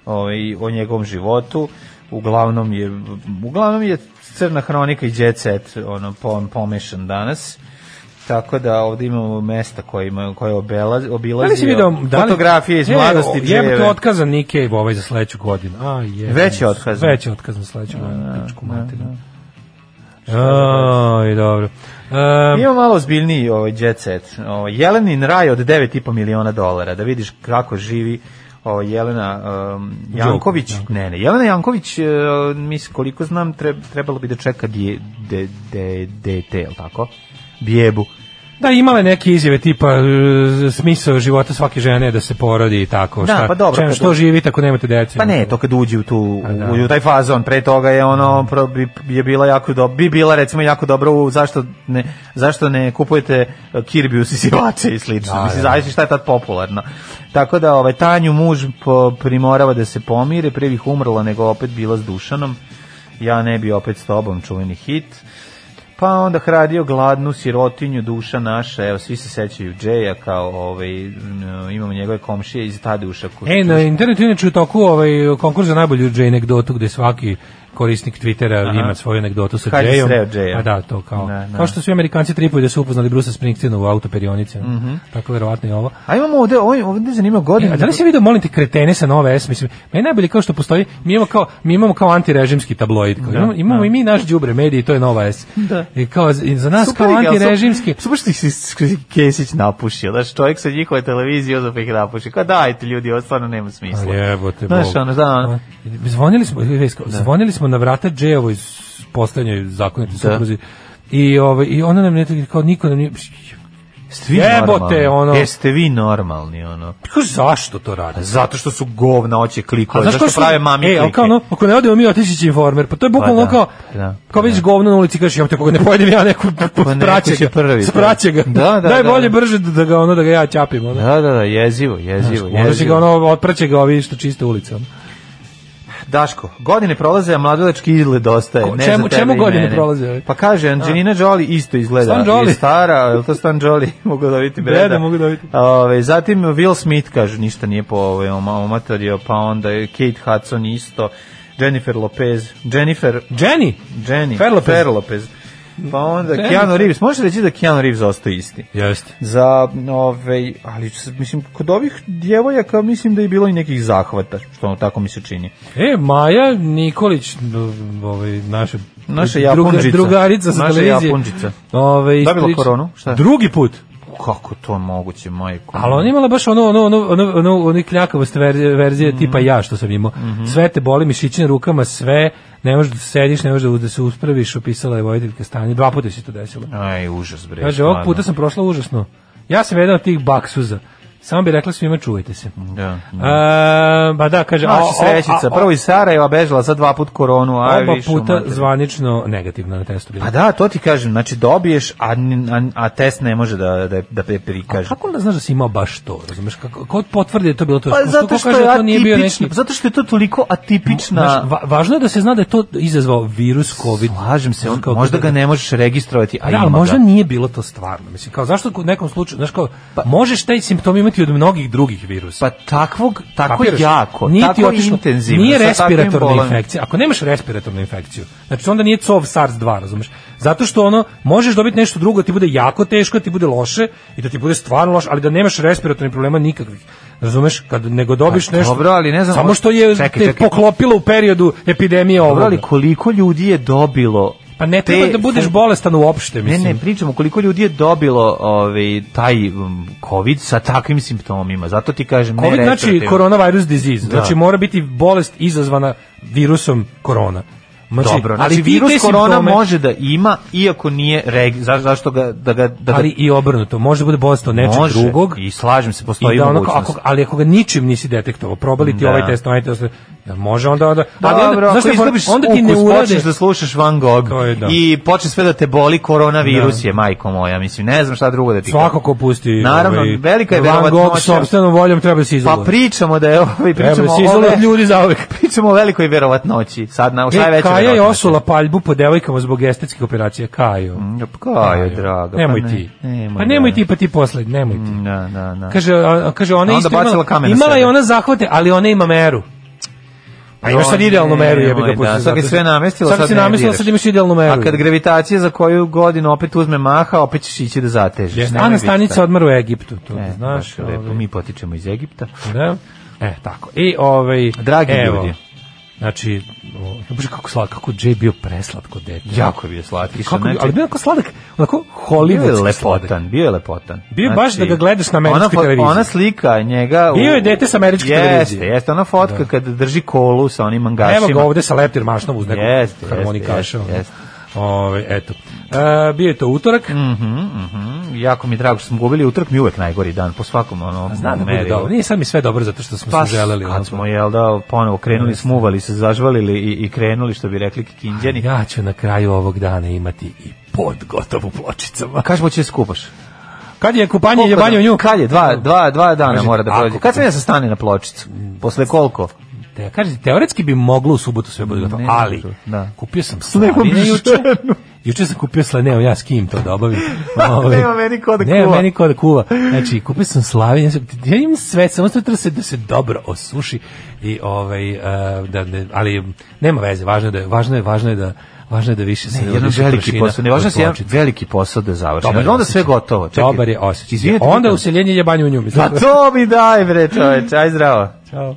Speaker 5: ovaj, o njegovom životu, uglavnom je, uglavnom je crna hronika i Jet Set, ono, pom, pomešan danas, tako da ovdje imamo mesta koje, ima, koje obelazi,
Speaker 6: Da
Speaker 5: obilazi,
Speaker 6: li si video, da li,
Speaker 5: fotografije iz
Speaker 6: Je,
Speaker 5: mladosti
Speaker 6: o, jebote,
Speaker 5: Jayeve.
Speaker 6: otkazan Nike ovaj za sledeću godinu. A, je.
Speaker 5: Već je otkazan.
Speaker 6: Već je otkazan sledeću godinu, pičku materinu. Aj, dobro. Um,
Speaker 5: Ima malo ozbiljniji ovaj jet set. Ovaj Jelenin raj od 9,5 miliona dolara. Da vidiš kako živi ovaj Jelena um, Janković. Ne, ne. Jelena Janković, eh, mislim koliko znam, treb- trebalo bi da čeka dje, de, de, dete, je li tako? Bijebu.
Speaker 6: Da, imala je neke izjave tipa e, smisao života svake žene je da se porodi i tako.
Speaker 5: Da,
Speaker 6: šta,
Speaker 5: pa dobro,
Speaker 6: čem,
Speaker 5: kad
Speaker 6: što
Speaker 5: u-
Speaker 6: živite ako nemate dece? ono.
Speaker 5: Pa ne, to kad uđe u, tu,
Speaker 6: Znači, A, da.
Speaker 5: u, u taj fazon, pre toga je ono, pro, bi, je bila jako do, bi bila recimo jako dobro u zašto ne, zašto ne kupujete eh, Kirby usisivače i slično.
Speaker 6: Da,
Speaker 5: Mislim,
Speaker 6: da, da.
Speaker 5: zavisi šta je tad popularno. Tako da ovaj, Tanju muž po- primorava da se pomire, pre bih umrla nego opet bila s Dušanom. Ja ne bi opet s tobom, čuveni hit. Pa onda hradio gladnu sirotinju duša naša, evo svi se sećaju Džeja kao ovaj, m, imamo njegove komšije iz Tadeuša.
Speaker 6: E, na internetu je inače u toku ovaj, konkurs za najbolju Jay anegdotu gde svaki korisnik Twittera
Speaker 5: Aha.
Speaker 6: ima svoju anegdotu sa
Speaker 5: Kad je
Speaker 6: Jayom.
Speaker 5: sreo Jaya.
Speaker 6: A da, to kao.
Speaker 5: Da, da.
Speaker 6: Kao što su i Amerikanci tripuju da su upoznali Brusa Springsteena u autoperionici.
Speaker 5: Mhm.
Speaker 6: Tako verovatno i ovo.
Speaker 5: A imamo ovde, ovde, ovde je zanima
Speaker 6: E,
Speaker 5: godinu.
Speaker 6: a da li si vidio, molim te, kretene sa Nove S, mislim, meni najbolje kao što postoji, mi imamo kao, mi imamo kao antirežimski tabloid, kao, imamo, imamo i mi naš đubre mediji, to je Nova S.
Speaker 5: Da.
Speaker 6: I kao, i za nas
Speaker 5: Super
Speaker 6: kao
Speaker 5: ih, jel su-
Speaker 6: antirežimski,
Speaker 5: Super što ih si Kesić napušio, znaš, čovjek sa njihove televizije uzeo pa ih napuši. Kao dajte ljudi, ovo stvarno nema smisla.
Speaker 6: A jebote,
Speaker 5: Znaš,
Speaker 6: Bog.
Speaker 5: ono, da, ono.
Speaker 6: Zvonili smo, vez kao, zvonili smo na vrata Džejevoj s- poslednjoj zakonitoj supruzi. I ovaj i ona nam ne kao niko nam nije
Speaker 5: Jeste vi
Speaker 6: Jebote,
Speaker 5: normalni?
Speaker 6: ono.
Speaker 5: Jeste vi normalni, ono.
Speaker 6: Kao, zašto to rade?
Speaker 5: Zato što su govna oči klikove,
Speaker 6: ko
Speaker 5: zašto
Speaker 6: su-
Speaker 5: Pa prave mami
Speaker 6: E,
Speaker 5: klike.
Speaker 6: ali kao ono, ako ne odemo mi otići će informer. Pa to je bukvalno
Speaker 5: da,
Speaker 6: kao,
Speaker 5: da,
Speaker 6: kao vidiš govno na ulici i kažeš, ja te koga ne pojedem ja neku,
Speaker 5: neko
Speaker 6: spraće
Speaker 5: će
Speaker 6: ga,
Speaker 5: prvi, da.
Speaker 6: spraće ga.
Speaker 5: Da, da,
Speaker 6: Daj
Speaker 5: da,
Speaker 6: bolje
Speaker 5: da.
Speaker 6: brže da, da ga, ono, da ga ja ćapim. Ono.
Speaker 5: Da, da, da, jezivo, jezivo,
Speaker 6: Onda će ga
Speaker 5: jezivo.
Speaker 6: ono, otpraće ga ovi što čiste ulice. ono.
Speaker 5: Daško, godine prolaze, a mladodački izgled ostaje.
Speaker 6: Ko-
Speaker 5: ne
Speaker 6: čemu-
Speaker 5: za tebe
Speaker 6: čemu
Speaker 5: i
Speaker 6: godine
Speaker 5: mene.
Speaker 6: prolaze, ovaj?
Speaker 5: Pa kaže, Angelina Jolie isto izgleda.
Speaker 6: Stan Jolie.
Speaker 5: Je stara, je li to Stan Jolie? mogu da vidite breda.
Speaker 6: Breda mogu dobiti.
Speaker 5: Ove, zatim Will Smith kaže, ništa nije po ove, omatorio, pa onda je Kate Hudson isto, Jennifer Lopez, Jennifer,
Speaker 6: Jenny!
Speaker 5: Jenny,
Speaker 6: Fer Lopez.
Speaker 5: Fer Lopez. Pa onda Keanu Reeves, možeš reći da Keanu Reeves ostao isti?
Speaker 6: Jeste.
Speaker 5: Za, ovaj, ali mislim, kod ovih djevojaka mislim da je bilo i nekih zahvata, što ono tako mi se čini.
Speaker 6: E, Maja Nikolić, ovaj, naša,
Speaker 5: Naša Japonđica.
Speaker 6: drugarica sa
Speaker 5: Naša
Speaker 6: televizije.
Speaker 5: Japonđica.
Speaker 6: Ovaj,
Speaker 5: Dobila
Speaker 6: isprič-
Speaker 5: koronu? Šta je?
Speaker 6: Drugi put.
Speaker 5: Kako to moguće, majko?
Speaker 6: Ali ona je imala baš ono, ono, ono, ono, ono, ono kljakavost verzije,
Speaker 5: Mhm.
Speaker 6: verzije tipa ja što sam imao. Sve te boli mišići na rukama, sve, ne možeš da sediš, ne možeš da, da se uspraviš, opisala je vojiteljka stanje. Dva puta se to desilo.
Speaker 5: Aj, užas bre.
Speaker 6: Kaže, ovog
Speaker 5: stvarno.
Speaker 6: puta sam prošla užasno. Ja sam jedan od tih baksuza. Samo bi rekla svima, čuvajte se.
Speaker 5: Da.
Speaker 6: A, ba da, kaže...
Speaker 5: Mhm. Naša
Speaker 6: a, o,
Speaker 5: srećica,
Speaker 6: a, o,
Speaker 5: prvo iz Sarajeva bežala, sad dva put koronu, a
Speaker 6: Oba
Speaker 5: više,
Speaker 6: puta
Speaker 5: mater.
Speaker 6: zvanično negativno na testu bilo.
Speaker 5: Pa da, to ti kažem, znači dobiješ, a, n- a, a test ne može da, da, da pe- prikaže.
Speaker 6: Kako onda znaš da si imao baš to? Razumeš, kako, ko potvrdi da je to bilo to?
Speaker 5: Pa
Speaker 6: Ko- ko
Speaker 5: zato što
Speaker 6: kaže
Speaker 5: je
Speaker 6: da to nije bio
Speaker 5: atipično,
Speaker 6: neki-
Speaker 5: zato što je to toliko
Speaker 6: Znaš,
Speaker 5: atipična...
Speaker 6: va- važno je da se zna da je to izazvao virus COVID.
Speaker 5: Slažem se, on,
Speaker 6: Kao-
Speaker 5: možda ga ne možeš registrovati, a
Speaker 6: Da,
Speaker 5: ima
Speaker 6: ali možda
Speaker 5: ga.
Speaker 6: nije bilo to stvarno. Mislim, kao, zašto u nekom slučaju, znaš kao, možeš taj simptom imati od mnogih drugih
Speaker 5: Pa
Speaker 6: virusa.
Speaker 5: takvog, tako
Speaker 6: Kapiraš?
Speaker 5: jako,
Speaker 6: Nije ti
Speaker 5: tako
Speaker 6: otišlo-
Speaker 5: intenzivno.
Speaker 6: Nije
Speaker 5: sa takvim
Speaker 6: respiratorna
Speaker 5: bolom.
Speaker 6: infekcija. Ako nemaš respiratornu infekciju, znači onda nije COV SARS-2, razumeš? Zato što ono, možeš dobiti nešto drugo, ti bude jako teško, ti bude loše i da ti bude stvarno loše, ali da nemaš respiratornih problema nikakvih. Razumeš? Kad nego dobiš
Speaker 5: Pa
Speaker 6: nešto...
Speaker 5: dobro, ali ne znam,
Speaker 6: Samo što je
Speaker 5: čekaj,
Speaker 6: te
Speaker 5: čekaj.
Speaker 6: poklopilo u periodu epidemije
Speaker 5: Dobro,
Speaker 6: ovoga.
Speaker 5: ali koliko ljudi je dobilo
Speaker 6: pa ne
Speaker 5: te
Speaker 6: treba da budeš
Speaker 5: fun-
Speaker 6: bolestan uopšte,
Speaker 5: Ne,
Speaker 6: mislim.
Speaker 5: ne, pričamo koliko ljudi je dobilo ovaj, taj um, COVID sa takvim simptomima. Zato ti kažem, ne
Speaker 6: COVID znači
Speaker 5: retroaktivno.
Speaker 6: coronavirus disease.
Speaker 5: Da.
Speaker 6: Znači mora biti bolest izazvana virusom korona. Znači,
Speaker 5: Dobro, znači
Speaker 6: ali ti te
Speaker 5: virus korona
Speaker 6: simptome-
Speaker 5: može da ima, iako nije reg, za, zašto ga, da ga... Da ga
Speaker 6: ali i obrnuto, može da bude bolest od nečeg
Speaker 5: može,
Speaker 6: drugog.
Speaker 5: I slažem se,
Speaker 6: I
Speaker 5: postoji
Speaker 6: da ono,
Speaker 5: mogućnost.
Speaker 6: ako, ali ako ga ničim nisi detektovao, probali ti
Speaker 5: Da.
Speaker 6: ovaj test, onaj test, jel može onda, onda, ali
Speaker 5: Pa Dobro,
Speaker 6: onda,
Speaker 5: ako
Speaker 6: znaš šta je fora?
Speaker 5: izgubiš
Speaker 6: onda ti ne
Speaker 5: ukus,
Speaker 6: urade,
Speaker 5: počneš da slušaš Van Gogh
Speaker 6: To je da.
Speaker 5: i počne sve da te boli koronavirus je, majko moja, mislim, ne znam šta drugo da ti
Speaker 6: svako
Speaker 5: kažem.
Speaker 6: ko pusti ovaj,
Speaker 5: Naravno, velika je
Speaker 6: Van Gogh
Speaker 5: verovatnoća.
Speaker 6: sobstvenom voljom treba da se
Speaker 5: Pa
Speaker 6: izoluje.
Speaker 5: pričamo da je ovaj,
Speaker 6: Treba da
Speaker 5: pričamo,
Speaker 6: se
Speaker 5: ove,
Speaker 6: izoluje od ljudi zauvek.
Speaker 5: pričamo o velikoj verovatnoći. Sad, na, šta je
Speaker 6: E,
Speaker 5: veća
Speaker 6: Kaja je
Speaker 5: verovatnoća?
Speaker 6: osula paljbu po devojkama zbog estetskih operacija. Kajo.
Speaker 5: Ja, pa Kajo, draga.
Speaker 6: Nemoj
Speaker 5: pa ne-
Speaker 6: ti.
Speaker 5: nemoj,
Speaker 6: pa nemoj
Speaker 5: da.
Speaker 6: ti, pa ti posle, nemoj ti.
Speaker 5: Da, da, da.
Speaker 6: Kaže, a, a- kaže ona
Speaker 5: A onda
Speaker 6: isto
Speaker 5: bacila
Speaker 6: imala,
Speaker 5: kamen na
Speaker 6: imala je
Speaker 5: sebe.
Speaker 6: ona zahvate, ali ona ima meru. Pa imaš sad
Speaker 5: Joj,
Speaker 6: idealnu meru, jebi
Speaker 5: nemoj,
Speaker 6: ga pusti.
Speaker 5: da, sad je sve namestila,
Speaker 6: sad,
Speaker 5: sad
Speaker 6: si
Speaker 5: ne
Speaker 6: namestila,
Speaker 5: diraš.
Speaker 6: sad imaš idealnu meru.
Speaker 5: A kad gravitacija za koju godinu opet uzme maha, opet ćeš ići da zatežeš.
Speaker 6: Jeste,
Speaker 5: Nemoj
Speaker 6: Ana
Speaker 5: biti
Speaker 6: Stanica
Speaker 5: tako.
Speaker 6: odmara u Egiptu, to
Speaker 5: E,
Speaker 6: znaš.
Speaker 5: baš je lepo,
Speaker 6: ovaj,
Speaker 5: mi potičemo iz Egipta.
Speaker 6: Da. E, tako. I ovaj...
Speaker 5: Dragi
Speaker 6: evo,
Speaker 5: ljudi.
Speaker 6: Znači, o, bože, kako slatko, kako Jay bio preslatko dete.
Speaker 5: Jako je bio slatki.
Speaker 6: Kako,
Speaker 5: znači-
Speaker 6: ali bio je onako sladak, onako
Speaker 5: Bio je
Speaker 6: hollywoodski sladak.
Speaker 5: lepotan, bio je lepotan. Znači,
Speaker 6: Bio je baš da ga gledaš na američkoj
Speaker 5: ona fo-
Speaker 6: televiziji.
Speaker 5: Ona slika njega... u-
Speaker 6: Bio je dete sa američke
Speaker 5: Jeste,
Speaker 6: televizije.
Speaker 5: jeste, ona fotka kad drži kolu sa onim mangašima.
Speaker 6: Evo ga ovde sa leptir mašnom uz neku
Speaker 5: Jeste, jeste,
Speaker 6: harmonikašu.
Speaker 5: jeste,
Speaker 6: ono.
Speaker 5: jeste.
Speaker 6: Ovaj, eto. E, bio je to utorak.
Speaker 5: Jako mi je drago što smo gubili utrk, mi je uvek najgori dan, po svakom ono...
Speaker 6: Zna da bude
Speaker 5: merilu.
Speaker 6: dobro. Nije sad mi sve dobro zato što smo
Speaker 5: Pa,
Speaker 6: se želeli. ono.
Speaker 5: kad smo, jel da, ponovo krenuli, smuvali se, zažvalili i, i krenuli, što bi rekli kikinđani.
Speaker 6: Ja ću na kraju ovog dana imati i pod gotovu pločicama.
Speaker 5: A kažemo će skupaš.
Speaker 6: Kad je kupanje
Speaker 5: Koliko
Speaker 6: jebanje
Speaker 5: da-
Speaker 6: u nju?
Speaker 5: Kad je? Dva, dva, dva dana
Speaker 6: Kaže,
Speaker 5: mora da
Speaker 6: ako- Mm.
Speaker 5: prođe. Kad sam ja sa stane na pločicu? Posle koliko?
Speaker 6: Te, kaže, teoretski bi moglo u subotu sve bude gotovo,
Speaker 5: Ne, ne
Speaker 6: ali
Speaker 5: može, da.
Speaker 6: kupio sam
Speaker 5: nemam
Speaker 6: slavine
Speaker 5: ženu.
Speaker 6: juče. Juče sam kupio slaneo, ja s kim to da obavim. Ovaj,
Speaker 5: Nema meni ko da
Speaker 6: nema
Speaker 5: kuva.
Speaker 6: meni ko da kuva. Znači, kupio sam slavine, ja sam- ja imam sve, samo sam treba se da se dobro osuši i ovaj e, da ne, ali nema veze, važno je da važno je važno je da važno je da više se
Speaker 5: Jedan
Speaker 6: više
Speaker 5: veliki
Speaker 6: prašina
Speaker 5: posao, ne važno
Speaker 6: od
Speaker 5: se jedan
Speaker 6: pločica.
Speaker 5: veliki posao da završi.
Speaker 6: Dobar je
Speaker 5: onda sve
Speaker 6: osjećaj.
Speaker 5: gotovo. Čekaj.
Speaker 6: Dobar je osjećaj.
Speaker 5: Izvinite,
Speaker 6: Onda
Speaker 5: pitam.
Speaker 6: useljenje jebanje u nju. mislim.
Speaker 5: Pa to mi daj bre čoveče, aj zdravo.
Speaker 6: Ćao.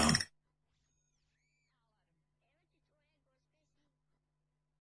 Speaker 4: 10.